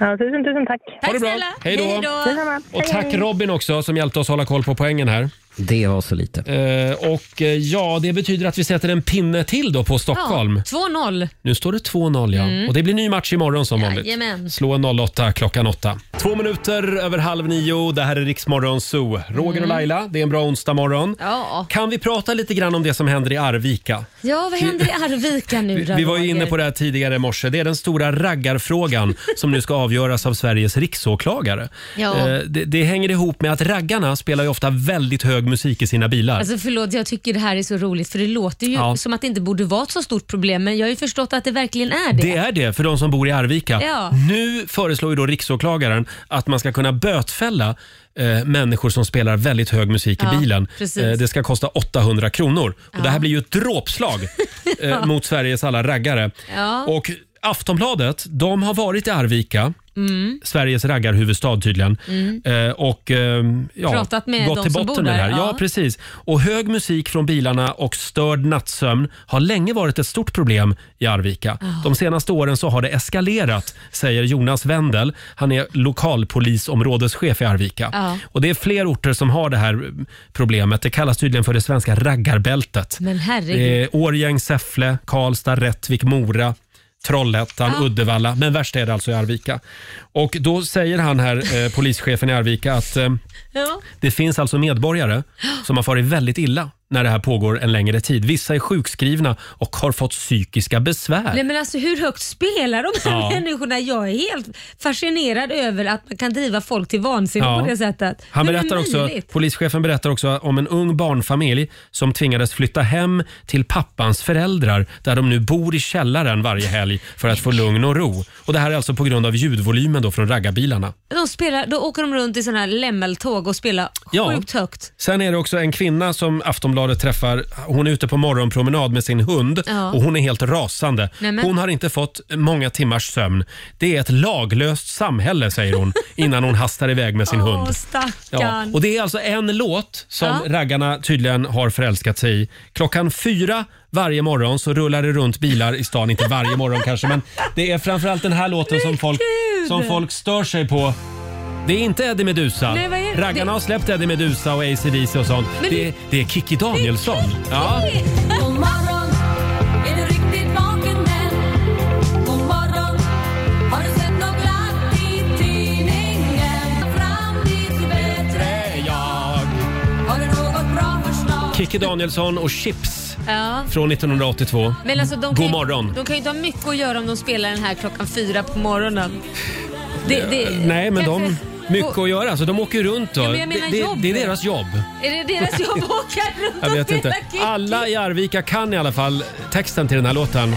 [SPEAKER 12] Ja, tusen, tusen tack.
[SPEAKER 2] Tack snälla.
[SPEAKER 1] Hej då.
[SPEAKER 12] Detsamma.
[SPEAKER 1] Och
[SPEAKER 12] Hej,
[SPEAKER 1] tack
[SPEAKER 12] hej.
[SPEAKER 1] Robin också som hjälpte oss hålla koll på poängen här.
[SPEAKER 13] Det var så lite.
[SPEAKER 1] och eh, ja, det betyder att vi sätter en pinne till då på Stockholm.
[SPEAKER 2] Ja, 2-0.
[SPEAKER 1] Nu står det 2-0 ja.
[SPEAKER 2] Mm.
[SPEAKER 1] Och det blir ny match imorgon som vanligt.
[SPEAKER 2] Jajamän.
[SPEAKER 1] Slå en 08 klockan 8. Två minuter över halv nio. Det här är Riksmorgon Zoo. Roger och
[SPEAKER 2] Mm.
[SPEAKER 1] Laila, det är en bra onsdag morgon.
[SPEAKER 2] Ja.
[SPEAKER 1] Kan vi prata lite grann om det som händer i Arvika?
[SPEAKER 2] ja, vad händer i Arvika nu
[SPEAKER 1] Vi,
[SPEAKER 2] då,
[SPEAKER 1] vi var ju inne
[SPEAKER 2] Roger?
[SPEAKER 1] på det här tidigare i morse. Det är den stora raggarfrågan som nu ska avgöras av Sveriges riksåklagare.
[SPEAKER 2] Ja.
[SPEAKER 1] Eh, Det, det hänger ihop med att raggarna spelar ju ofta väldigt hög musik i sina bilar.
[SPEAKER 2] Alltså förlåt, jag tycker det här är så roligt för det låter ju
[SPEAKER 1] Ja.
[SPEAKER 2] som att det inte borde vara ett så stort problem men jag har ju förstått att det verkligen är det.
[SPEAKER 1] Det är det för de som bor i Arvika.
[SPEAKER 2] Ja.
[SPEAKER 1] Nu föreslår ju då riksåklagaren att man ska kunna bötfälla eh, människor som spelar väldigt hög musik
[SPEAKER 2] Ja,
[SPEAKER 1] i bilen. Eh,
[SPEAKER 2] precis.
[SPEAKER 1] det ska kosta 800 kronor. Och det här blir ju ett dråpslag eh,
[SPEAKER 2] Ja.
[SPEAKER 1] mot Sveriges alla raggare.
[SPEAKER 2] Ja.
[SPEAKER 1] Och Aftonbladet, de har varit i Arvika.
[SPEAKER 2] Mm.
[SPEAKER 1] Sveriges raggarhuvudstad tydligen.
[SPEAKER 2] Mm.
[SPEAKER 1] Eh, och eh, ja,
[SPEAKER 2] Pratat med
[SPEAKER 1] gått
[SPEAKER 2] de
[SPEAKER 1] till
[SPEAKER 2] som
[SPEAKER 1] botten
[SPEAKER 2] bor
[SPEAKER 1] med det
[SPEAKER 2] där,
[SPEAKER 1] här. Ja.
[SPEAKER 2] ja.
[SPEAKER 1] precis. Och hög musik från bilarna och störd nattsömn har länge varit ett stort problem i
[SPEAKER 2] Ah.
[SPEAKER 1] Arvika.
[SPEAKER 14] Ja.
[SPEAKER 1] De senaste åren så har det eskalerat, säger Jonas Wendel. Han är lokalpolisområdeschef i Arvika.
[SPEAKER 2] Ja.
[SPEAKER 1] Och det är fler orter som har det här problemet. Det kallas tydligen för det svenska raggarbältet.
[SPEAKER 2] Men
[SPEAKER 1] Det
[SPEAKER 2] herregud.
[SPEAKER 1] är Årjäng, Säffle, Karlstad, Rättvik, Mora, Trollhättan,
[SPEAKER 2] Ja.
[SPEAKER 1] Uddevalla. Men värst är det alltså i Arvika. Och då säger han här, eh, polischefen i Arvika, att eh,
[SPEAKER 2] Ja.
[SPEAKER 1] det finns alltså medborgare som har farit väldigt illa när det här pågår en längre tid. Vissa är sjukskrivna och har fått psykiska besvär.
[SPEAKER 2] Nej men alltså hur högt spelar de här
[SPEAKER 1] Ja.
[SPEAKER 2] människorna? Jag är helt fascinerad över att man kan driva folk till vansinne
[SPEAKER 1] Ja.
[SPEAKER 2] på det sättet.
[SPEAKER 1] Han
[SPEAKER 2] Hur är det
[SPEAKER 1] berättar också,
[SPEAKER 2] möjligt?
[SPEAKER 1] polischefen berättar också om en ung barnfamilj som tvingades flytta hem till pappans föräldrar där de nu bor i källaren varje helg för att få lugn och ro. Och Det här är alltså på grund av ljudvolymen då från raggarbilarna.
[SPEAKER 2] De spelar, då åker de runt i sådana här lämmeltåg och spelar
[SPEAKER 1] Ja.
[SPEAKER 2] sjukt högt.
[SPEAKER 1] Sen är det också en kvinna som Aftonbladet träffar. Hon är ute på morgonpromenad med sin hund
[SPEAKER 2] Ja.
[SPEAKER 1] och hon är helt rasande.
[SPEAKER 2] Nämen.
[SPEAKER 1] Hon har inte fått många timmars sömn. Det är ett laglöst samhälle, säger hon innan hon hastar iväg med sin hund.
[SPEAKER 2] Åh
[SPEAKER 1] Ja,
[SPEAKER 2] stackarn.
[SPEAKER 1] och det är alltså en låt som
[SPEAKER 2] Ja.
[SPEAKER 1] raggarna tydligen har förälskat sig i. Klockan fyra varje morgon så rullar det runt bilar i stan. Inte varje morgon kanske, men det är framförallt den här låten som folk,
[SPEAKER 2] Gud!
[SPEAKER 1] som folk stör sig på Det är inte Eddie Meduza.
[SPEAKER 2] Nej, vad är det?
[SPEAKER 1] Raggarna
[SPEAKER 2] Det-
[SPEAKER 1] har släppt Eddie Meduza och AC/DC och sånt.
[SPEAKER 9] Men
[SPEAKER 1] Det, det är Kikki Danielsson. Ja.
[SPEAKER 9] God morgon, är du riktigt vaken än? God morgon, har du sett något glatt i tidningen? Framtid bättre jag. Har du något bra förslag?
[SPEAKER 1] Kikki Danielsson och Chips
[SPEAKER 2] Ja.
[SPEAKER 1] från 1982.
[SPEAKER 2] Men alltså, de kan
[SPEAKER 1] God
[SPEAKER 2] ju-
[SPEAKER 1] morgon.
[SPEAKER 2] De kan ju inte ha mycket att göra om de spelar den här klockan fyra på morgonen. Det, det,
[SPEAKER 1] Nej, men de...
[SPEAKER 2] kanske-
[SPEAKER 1] Mycket att göra. Alltså, de åker runt. Då.
[SPEAKER 2] Ja, men jag menar
[SPEAKER 1] det, det,
[SPEAKER 2] jobb.
[SPEAKER 1] det är deras jobb.
[SPEAKER 2] Är det deras jobb att åka runt
[SPEAKER 1] Jag
[SPEAKER 2] och
[SPEAKER 1] vet
[SPEAKER 2] spela
[SPEAKER 1] inte.
[SPEAKER 2] kick?
[SPEAKER 1] Alla i Arvika kan i alla fall texten till den här låten.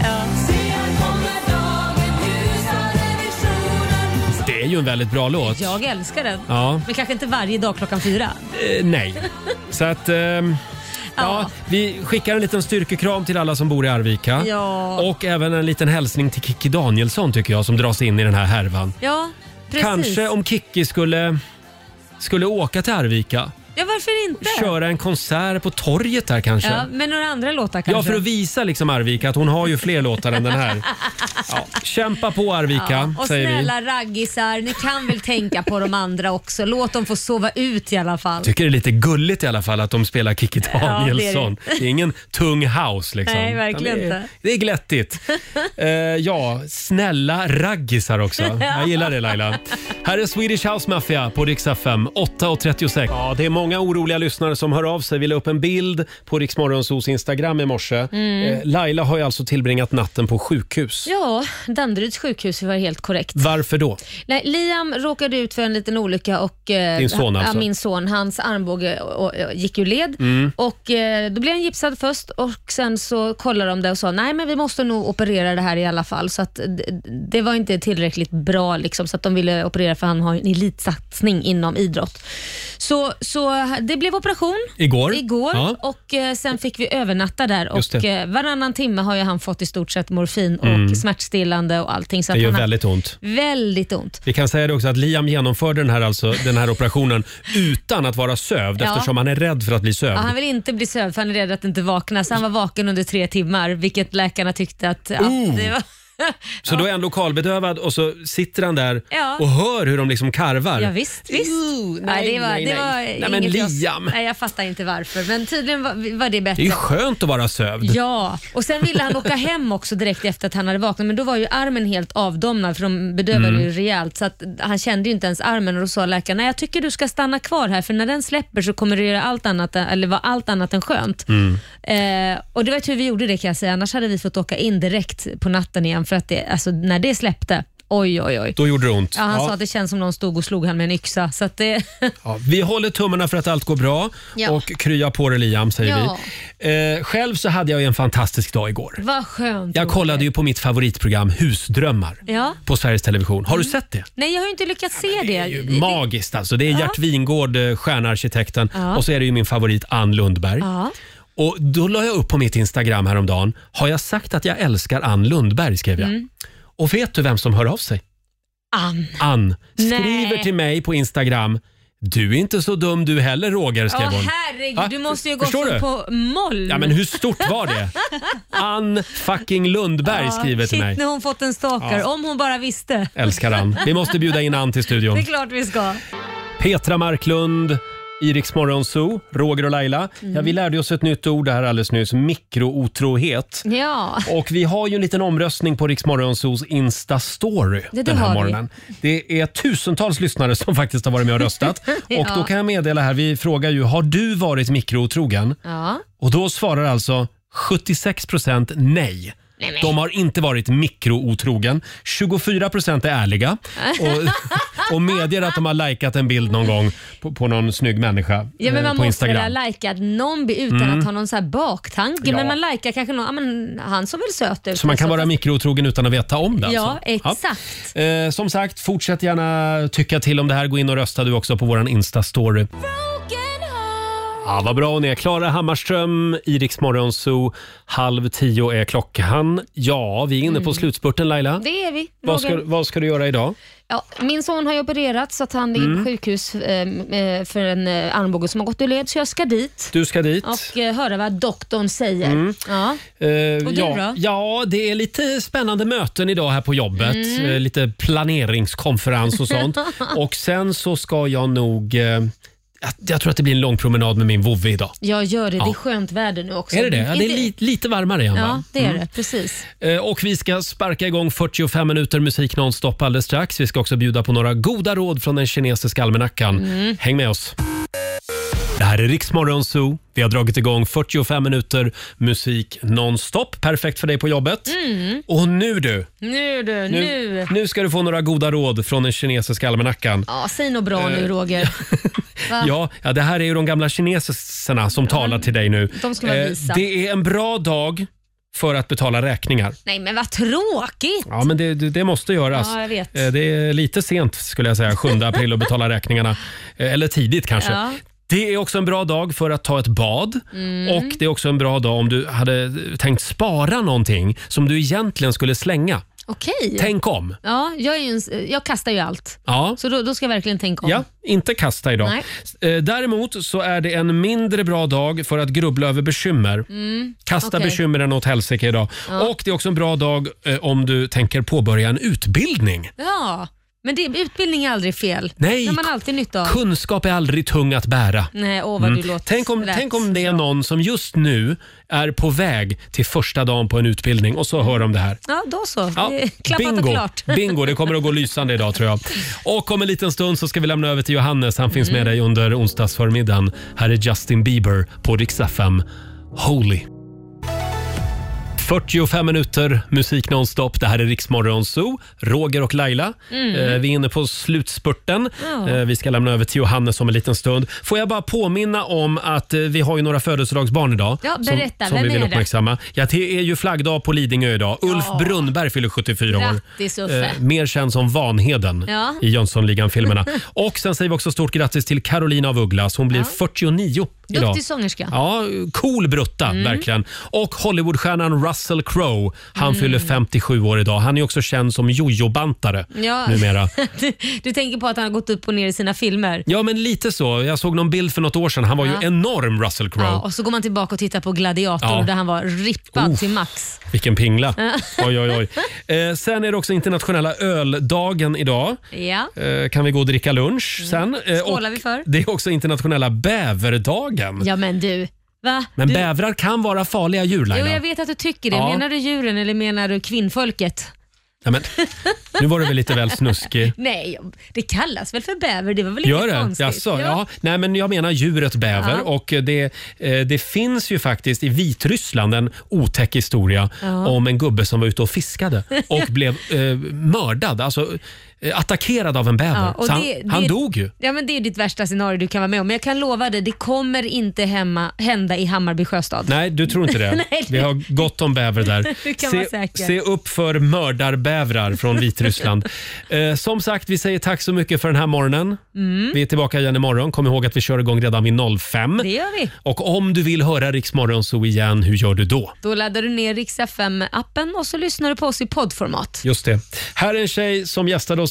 [SPEAKER 1] Det är ju en väldigt bra låt.
[SPEAKER 2] Jag älskar den.
[SPEAKER 1] Ja.
[SPEAKER 2] Men kanske inte varje dag klockan fyra.
[SPEAKER 1] Eh, nej. Så att... ehm, Ja, vi skickar en liten styrkekram till alla som bor i Arvika.
[SPEAKER 2] Ja.
[SPEAKER 1] Och även en liten hälsning till Kikki Danielsson tycker jag som dras in i den här härvan.
[SPEAKER 2] Ja, precis.
[SPEAKER 1] Kanske om Kikki skulle, skulle åka till Arvika.
[SPEAKER 2] Ja, varför inte?
[SPEAKER 1] Köra en konsert på torget där kanske.
[SPEAKER 2] Ja, men några andra låtar kanske.
[SPEAKER 1] Ja, för att visa liksom Arvika att hon har ju fler låtar än den här. Ja, kämpa på Arvika,
[SPEAKER 2] Och
[SPEAKER 1] säger vi.
[SPEAKER 2] snälla raggisar, ni kan väl tänka på de andra också. Låt dem få sova ut i alla fall.
[SPEAKER 1] Tycker det är lite gulligt i alla fall att de spelar Kikki
[SPEAKER 2] det är det.
[SPEAKER 1] Danielsson. det, är ingen tung house liksom.
[SPEAKER 2] Nej, verkligen
[SPEAKER 1] Utan det är,
[SPEAKER 2] inte.
[SPEAKER 1] Det är glättigt. Eh, ja, snälla raggisar också. Jag gillar det Laila. Här är Swedish House Mafia på Rix FM, 8.36. Ja, det är många oroliga lyssnare som hör av sig. Vi la upp en bild på Rix Morgonzos Instagram i morse.
[SPEAKER 2] Mm.
[SPEAKER 1] Eh, Laila har ju alltså tillbringat natten på sjukhus.
[SPEAKER 2] Ja, Danderyds sjukhus var helt korrekt.
[SPEAKER 1] Varför då?
[SPEAKER 2] Nej, Liam råkade ut för en liten olycka och eh,
[SPEAKER 1] Din son alltså?
[SPEAKER 2] ja, min son, hans armbåge eh, och, och, och, gick ur led.
[SPEAKER 1] Mm.
[SPEAKER 2] Och, eh, då blev han gipsad först och sen så kollade de det och sa nej men vi måste nog operera det här i alla fall. Så att, eh, d- det var inte tillräckligt bra liksom, så att de ville operera för han har en elitsatsning inom idrott. Så, så eh, det blev operation
[SPEAKER 1] Igår?
[SPEAKER 2] igår
[SPEAKER 1] Ja.
[SPEAKER 2] och eh, sen fick vi övernatta där
[SPEAKER 1] Just
[SPEAKER 2] och
[SPEAKER 1] det.
[SPEAKER 2] eh, varannan timme har ju han fått i stort sett morfin och
[SPEAKER 1] Mm.
[SPEAKER 2] smärtstillande och allting. Så
[SPEAKER 1] Det
[SPEAKER 2] att
[SPEAKER 1] gör
[SPEAKER 2] han har-
[SPEAKER 1] väldigt ont.
[SPEAKER 2] Väldigt ont.
[SPEAKER 1] Vi kan säga det också att Liam genomförde den här, alltså, den här operationen utan att vara sövd
[SPEAKER 2] Ja.
[SPEAKER 1] eftersom han är rädd för att bli
[SPEAKER 2] Ja,
[SPEAKER 1] sövd.
[SPEAKER 2] han vill inte bli sövd för han är rädd att inte vakna, så han var vaken under tre timmar, vilket läkarna tyckte att... Ja,
[SPEAKER 1] Oh.
[SPEAKER 2] det var,
[SPEAKER 1] Så då är han lokalbedövad och så sitter han där
[SPEAKER 2] Ja.
[SPEAKER 1] och hör hur de liksom karvar.
[SPEAKER 2] ja visst, visst.
[SPEAKER 1] nej,
[SPEAKER 2] det var,
[SPEAKER 1] nej,
[SPEAKER 2] det var
[SPEAKER 1] nej.
[SPEAKER 2] inget
[SPEAKER 1] Nej, men
[SPEAKER 2] jag-
[SPEAKER 1] Liam.
[SPEAKER 2] nej, jag fattar inte varför, men tydligen var, var det
[SPEAKER 1] Det
[SPEAKER 2] bättre.
[SPEAKER 1] är ju skönt att vara sövd.
[SPEAKER 2] Ja, och sen ville han åka hem också direkt efter att han hade vaknat, men då var ju armen helt avdomnad för de bedövade
[SPEAKER 1] Mm.
[SPEAKER 2] ju rejält så att han kände ju inte ens armen och då sa läkaren, nej jag tycker du ska stanna kvar här för när den släpper så kommer det göra allt annat, eller vara allt annat än skönt.
[SPEAKER 1] Mm.
[SPEAKER 2] Eh, och det var tur vi gjorde det kan jag säga, annars hade vi fått åka in direkt på natten igen för att det, alltså, när det släppte, oj oj oj.
[SPEAKER 1] Då gjorde det ont.
[SPEAKER 2] Ja, han
[SPEAKER 1] Ja.
[SPEAKER 2] sa att det känns som någon stod och slog han med en yxa. Så att det,
[SPEAKER 1] Ja, vi håller tummarna för att allt går bra
[SPEAKER 2] Ja.
[SPEAKER 1] och krya på dig Liam, säger
[SPEAKER 2] Ja.
[SPEAKER 1] vi. Eh, själv så hade jag ju en fantastisk dag igår.
[SPEAKER 2] vad skönt.
[SPEAKER 1] Jag kollade ju på mitt favoritprogram Husdrömmar
[SPEAKER 2] Ja.
[SPEAKER 1] på Sveriges Television. Har du
[SPEAKER 2] Mm.
[SPEAKER 1] sett det?
[SPEAKER 2] Nej, jag har ju inte lyckats se det.
[SPEAKER 1] Magiskt alltså. Det är Gert Wingårdh, eh, stjärnarkitekten
[SPEAKER 2] Ja.
[SPEAKER 1] och så är det ju min favorit Ann Lundberg.
[SPEAKER 2] Ja.
[SPEAKER 1] Och Då la jag upp på mitt Instagram häromdagen. Har jag sagt att jag älskar Ann Lundberg? skrev jag.
[SPEAKER 2] Mm.
[SPEAKER 1] Och vet du vem som hör av sig?
[SPEAKER 2] Ann.
[SPEAKER 1] Ann skriver
[SPEAKER 2] Nej.
[SPEAKER 1] till mig på Instagram. Du är inte så dum du heller Roger, skrev
[SPEAKER 2] Ja,
[SPEAKER 1] hon.
[SPEAKER 2] herregud.
[SPEAKER 1] Ja,
[SPEAKER 2] Du måste ju gå
[SPEAKER 1] förstår
[SPEAKER 2] för
[SPEAKER 1] du?
[SPEAKER 2] på moll.
[SPEAKER 1] Ja, men hur stort var det? Ann fucking Lundberg
[SPEAKER 2] Ja,
[SPEAKER 1] skriver till
[SPEAKER 2] shit,
[SPEAKER 1] mig.
[SPEAKER 2] nu har hon fått en stalker.
[SPEAKER 1] Ja.
[SPEAKER 2] Om hon bara visste.
[SPEAKER 1] Älskar Ann. Vi måste bjuda in Ann till studion.
[SPEAKER 2] Det är klart vi ska.
[SPEAKER 1] Petra Marklund, Iriks Morgonzoo, Roger och Laila.
[SPEAKER 2] Mm.
[SPEAKER 1] Ja, vi lärde oss ett nytt ord här alldeles nyss, mikrootrohet.
[SPEAKER 2] Ja.
[SPEAKER 1] Och vi har ju en liten omröstning på Rix Morgonzoos Insta-story
[SPEAKER 2] det
[SPEAKER 1] den här
[SPEAKER 2] har vi.
[SPEAKER 1] morgonen. Det är tusentals lyssnare som faktiskt har varit med och röstat. Och
[SPEAKER 2] Ja.
[SPEAKER 1] då kan jag meddela här, vi frågar ju, har du varit mikrotrogen?
[SPEAKER 2] Ja.
[SPEAKER 1] Och då svarar alltså 76 procent nej.
[SPEAKER 2] Nej, nej.
[SPEAKER 1] De har inte varit mikrootrogen. 24 procent är ärliga och, och medger att de har likat en bild någon gång på, på någon snygg människa
[SPEAKER 2] Ja, men
[SPEAKER 1] eh,
[SPEAKER 2] man
[SPEAKER 1] på
[SPEAKER 2] måste väl
[SPEAKER 1] Instagram.
[SPEAKER 2] ha likat någon bi- utan
[SPEAKER 1] Mm.
[SPEAKER 2] att ha någon så här baktanke.
[SPEAKER 1] Ja.
[SPEAKER 2] Men man likar kanske någon, ja, men han såg väl söt ut.
[SPEAKER 1] Så man kan vara mikrotrogen utan att veta om det?
[SPEAKER 2] Ja,
[SPEAKER 1] alltså.
[SPEAKER 2] exakt.
[SPEAKER 1] Eh, som sagt, fortsätt gärna tycka till om det här. Gå in och rösta du också på våran Insta-story. Ja, vad bra hon är. Klara Hammarström, Iriks morgonzoo. Halv tio är klockan. Ja, vi är inne på
[SPEAKER 2] Mm.
[SPEAKER 1] slutspurten Laila.
[SPEAKER 2] Det är vi.
[SPEAKER 1] Vad ska,
[SPEAKER 2] Roger.
[SPEAKER 1] vad ska du göra idag?
[SPEAKER 2] Ja, min son har ju opererat så att han ligger
[SPEAKER 1] Mm.
[SPEAKER 2] på sjukhus eh, eh, för en eh, armbåge som har gått ur led, så jag ska dit
[SPEAKER 1] Du ska dit.
[SPEAKER 2] och eh, höra vad doktorn säger.
[SPEAKER 1] Mm.
[SPEAKER 2] Ja.
[SPEAKER 1] Eh,
[SPEAKER 2] Och du
[SPEAKER 1] ja,
[SPEAKER 2] då?
[SPEAKER 1] ja, det är lite spännande möten idag här på jobbet.
[SPEAKER 2] Mm.
[SPEAKER 1] Eh, lite planeringskonferens och sånt. och sen så ska jag nog... Eh, jag, jag tror att det blir en lång promenad med min vovve idag.
[SPEAKER 2] Jag gör det. Det
[SPEAKER 1] Ja.
[SPEAKER 2] är skönt väder nu också.
[SPEAKER 1] Är det det? Ja, det är
[SPEAKER 2] Inte-
[SPEAKER 1] li, lite varmare igen
[SPEAKER 2] Ja,
[SPEAKER 1] va?
[SPEAKER 2] det är
[SPEAKER 1] Mm.
[SPEAKER 2] det. Precis.
[SPEAKER 1] Eh, Och vi ska sparka igång 45 minuter musik nonstop alldeles strax. Vi ska också bjuda på några goda råd från den kinesiska almanackan.
[SPEAKER 14] Mm.
[SPEAKER 1] Häng med oss! Det här är Riksmorgon Zoo. Vi har dragit igång 45 minuter musik nonstop. Perfekt för dig på jobbet.
[SPEAKER 2] Mm.
[SPEAKER 1] Och nu du!
[SPEAKER 2] Nu du, nu.
[SPEAKER 1] nu ska du få några goda råd från den kinesiska almanackan.
[SPEAKER 2] Ja, säg något bra
[SPEAKER 1] Eh,
[SPEAKER 2] nu Roger. Va?
[SPEAKER 1] Ja, ja, det här är ju de gamla kineserna som talar till dig nu.
[SPEAKER 2] de ska vara
[SPEAKER 1] Eh,
[SPEAKER 2] visa.
[SPEAKER 1] Det är en bra dag för att betala räkningar.
[SPEAKER 2] Nej men vad tråkigt.
[SPEAKER 1] Ja, men det, det det måste göras.
[SPEAKER 2] Ja, jag vet.
[SPEAKER 1] Eh, Det är lite sent skulle jag säga, 7 april att betala räkningarna. Eh, Eller tidigt kanske.
[SPEAKER 2] Ja.
[SPEAKER 1] Det är också en bra dag för att ta ett bad
[SPEAKER 2] Mm.
[SPEAKER 1] och det är också en bra dag om du hade tänkt spara någonting som du egentligen skulle slänga.
[SPEAKER 2] Okej.
[SPEAKER 1] Tänk om.
[SPEAKER 2] Ja, jag, är ju en, jag kastar ju allt.
[SPEAKER 1] Ja.
[SPEAKER 2] Så då, då ska jag verkligen tänka om.
[SPEAKER 1] Ja, inte kasta idag.
[SPEAKER 2] Nej.
[SPEAKER 1] Eh, Däremot så är det en mindre bra dag för att grubbla över bekymmer.
[SPEAKER 2] Mm,
[SPEAKER 1] Kasta
[SPEAKER 2] okej.
[SPEAKER 1] bekymren åt helsike idag.
[SPEAKER 2] Ja.
[SPEAKER 1] Och det är också en bra dag eh, om du tänker påbörja en utbildning.
[SPEAKER 2] Ja, men det, utbildning är aldrig fel.
[SPEAKER 1] Nej,
[SPEAKER 2] Det har man alltid nytta av.
[SPEAKER 1] Kunskap är aldrig tung att bära.
[SPEAKER 2] Nej, åh vad du
[SPEAKER 1] Mm.
[SPEAKER 2] låter
[SPEAKER 1] tänk, om,
[SPEAKER 2] lät
[SPEAKER 1] tänk om det är någon som just nu är på väg till första dagen på en utbildning och så hör de det här.
[SPEAKER 2] Ja, då så.
[SPEAKER 1] Ja,
[SPEAKER 2] Det är Klappat och
[SPEAKER 1] bingo.
[SPEAKER 2] klart.
[SPEAKER 1] bingo, det kommer att gå lysande idag tror jag. Och om en liten stund så ska vi lämna över till Johannes. Han finns
[SPEAKER 2] Mm.
[SPEAKER 1] med dig under onsdagsförmiddagen. Här är Justin Bieber på Rix FM. Holy. 45 minuter musik nonstop. Det här är Riksmorgon Zoo. Roger och Laila.
[SPEAKER 14] Mm.
[SPEAKER 1] Eh, vi är inne på slutspurten.
[SPEAKER 14] Ja.
[SPEAKER 1] Eh, vi ska lämna över till Johannes om en liten stund. Får jag bara påminna om att eh, vi har ju några födelsedagsbarn idag.
[SPEAKER 2] Ja, berätta.
[SPEAKER 1] Som, som vi
[SPEAKER 2] Vem
[SPEAKER 1] vill
[SPEAKER 2] är det?
[SPEAKER 1] uppmärksamma. Ja, det är ju flaggdag på Lidingö idag. Ulf Brunnberg fyller 74 år.
[SPEAKER 2] Grattis Uffe.
[SPEAKER 1] Eh, mer känd som Vanheden
[SPEAKER 2] Ja.
[SPEAKER 1] i Jönssonligan-filmerna. Och sen säger vi också stort grattis till Carolina av Ugglas. Hon blir 49 idag.
[SPEAKER 2] Duktig sångerska.
[SPEAKER 1] Ja, cool brutta
[SPEAKER 2] Mm.
[SPEAKER 1] verkligen. Och Hollywoodstjärnan Russell Crowe. Han
[SPEAKER 2] Mm.
[SPEAKER 1] fyller 57 år idag. Han är också känd som jojobantare
[SPEAKER 2] Ja.
[SPEAKER 1] numera.
[SPEAKER 2] du, du tänker på att han har gått upp och ner i sina filmer.
[SPEAKER 1] Ja, men lite så. Jag såg någon bild för något år sedan. Han var
[SPEAKER 2] Ja.
[SPEAKER 1] ju enorm Russell Crowe.
[SPEAKER 2] Ja, och så går man tillbaka och tittar på Gladiator
[SPEAKER 1] Ja.
[SPEAKER 2] där han var rippad
[SPEAKER 1] Uff.
[SPEAKER 2] till max.
[SPEAKER 1] Vilken pingla.
[SPEAKER 2] Ja.
[SPEAKER 1] Oj, oj, oj. Eh, sen är det också internationella öldagen idag.
[SPEAKER 2] Ja.
[SPEAKER 1] Eh, kan vi gå och dricka lunch sen. Eh, och
[SPEAKER 2] Mm. Skålar vi för.
[SPEAKER 1] det är också internationella bäverdagen.
[SPEAKER 2] Ja men du. Va?
[SPEAKER 1] Men
[SPEAKER 2] du...
[SPEAKER 1] bävrar kan vara farliga djur
[SPEAKER 2] Jo,
[SPEAKER 1] Laila.
[SPEAKER 2] jag vet att du tycker det.
[SPEAKER 1] Ja.
[SPEAKER 2] Menar du djuren eller menar du kvinnfolket?
[SPEAKER 1] Nej, men, nu var du väl lite väl snuskig.
[SPEAKER 2] Nej, det kallas väl för bäver? Det var väl
[SPEAKER 1] Gör
[SPEAKER 2] inget
[SPEAKER 1] det?
[SPEAKER 2] konstigt?
[SPEAKER 1] Jaså, ja. Nej, men jag menar djuret bäver.
[SPEAKER 2] Ja.
[SPEAKER 1] Och det, eh, det finns ju faktiskt i Vitryssland en otäck historia
[SPEAKER 14] Ja.
[SPEAKER 1] om en gubbe som var ute och fiskade och
[SPEAKER 2] Ja.
[SPEAKER 1] blev eh, mördad, alltså eh, attackerad av en bäver.
[SPEAKER 2] Ja, och
[SPEAKER 1] Så han,
[SPEAKER 2] det-
[SPEAKER 1] han
[SPEAKER 2] det-
[SPEAKER 1] dog ju.
[SPEAKER 2] Ja, men det är ju ditt värsta scenario du kan vara med om. Men jag kan lova dig, det kommer inte hemma, hända i Hammarby sjöstad.
[SPEAKER 1] Nej, du tror inte det.
[SPEAKER 2] Nej,
[SPEAKER 1] Vi har gott om bäver där.
[SPEAKER 2] Du kan
[SPEAKER 1] se,
[SPEAKER 2] vara säker.
[SPEAKER 1] se upp för mördarbävrar från Vitryssland. eh, som sagt, vi säger tack så mycket för den här morgonen.
[SPEAKER 2] Mm.
[SPEAKER 1] Vi är tillbaka igen imorgon. Kom ihåg att vi kör igång redan vid 05.
[SPEAKER 2] Det gör vi.
[SPEAKER 1] Och om du vill höra Riksmorgon så igen, hur gör du då?
[SPEAKER 2] Då laddar du ner Rix FM-appen och så lyssnar du på oss i poddformat.
[SPEAKER 1] Just det. Här är en tjej som gästade oss